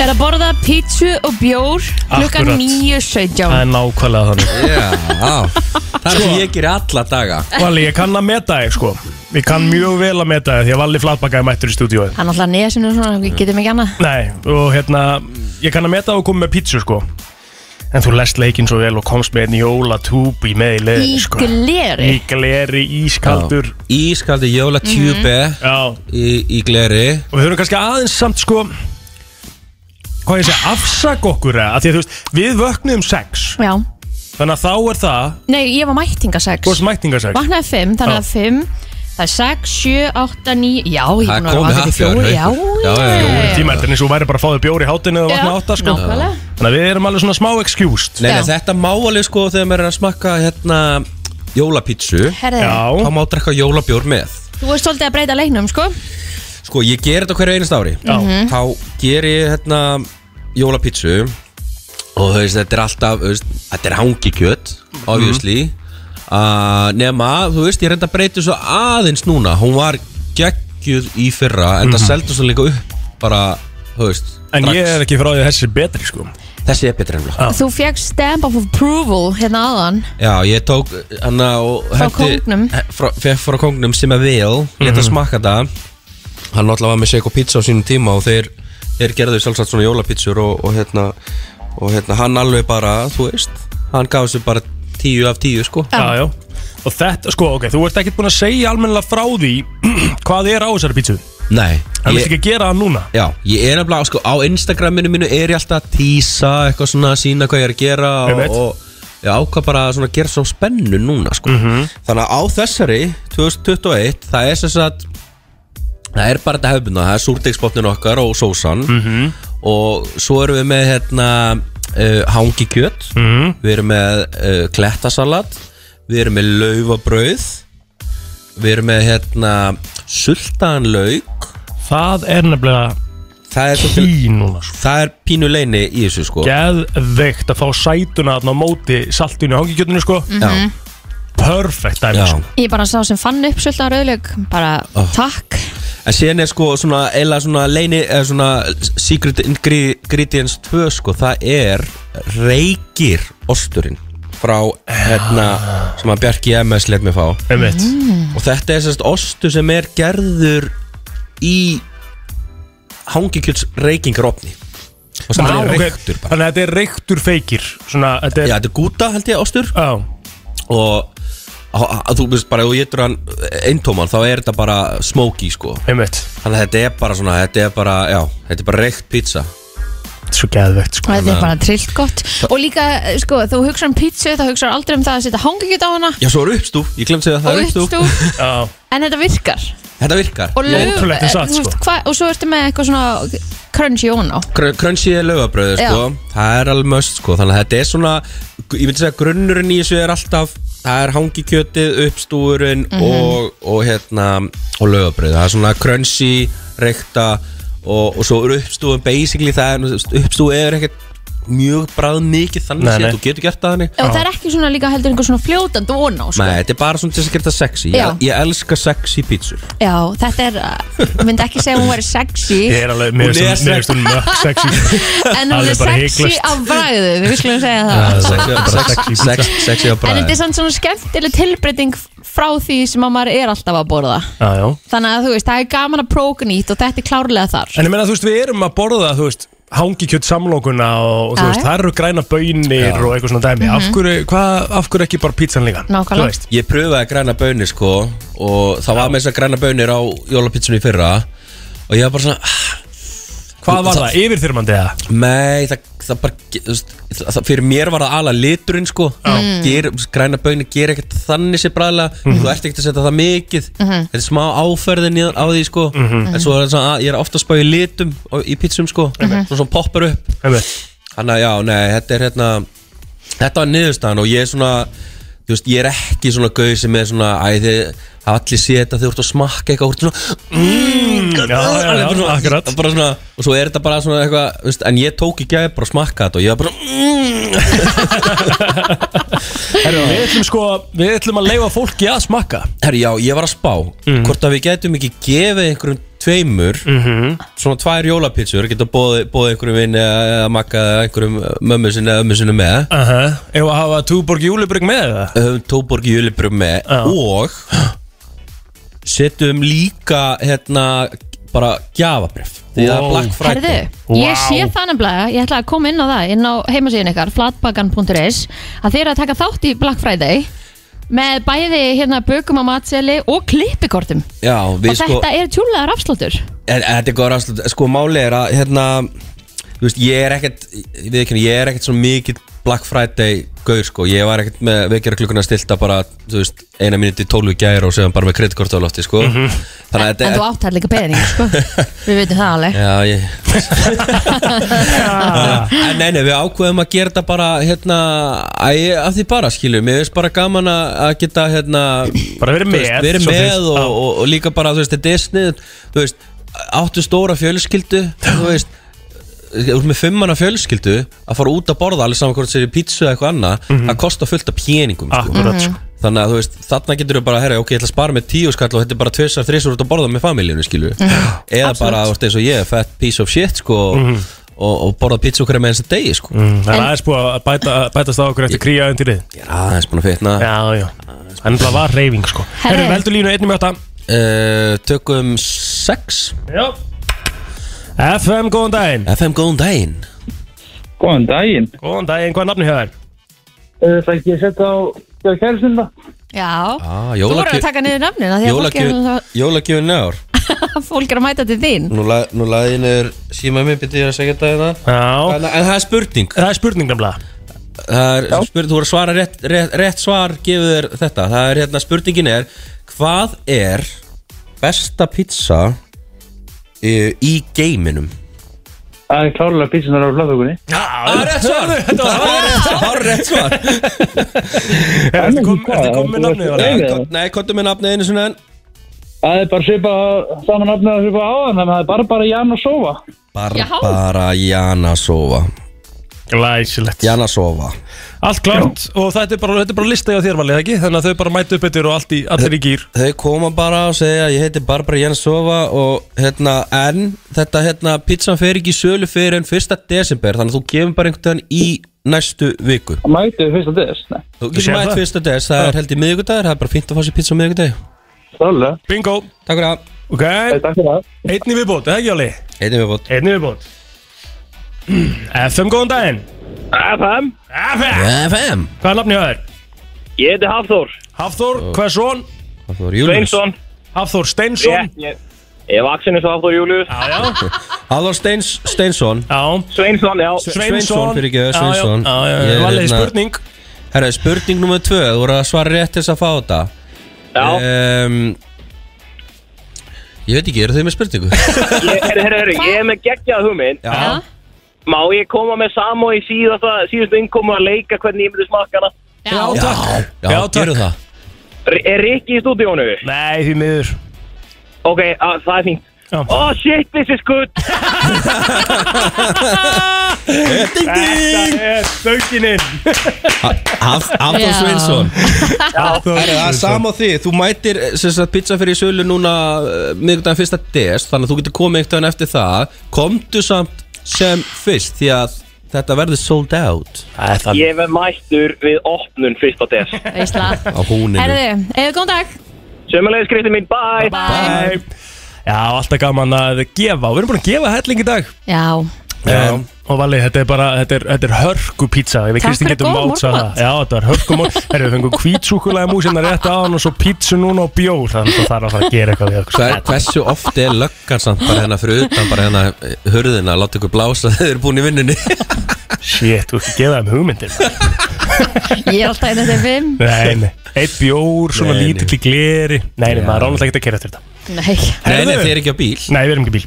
S2: Er að borða pítsu og bjór klukkan
S3: Akkurat.
S2: 9.17
S3: Það er nákvæmlega þannig
S14: Já,
S3: það er sem ég
S14: gerir alla daga
S3: Valli, ég kann að meta þig sko Ég kann mjög vel að meta þig Því að Valli flatbakkaði mættur í stúdíói
S2: Hann alltaf nesinu og svona,
S3: Mm.
S2: við getum ekki annað
S3: Nei, og hérna Ég kann að meta og koma með pítsu sko En þú lest leikinn svo vel og komst með einn jólatúb í með í
S2: Í
S3: leiðinni sko
S2: gleri
S3: Í gleri, ískaldur
S17: Ískaldi jólatjúbe í, í gleri
S3: Og við höfum kannski aðeins samt sko Hvað ég segja, afsak okkur eða? Af Því að þú veist, við vöknum sex
S2: Já,
S3: Þannig að þá er það
S2: nei, ég var mættinga 6
S3: Þú veist mætningasex
S2: Vaknaði 5, þannig að 5
S3: Já.
S2: Það er 6, 7, 8, 9 Já, ég
S3: Það
S2: er búin að
S3: komið
S2: vera vakandi í
S3: happy hour,
S2: fjóri Já,
S3: Já, já, já. Fjórir
S2: já.
S3: tímar, þetta er eins og þú væri bara að fá þér bjóri í hátinu eða vakna átta sko
S2: nákvæmlega.
S3: Þannig að við erum alveg svona smá excused
S17: Nei, nei, þetta má alveg sko þegar maður er að smakka hérna jólapítsu
S2: Herðu. Já.
S17: Þá má drekka jólabjór með
S2: Þú veist svolítið að breyta leiknum, sko
S17: Sko, ég ger þetta hverju einast ári
S2: Já. Mhm.
S17: Þá ger ég hérna jólapítsu
S3: Mhm.
S17: Og þú veist, þetta er alltaf, þú veist, þetta er hangikjöt Obviously uh, nema, þú veist, ég reynda að breyta svo aðeins núna, hún var geggjuð í fyrra, en það
S3: Mhm.
S17: seldu svo líka upp bara, þú veist
S3: En ég er ekki frá því að þessi er betri sko
S17: Þessi er betri ennlega
S2: Þú fekk stamp of approval hérna aðan
S17: Já, ég tók hana og
S2: Frá kóngnum.
S17: Fekk frá kóngnum sem er vel Leta
S3: Mhm.
S17: smakka það Hann náttúrulega var með Seiko pizza á sínum tíma Og þeir, þeir gerðu sjálfsagt svona jólapizzur og, og hérna Og hérna, hann alveg bara, þú veist Hann gaf sér bara tíu af tíu, sko
S3: Já, já Og þetta, sko, ok, þú ert ekkert búin að segja almennilega frá því Hvað er á þessari pítsu
S17: Nei
S3: Hann
S17: ég-
S3: vilt ekki að gera það núna
S17: Já, ég er nefnilega, sko, á Instagraminu mínu er ég alltaf að tísa Eitthvað svona, sína hvað ég er að gera
S3: Einmitt.
S17: Og, og ég ákvað bara svona að gera svo spennu núna, sko
S3: Mhm.
S17: Þannig að á þessari, 2021, það er sem sagt Það er bara þetta hefðbundna, það er súrdegsbotnin okkar og sósan
S3: Mhm.
S17: Og svo erum við með, hérna, uh, hangi kjöt
S3: Mhm.
S17: Við erum með uh, klettasalat Við erum með laufabrauð Við erum með, hérna, sultanlaug
S3: Það er nefnilega
S17: Það er
S3: Kín núna sko.
S17: Það er pínu leini í þessu sko
S3: Geðveikt að fá sætuna þarna á móti saltinu í hangikjötinu sko
S2: Já.
S3: Perfect dæmi sko
S2: Ég bara sá sem fann upp svolítið á rauðlaug bara
S17: Oh.
S2: takk
S17: En síðan er sko svona eila svona leini eða svona secret ingre- ingredients 2 sko það er reykir osturinn frá hérna sem að Bjarki MS let mér fá
S3: Einmitt. Mm.
S17: og þetta er sérst ostur sem er gerður í hangikjöls reykingarofni og sem
S3: Vá,
S17: er
S3: ok.
S17: reyktur bara
S3: Þannig að þetta er reyktur feykir Svona, þetta er
S17: Já, þetta er gúta held ég, ostur
S3: Já
S17: Og að, að, þú veist bara, ef þú getur hann eintóman Þá er þetta bara smoky, sko
S3: Einmitt
S17: Þannig að þetta er bara svona, þetta er bara, já Þetta er bara reykt pizza
S3: Svo geðvegt, sko
S2: Þetta er bara trillt gott Og líka, eh, sko, þú hugsar um pítsu Þá hugsar aldrei um það að setja hangikjöt á hana
S17: Já, svo er uppstúf, ég glemt að segja að það
S2: Og
S17: er uppstúf
S2: uppstúf.
S3: Já
S2: En þetta virkar
S17: Þetta virkar
S2: Og, laug- eh, þú
S17: sko.
S3: sko.
S2: veist, hva- og svo ertu með eitthvað svona crunchy ón á
S17: Kr- Crunchy er lögabröðu sko Það er alveg möst sko Þannig að þetta er svona Ég myndi segja að grunnurinn í þessu er alltaf Það er hangikjötið, uppstúurinn
S2: Mhm.
S17: og, og hérna Og lögabröðu Það er svona crunchy, reykta Og, og svo er uppstúin basically það er, Uppstúi er ekkert mjög bræð mikið Þannig
S3: Nei,
S17: séð,
S3: nei.
S17: þú getur gert það þannig
S2: Og það er ekki svona líka heldur einhver svona fljótandi ón á sko.
S17: Nei, þetta er bara svona til þess að gera þetta sexy
S2: Já.
S17: ég, ég elska sexy pítsur
S2: Já, þetta er, eh, myndi ekki segja að hún væri sexy
S3: Ég er alveg, mér
S17: Hún er
S3: finnst hún- mér finnst hún mökk sexy
S2: En hún
S3: Alveg
S2: er
S3: bara
S2: sexy
S3: hiklaust.
S2: á bræðu Við skulum segja
S17: Já,
S2: það
S17: sexy á bragðið. Sex- Sexy á
S2: En
S17: bræð
S2: þetta er samt svona skemmtileg tilbreyting frá því sem að maður er alltaf að borða
S3: Já, já
S2: Þannig að þú veist, það er gaman að próka nýtt og þetta er klárlega þar
S3: En ég meina, þú veist, við erum að borða, þú veist hangikjött samlokuna og, og þú
S2: Já,
S3: veist,
S2: já.
S3: það eru græna bönir og eitthvað svona dæmi
S2: Mhm.
S3: af, hverju, hva, af hverju ekki bara pítsan líka? Þú veist.
S17: Ég pröfaði græna bönir sko Og það var með þess að græna bönir á jólapítsunni í fyrra Og ég var bara svona "Ah."
S3: Hvað var það? Yfirþyrmandi eða?
S17: Nei, það, það bara þú veist, það, Fyrir mér var það ala liturinn sko
S3: Já.
S17: ger, Græna bönir ger ekkert þannig sér bræðlega Þú ert ekkert að setja það mikið
S3: Mhm.
S17: Þetta er smá áferðin í- á því sko En svo er það svona að ég er ofta að spá í litum og- Í pítsum sko
S3: Einmitt.
S17: Svo svona poppar upp Þannig að já, nei, þetta er hérna Þetta var niðurstaðan og ég er svona Þú veist, ég er ekki svona gauð sem er svona Æ, þið hafa allir séð þetta þegar þú ert að smakka eitthvað Þú ert svona mm,
S3: já, já,
S17: alveg bara
S3: já,
S17: svona,
S3: akkurat.
S17: bara svona Og svo er þetta bara svona eitthvað þú veist, En ég tók í gæði bara að smakka þetta Og ég var bara
S3: Herru, við ætlum sko, við ætlum að leifa fólki að smakka Mhm.
S17: Herri, já, ég var að spá Hvort að við getum ekki gefið einhverjum tveimur
S3: Mhm.
S17: Svona tvær jólapitsur Geta boðið boði einhverjum vinn Eða eða makka eða einhverjum mömmu sinni Eða ömmu sinni með
S3: uh -huh. Ef að hafa túborg júlibrygg með það?
S17: höfum Tóborg Júlibrug með og setjum líka hérna bara gjafabrif því það er
S3: Wow.
S17: Black Friday
S2: Herðu, ég sé það nefnilega, ég ætla að koma inn á það inn á heimasíðin ykkar, flatbakan.is að þeir eru að taka þátt í Black Friday með bæði hérna bökum á matseli og klippikortum
S17: Já,
S2: og
S17: við sko,
S2: þetta er tjúlegar afsláttur
S17: er, þetta er góð ráslut sko máli er að hérna þú veist, ég er ekkert við ekki, ég er ekkert svo mikið Black Friday gaur sko, ég var ekkert með vekjara klukkuna stilta bara, þú veist, eina mínúti tólvi gæri og séðan bara með kreditkort á lofti sko þannig að þetta
S2: Mhm. en þú átt þær líka beðning sko. við veitum það alveg
S17: Já, ég
S3: Ah.
S17: En nei, nei, við ákveðum að gera þetta bara hérna, æ, af því bara skilju Mér finnst bara gaman að að geta hérna,
S3: Bara verið
S17: þú veist,
S3: með,
S17: verið
S3: svo
S17: með
S3: fyrst,
S17: og,
S3: já.
S17: og, og, líka bara, þú veist, þetta er snið Þú veist, áttu stóra fjölskyldu Þú veist úr með fimmanna fjölskyldu að fara út að borða alveg saman hvort sér í pítsu eða eitthvað annað það kostar fullt af peningum sko.
S3: Mhm. Akkurat, sko.
S17: Þannig að þú veist, þarna getur þú bara að herra, ok, ég ætla að spara með tíu skall og þetta er bara tvisar, þrisur út að borða með familjónu, skilju
S2: Mhm.
S17: Eða bara, þú veist, eins og ég, fat piece of shit, sko
S3: Mhm.
S17: og, og borða pizza okkur með eins og degi, sko
S3: Það er aðeins búið að bæta, bætast á okkur eftir kríja undir þið
S17: Já, aðeins búin að fitna
S3: Já, já, hann bara var reyfing, sko Herru, veldu línu 1 mjöta
S17: uh, Tökum 6
S3: Já FM, góðan daginn
S17: FM, góðan daginn
S3: Góðan daginn Góðan daginn, hvað er nafni hefur?
S15: Það ekki að setja á kærisinn það
S2: Já,
S17: ah,
S2: þú voru að taka niður nafnin af því að fólk er, hérna
S17: Jólagjöfin ár
S2: fólk er að mæta til þín
S17: Nú, la, nú laði ég niður síma mér, byrja ég að segja þetta hérna
S3: Já
S17: en, en það er spurning
S3: Það er spurning nefnilega
S17: Það er spurning, þú voru að svara rétt, rétt, rétt svar gefur þér þetta Það er hérna, spurningin er Hvað er besta pizza uh, í geiminum?
S15: Það er klárlega pítsunar á flatbókunni
S3: Það
S17: er rétt svar
S3: Þetta var
S17: Hárrétt svar
S15: Ertu komið með
S17: Nei, Nei, kontum með nafnið einu svona enn
S15: Það er bara svipa saman nafnið að svipa á hann Þannig að það er bara bara Jan og Sova
S17: Barbara Janasova
S3: Glæsilegt
S17: Janasova
S3: Allt klárt og þetta er bara, þetta er bara lista hjá þér valið ekki Þannig að þau bara mæta upp yfir og allt í, allir í gýr
S17: Þau koma bara og segja ég heiti Barbara Janasova og hérna en þetta hérna pizzan fer ekki í sölu fyrir en 1. desember þannig að þú gefur bara einhvern veginn í næstu viku
S15: Mætið við fyrsta des
S17: Þú getur mætt 1. des, það er held í miðvíkudagur, það er bara fínt að fá sér pizza á miðvíkudag
S15: Stálega
S3: Bingo
S17: Takk fyrir það
S3: Ok
S15: Takk fyrir það
S3: Einni viðbót, eða ekki Jóli?
S17: Einni viðbót
S3: Einni viðbót FM, góðan daginn
S15: FM
S3: FM
S17: FM
S3: Hvað er nafni hjá þér?
S15: Ég heiti Hafþór
S3: Hafþór, hvað er svon?
S17: Hafþór
S15: Sveinsson
S3: Hafþór Steinsson
S15: Ég- Ég ég vaksin eins og Hafþór Július
S3: Já, já
S17: Halló Steins, Steinsson
S3: Já
S15: Sveinsson, já
S17: Sveinsson fyrir ekki, Sveinsson
S3: Já, já, já,
S17: Ég er
S3: Valli,
S17: hérna-
S3: spurning.
S17: Herra, spurning nummer 2, þú voru að svara rétt til þess að fá þetta Já Ég veit ekki, eru þau með spurningu?
S15: Ég- Herri, herri, herri, ég er með geggjað hugmynd
S17: Já.
S15: Má ég koma með Samo í síðasta, síðustu innkomu að leika hvernig ég myndi smakka hana?
S3: Já, takk
S17: Já,
S3: Já, takk.
S17: gerðu það
S15: R- Er Rikki í stúdíónu?
S3: Nei, því miður
S15: Ok, að, það er fínt Oh shit, this is good
S17: Ding
S3: ding Þetta er stönginin
S17: Hafþór
S3: Já.
S17: Sveinsson
S3: Hafþór
S17: Herra, Það er
S3: Sveinsson.
S17: sama á því, þú mætir sem sagt, pizza fyrir í sölu núna miðgudaginn fyrsta des, þannig að þú getur komið einhvern veginn eftir það, komdu samt sem fyrst, því að þetta verður sold out
S15: Ég verð mættur við opnun fyrst á des
S2: Veisla
S17: á húninu
S2: Herðu, eða góðan dag
S15: Sjömmalega skrifti mín, bye
S2: Bye.
S3: Já, alltaf gaman að gefa og Við erum búin að gefa helling í dag
S2: Já,
S3: um, Og Valli, þetta er bara, þetta er, þetta er hörku pizza Ég veit
S2: Takk
S3: Kristín
S2: fyrir
S3: getur
S2: góðan
S3: mátt sagði
S2: morgunmat.
S3: það. Já, þetta var hörku morgun Herru, við fengum kvítsúkulega músina rétt á hann og svo pizza núna og bjór Þannig að það þarf að fara að gera eitthvað við okkur
S17: Hver, Hversu oft er löggan samt bara hérna fyrir utan, bara hérna eh, hurðina, láta ykkur blása þegar þið eru búin í vinnunni
S3: Shit, þú ekki gefa þeim hugmyndir
S2: ég er alltaf einu þegar fimm
S3: Nei, nei, eitt bjór, svona
S17: Nei, nei.
S3: lítill í gleri Nei, nei, maður ránaði ekki að kera eftir þetta
S2: Nei
S17: Nei, nei, þið eru ekki á bíl
S3: Nei, við erum ekki í bíl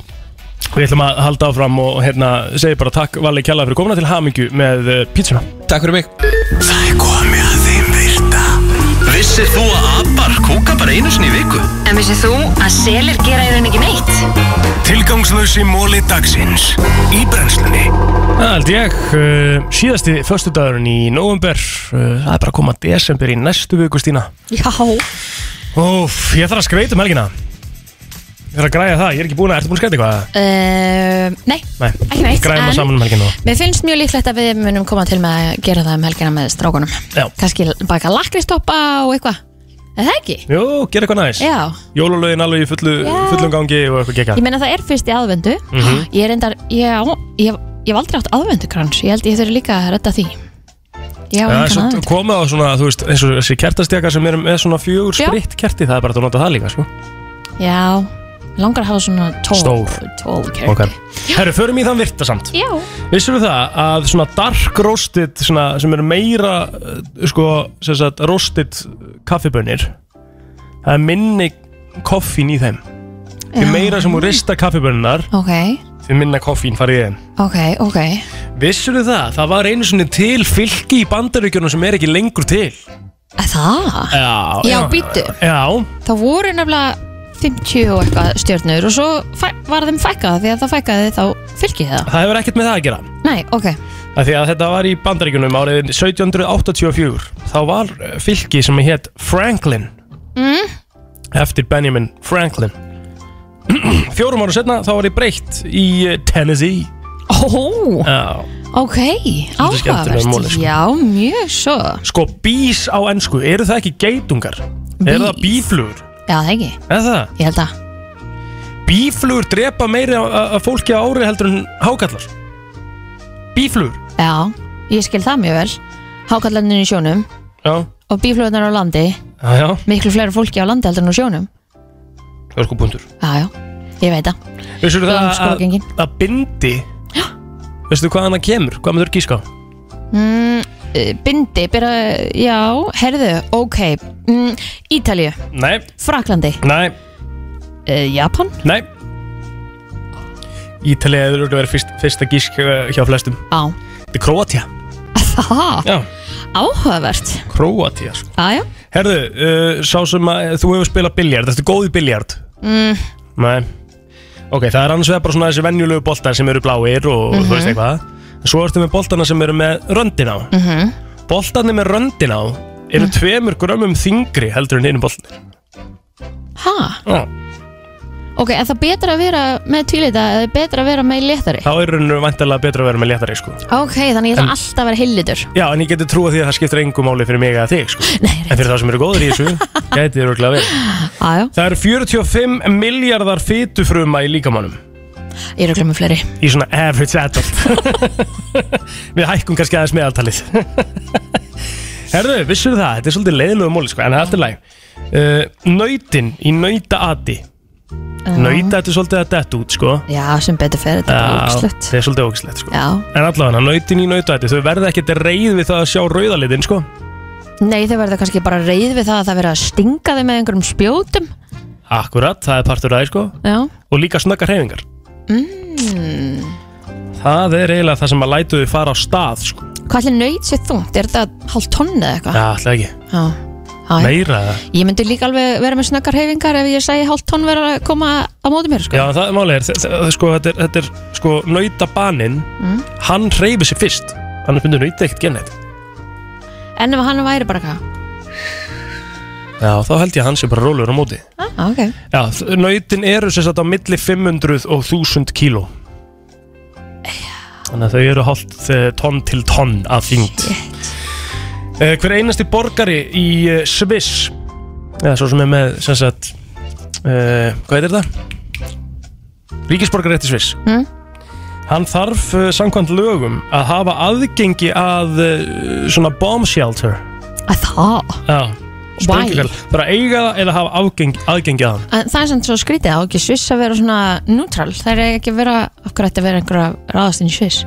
S3: Við ætlum að halda áfram og hérna segi bara takk Valli Kjalla fyrir komuna til hamingju með uh, pítsuna
S17: Takk fyrir mig
S4: Það er komið að þeim virta Vissir þú að abar kúka bara einu sinni í viku?
S7: En vissið þú að selir gera í raun ekki neitt?
S4: Tilgangslösi móli dagsins Í brennslunni
S3: Það held ég, uh, síðasti föstudagurinn í november uh, Það er bara að koma desember í næstu viku, Stína
S2: Já
S3: Óf, ég þarf að skreita um helgina Ég þarf að græja það, ég er ekki búin að, ertu búin að skreita eitthvað?
S2: Uh, nei,
S3: Nei,
S2: Ekki neitt,
S3: græjum
S2: en-
S3: það saman um helgina
S2: mér finnst mjög líklegt að við munum koma til með að gera það um helgina með strákunum
S3: Já.
S2: Kanski baka lakristoppa og eitthvað Er það ekki?
S3: Jú, gera eitthvað næs
S2: Já,
S3: Jólalögin alveg í fullu, fullum gangi og eitthvað gekka
S2: ég meina það er fyrst í aðvendu
S3: Mhm.
S2: Ég er endar, já, ég, ég hef aldrei átt aðvendukrans Ég held ég þurfi líka að redda því Já,
S3: Já,
S2: engan
S3: svo
S2: aðvendu
S3: komið á svona, þú veist, eins og þessi kertastjaka sem er með svona fjögur spritt kerti, það er bara hægt að nota það líka, sko.
S2: Já, langar að hafa svona tól
S3: Stór.
S2: Tól kerti
S3: Ok. Herru, förum í þann virta samt.
S2: Já,
S3: Vissum við það að svona dark roasted, svona, sem eru meira, uh, sko, sem sagt, roasted kaffibönnir, það er minni koffín í þeim. Því
S2: Já.
S3: meira sem þú rista kaffibönnar,
S2: ok,
S3: því minna koffín farið í þeim.
S2: ok, ok
S3: Vissum við það, það var einu svona til fylki í bandaríkjunum sem er ekki lengur til.
S2: Að Það?
S3: Já,
S2: Já, bíddu.
S3: Já,
S2: Það voru nefnilega 50 og eitthvað stjörnur og svo fæ- var þeim fækkað því að það fækkaði þá fylgið það
S3: það hefur ekkert með það að gera.
S2: Nei, ok,
S3: Af því að þetta var í bandaríkunum árið 1784 Þá var eh, fylki sem hétt Franklin
S2: mm.
S3: Eftir Benjamin Franklin Fjórum ára setna þá var þið breytt í eh, Tennessee
S2: Ó,
S3: Já
S2: ok,
S3: skemmtilegur móli,
S2: áhugavert
S3: sko.
S2: Já, mjög svo
S3: Sko, bís á ennsku, eru það ekki geitungar? Eru það bíflugur?
S2: Já, það ekki,
S3: Er það?
S2: ég held að
S3: Bíflugur drepa meiri að fólki á ári heldur en hákallar Bíflugur
S2: Já, ég skil það mjög vel Hákallarnir í sjónum
S3: Já,
S2: og bíflöðunar á landi
S3: já, já,
S2: Miklu fleiri fólki á landi heldur en á sjónum
S3: það er sko punktur
S2: Já, já, ég veit það
S3: Vissur það að,
S2: Langskógengin.
S3: að bindi Veistu hvað hann kemur? Hvað maður gíska á?
S2: mm, eh, Bindi, byrja, já, herðu, ok mm, Ítalíu,
S3: Nei,
S2: Fraklandi,
S3: nei,
S2: uh, Japan
S3: nei Ítalið er auðvitað verið fyrst, fyrsta gísk eh, hjá flestum
S2: Já
S3: Þetta er Kroatia
S2: Það,
S3: Já,
S2: áhugavert
S3: Kroatia sko.
S2: Já, já
S3: Herðu, uh, sá sem að þú hefur spilað biljard Þetta er góð í biljard
S2: mm,
S3: Nei Ok, það er annars vegar bara svona þessi venjulegu boltar sem eru bláir og
S2: Mhm.
S3: þú veist eitthvað En svo ertu með boltana sem eru með röndin á
S2: mm
S3: Boltarnir með röndin á eru tveimur grömmum þingri heldur en einu boltin
S2: Ha,
S3: Já,
S2: ok, er það betra að vera með tvílita eða er betra að vera með léttari?
S3: þá er rauninu vantarlega betra að vera með léttari sko
S2: Ok, þannig ég
S3: En-
S2: þarf alltaf að vera heillitur
S3: Já, en ég getur trúa því að það skiptir engu máli fyrir mig eða þig sko. Nei, En fyrir þá sem eru góður í þessu Gæti þér örgulega vel
S2: Ajá.
S3: Það eru 45 miljardar fytufruma í líkamannum
S2: Ég er að glemma fleiri
S3: Í svona average adult Við hækkum kannski aðeins meðaltalið Herðu, vissur það Þetta er svolítið leiðilegu móli sko, En það er alltaf læg uh, Nautin í nautaati Nauta, þetta er svolítið að detta út sko.
S2: Já, sem betur fer þetta er
S3: Já,
S2: ógislegt
S3: Það er svolítið ógislegt sko.
S2: Já,
S3: En allavega, nautin í nautaati Þau verða ekkert reyð við það að sjá rauðalitin sko.
S2: nei þau verða kannski bara reyð við það að það verða að stinga þau með einhverjum spjótum
S3: Akkurat, það er partur af því sko.
S2: Já,
S3: og líka snöggar hreyfingar
S2: mm.
S3: það er eiginlega það sem að lætu þið fara á stað sko.
S2: hvað allir nöyt sér þungt? Er þetta hálf tonn eða
S3: Já,
S2: eitthvað?
S3: alltaf ekki,
S2: Já, já já.
S3: meira eða?
S2: Ég myndi líka alveg vera með snöggar hefingar ef ég segi hálf tonn vera að koma á móti mér sko.
S3: Já, það er málið er, þe- þe- sko, þetta er, þetta er sko, nautabaninn
S2: Mm.
S3: hann hreyfir sér fyrst hann er myndið nauta ekkert genið
S2: En ef hann væri bara hvað?
S3: Já, þá held ég að hann sé bara rólur á móti
S2: Ah, ok
S3: Já, þ- nautin eru sem sagt á milli 500 og 1000 kíló Þannig að þau eru hálft eh, tonn til tonn af þyngd Eh, Hver einasti borgari í eh, Sviss eða svo sem er með sem sagt uh, hvað heitir þetta? Ríkisborgari eftir Sviss
S2: Mm.
S3: Hann þarf uh, samkvæmt lögum að hafa aðgengi að uh, svona bomb shelter
S2: Að það?
S3: Já
S2: Why?
S3: sprengjukall. Bara eiga það eða hafa afgeng, aðgengi að hann
S2: En það er samt svo skrítið, það á ekki sviss að vera svona neutral, það er ekki að vera okkur ætti að vera einhverja ráðastinn í sviss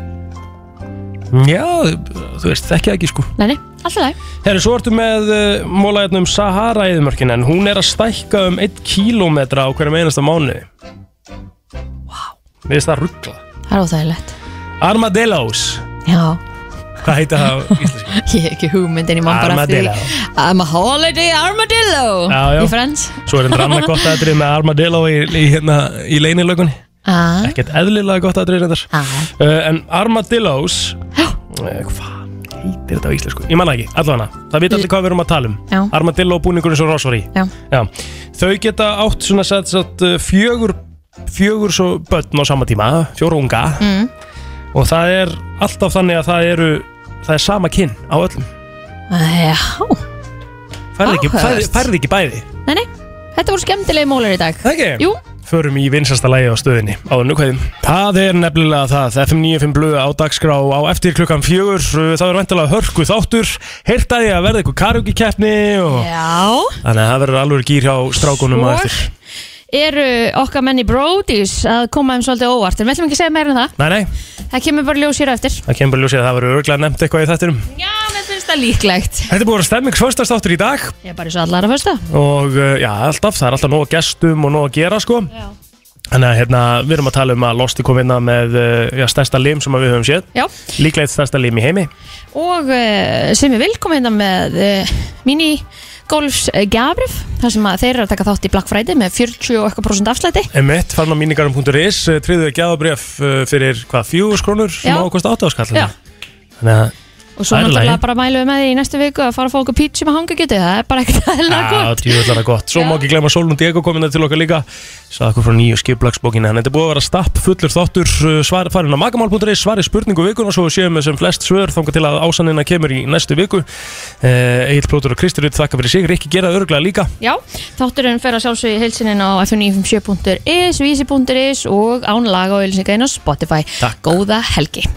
S3: Já, þú veist, þekki það ekki sko
S2: Nei, nei, alltaf það
S3: Herri, svo ertu með uh, mólæðin um Sahara-eðumörkin en hún er að stækka um 1 kílómetra á hverjum einasta mánuði Vá Mér finnst það ruggla
S2: Það er óþægilegt
S3: Armadillos
S2: Já,
S3: Hvað heita það á íslensku?
S2: ég hef ekki hugmyndin í mann bara eftir
S3: Armadillo.
S2: því. I'm a holiday armadillo
S3: Já, já.
S2: Í Friends
S3: Svo er þetta annað gott aðrið með Armadillo í, í, hérna, í leinilögunni
S2: Ah,
S3: Ekkert eðlilega gott aðrið reyndar
S2: ah.
S3: uh, En Armadillos uh, Hvað heitir þetta á íslensku? Ég manna ekki, allavega Það vita allir hvað við erum að tala um
S2: Já.
S3: Armadillo búningurinn svo rosvar í
S2: Já.
S3: Þau geta átt svona sett, sett, uh, fjögur, fjögur svo börn á sama tíma Fjóra unga
S2: Mm.
S3: Og það er alltaf þannig að það eru Það er sama kinn á öllum
S2: Ah, Já,
S3: Færði ekki, færði,
S2: Áhugavert.
S3: færði ekki bæði
S2: nei, nei, þetta voru skemmtilegi mólar í dag
S3: Ekki?
S2: Jú,
S3: Förum í vinsasta lægi á stöðinni á nukvæðum Það er nefnilega það FM 95 blöð á dagskrá á eftir klukkan fjögur Það verður vantilega hörku þáttur Heyrtaði að verða eitthvað karjóki keppni og...
S2: já
S3: Þannig að það verður alveg gýr hjá strákunum
S2: Svo?
S3: að eftir
S2: Eru okkar menn í Brodies að koma þeim svolítið óvart En við ætlum ekki að segja meira en það
S3: Nei, nei,
S2: Það kemur bara ljós hér á eftir
S3: það kemur bara ljósið að það verður örglega nefnt eitthvað í þettinum
S2: Já, Ah, mér finnst það líklegt
S3: Þetta er búin að vera stemmingsföstastáttur í dag
S2: Ég er bara svo allara fyrsta
S3: og uh, já, alltaf, það er alltaf nóg að gestum og nóg að gera sko
S2: Já.
S3: Þannig að hérna, við erum að tala um að Losti kom innan með uh, já, stærsta lim sem að við höfum séð
S2: Já.
S3: Líklega eitt stærsta lim í heimi
S2: og uh, sem er velkomin hérna með uh, mini golfs uh, gafrif þar sem að þeir eru að taka þátt í Black Friday með 40 og eitthvað prosent afslæti
S3: M1, farin á eh, mínigarum.is, tríðuðu gæðabref fyrir eh, hvað, fjúus krónur sem
S2: Já.
S3: ákvæmst átt áskall
S2: Já.
S3: Þannig að
S2: Og svo
S3: Það er í
S2: náttúrulega
S3: lagi.
S2: bara mælum við með því í næstu viku að fara að fá okkur pítsu með hangagjötu, það er bara ekkert aðeinslega
S3: Já,
S2: gott.
S3: djúvill er það gott Svo má ekki glemma Solund Diego komin það til okkar líka Svað okkur frá nýju skiplagsbókina En þetta er búið að vera stapp fullur þáttur uh, svar, Farin á magamál.is, svari spurningu vikun Og svo séum við sem flest svör Þanga til að ásannina kemur í næstu viku uh, Egil Plótur og Kristur Rutt þakka fyrir sig Rikki gera það örglega líka
S2: Já, þátturinn fer að sjálfsögja heilsininn á f957.is, vísi.is og án laga og heilsinga inn á Spotify.
S3: Takk.
S2: Góða helgi.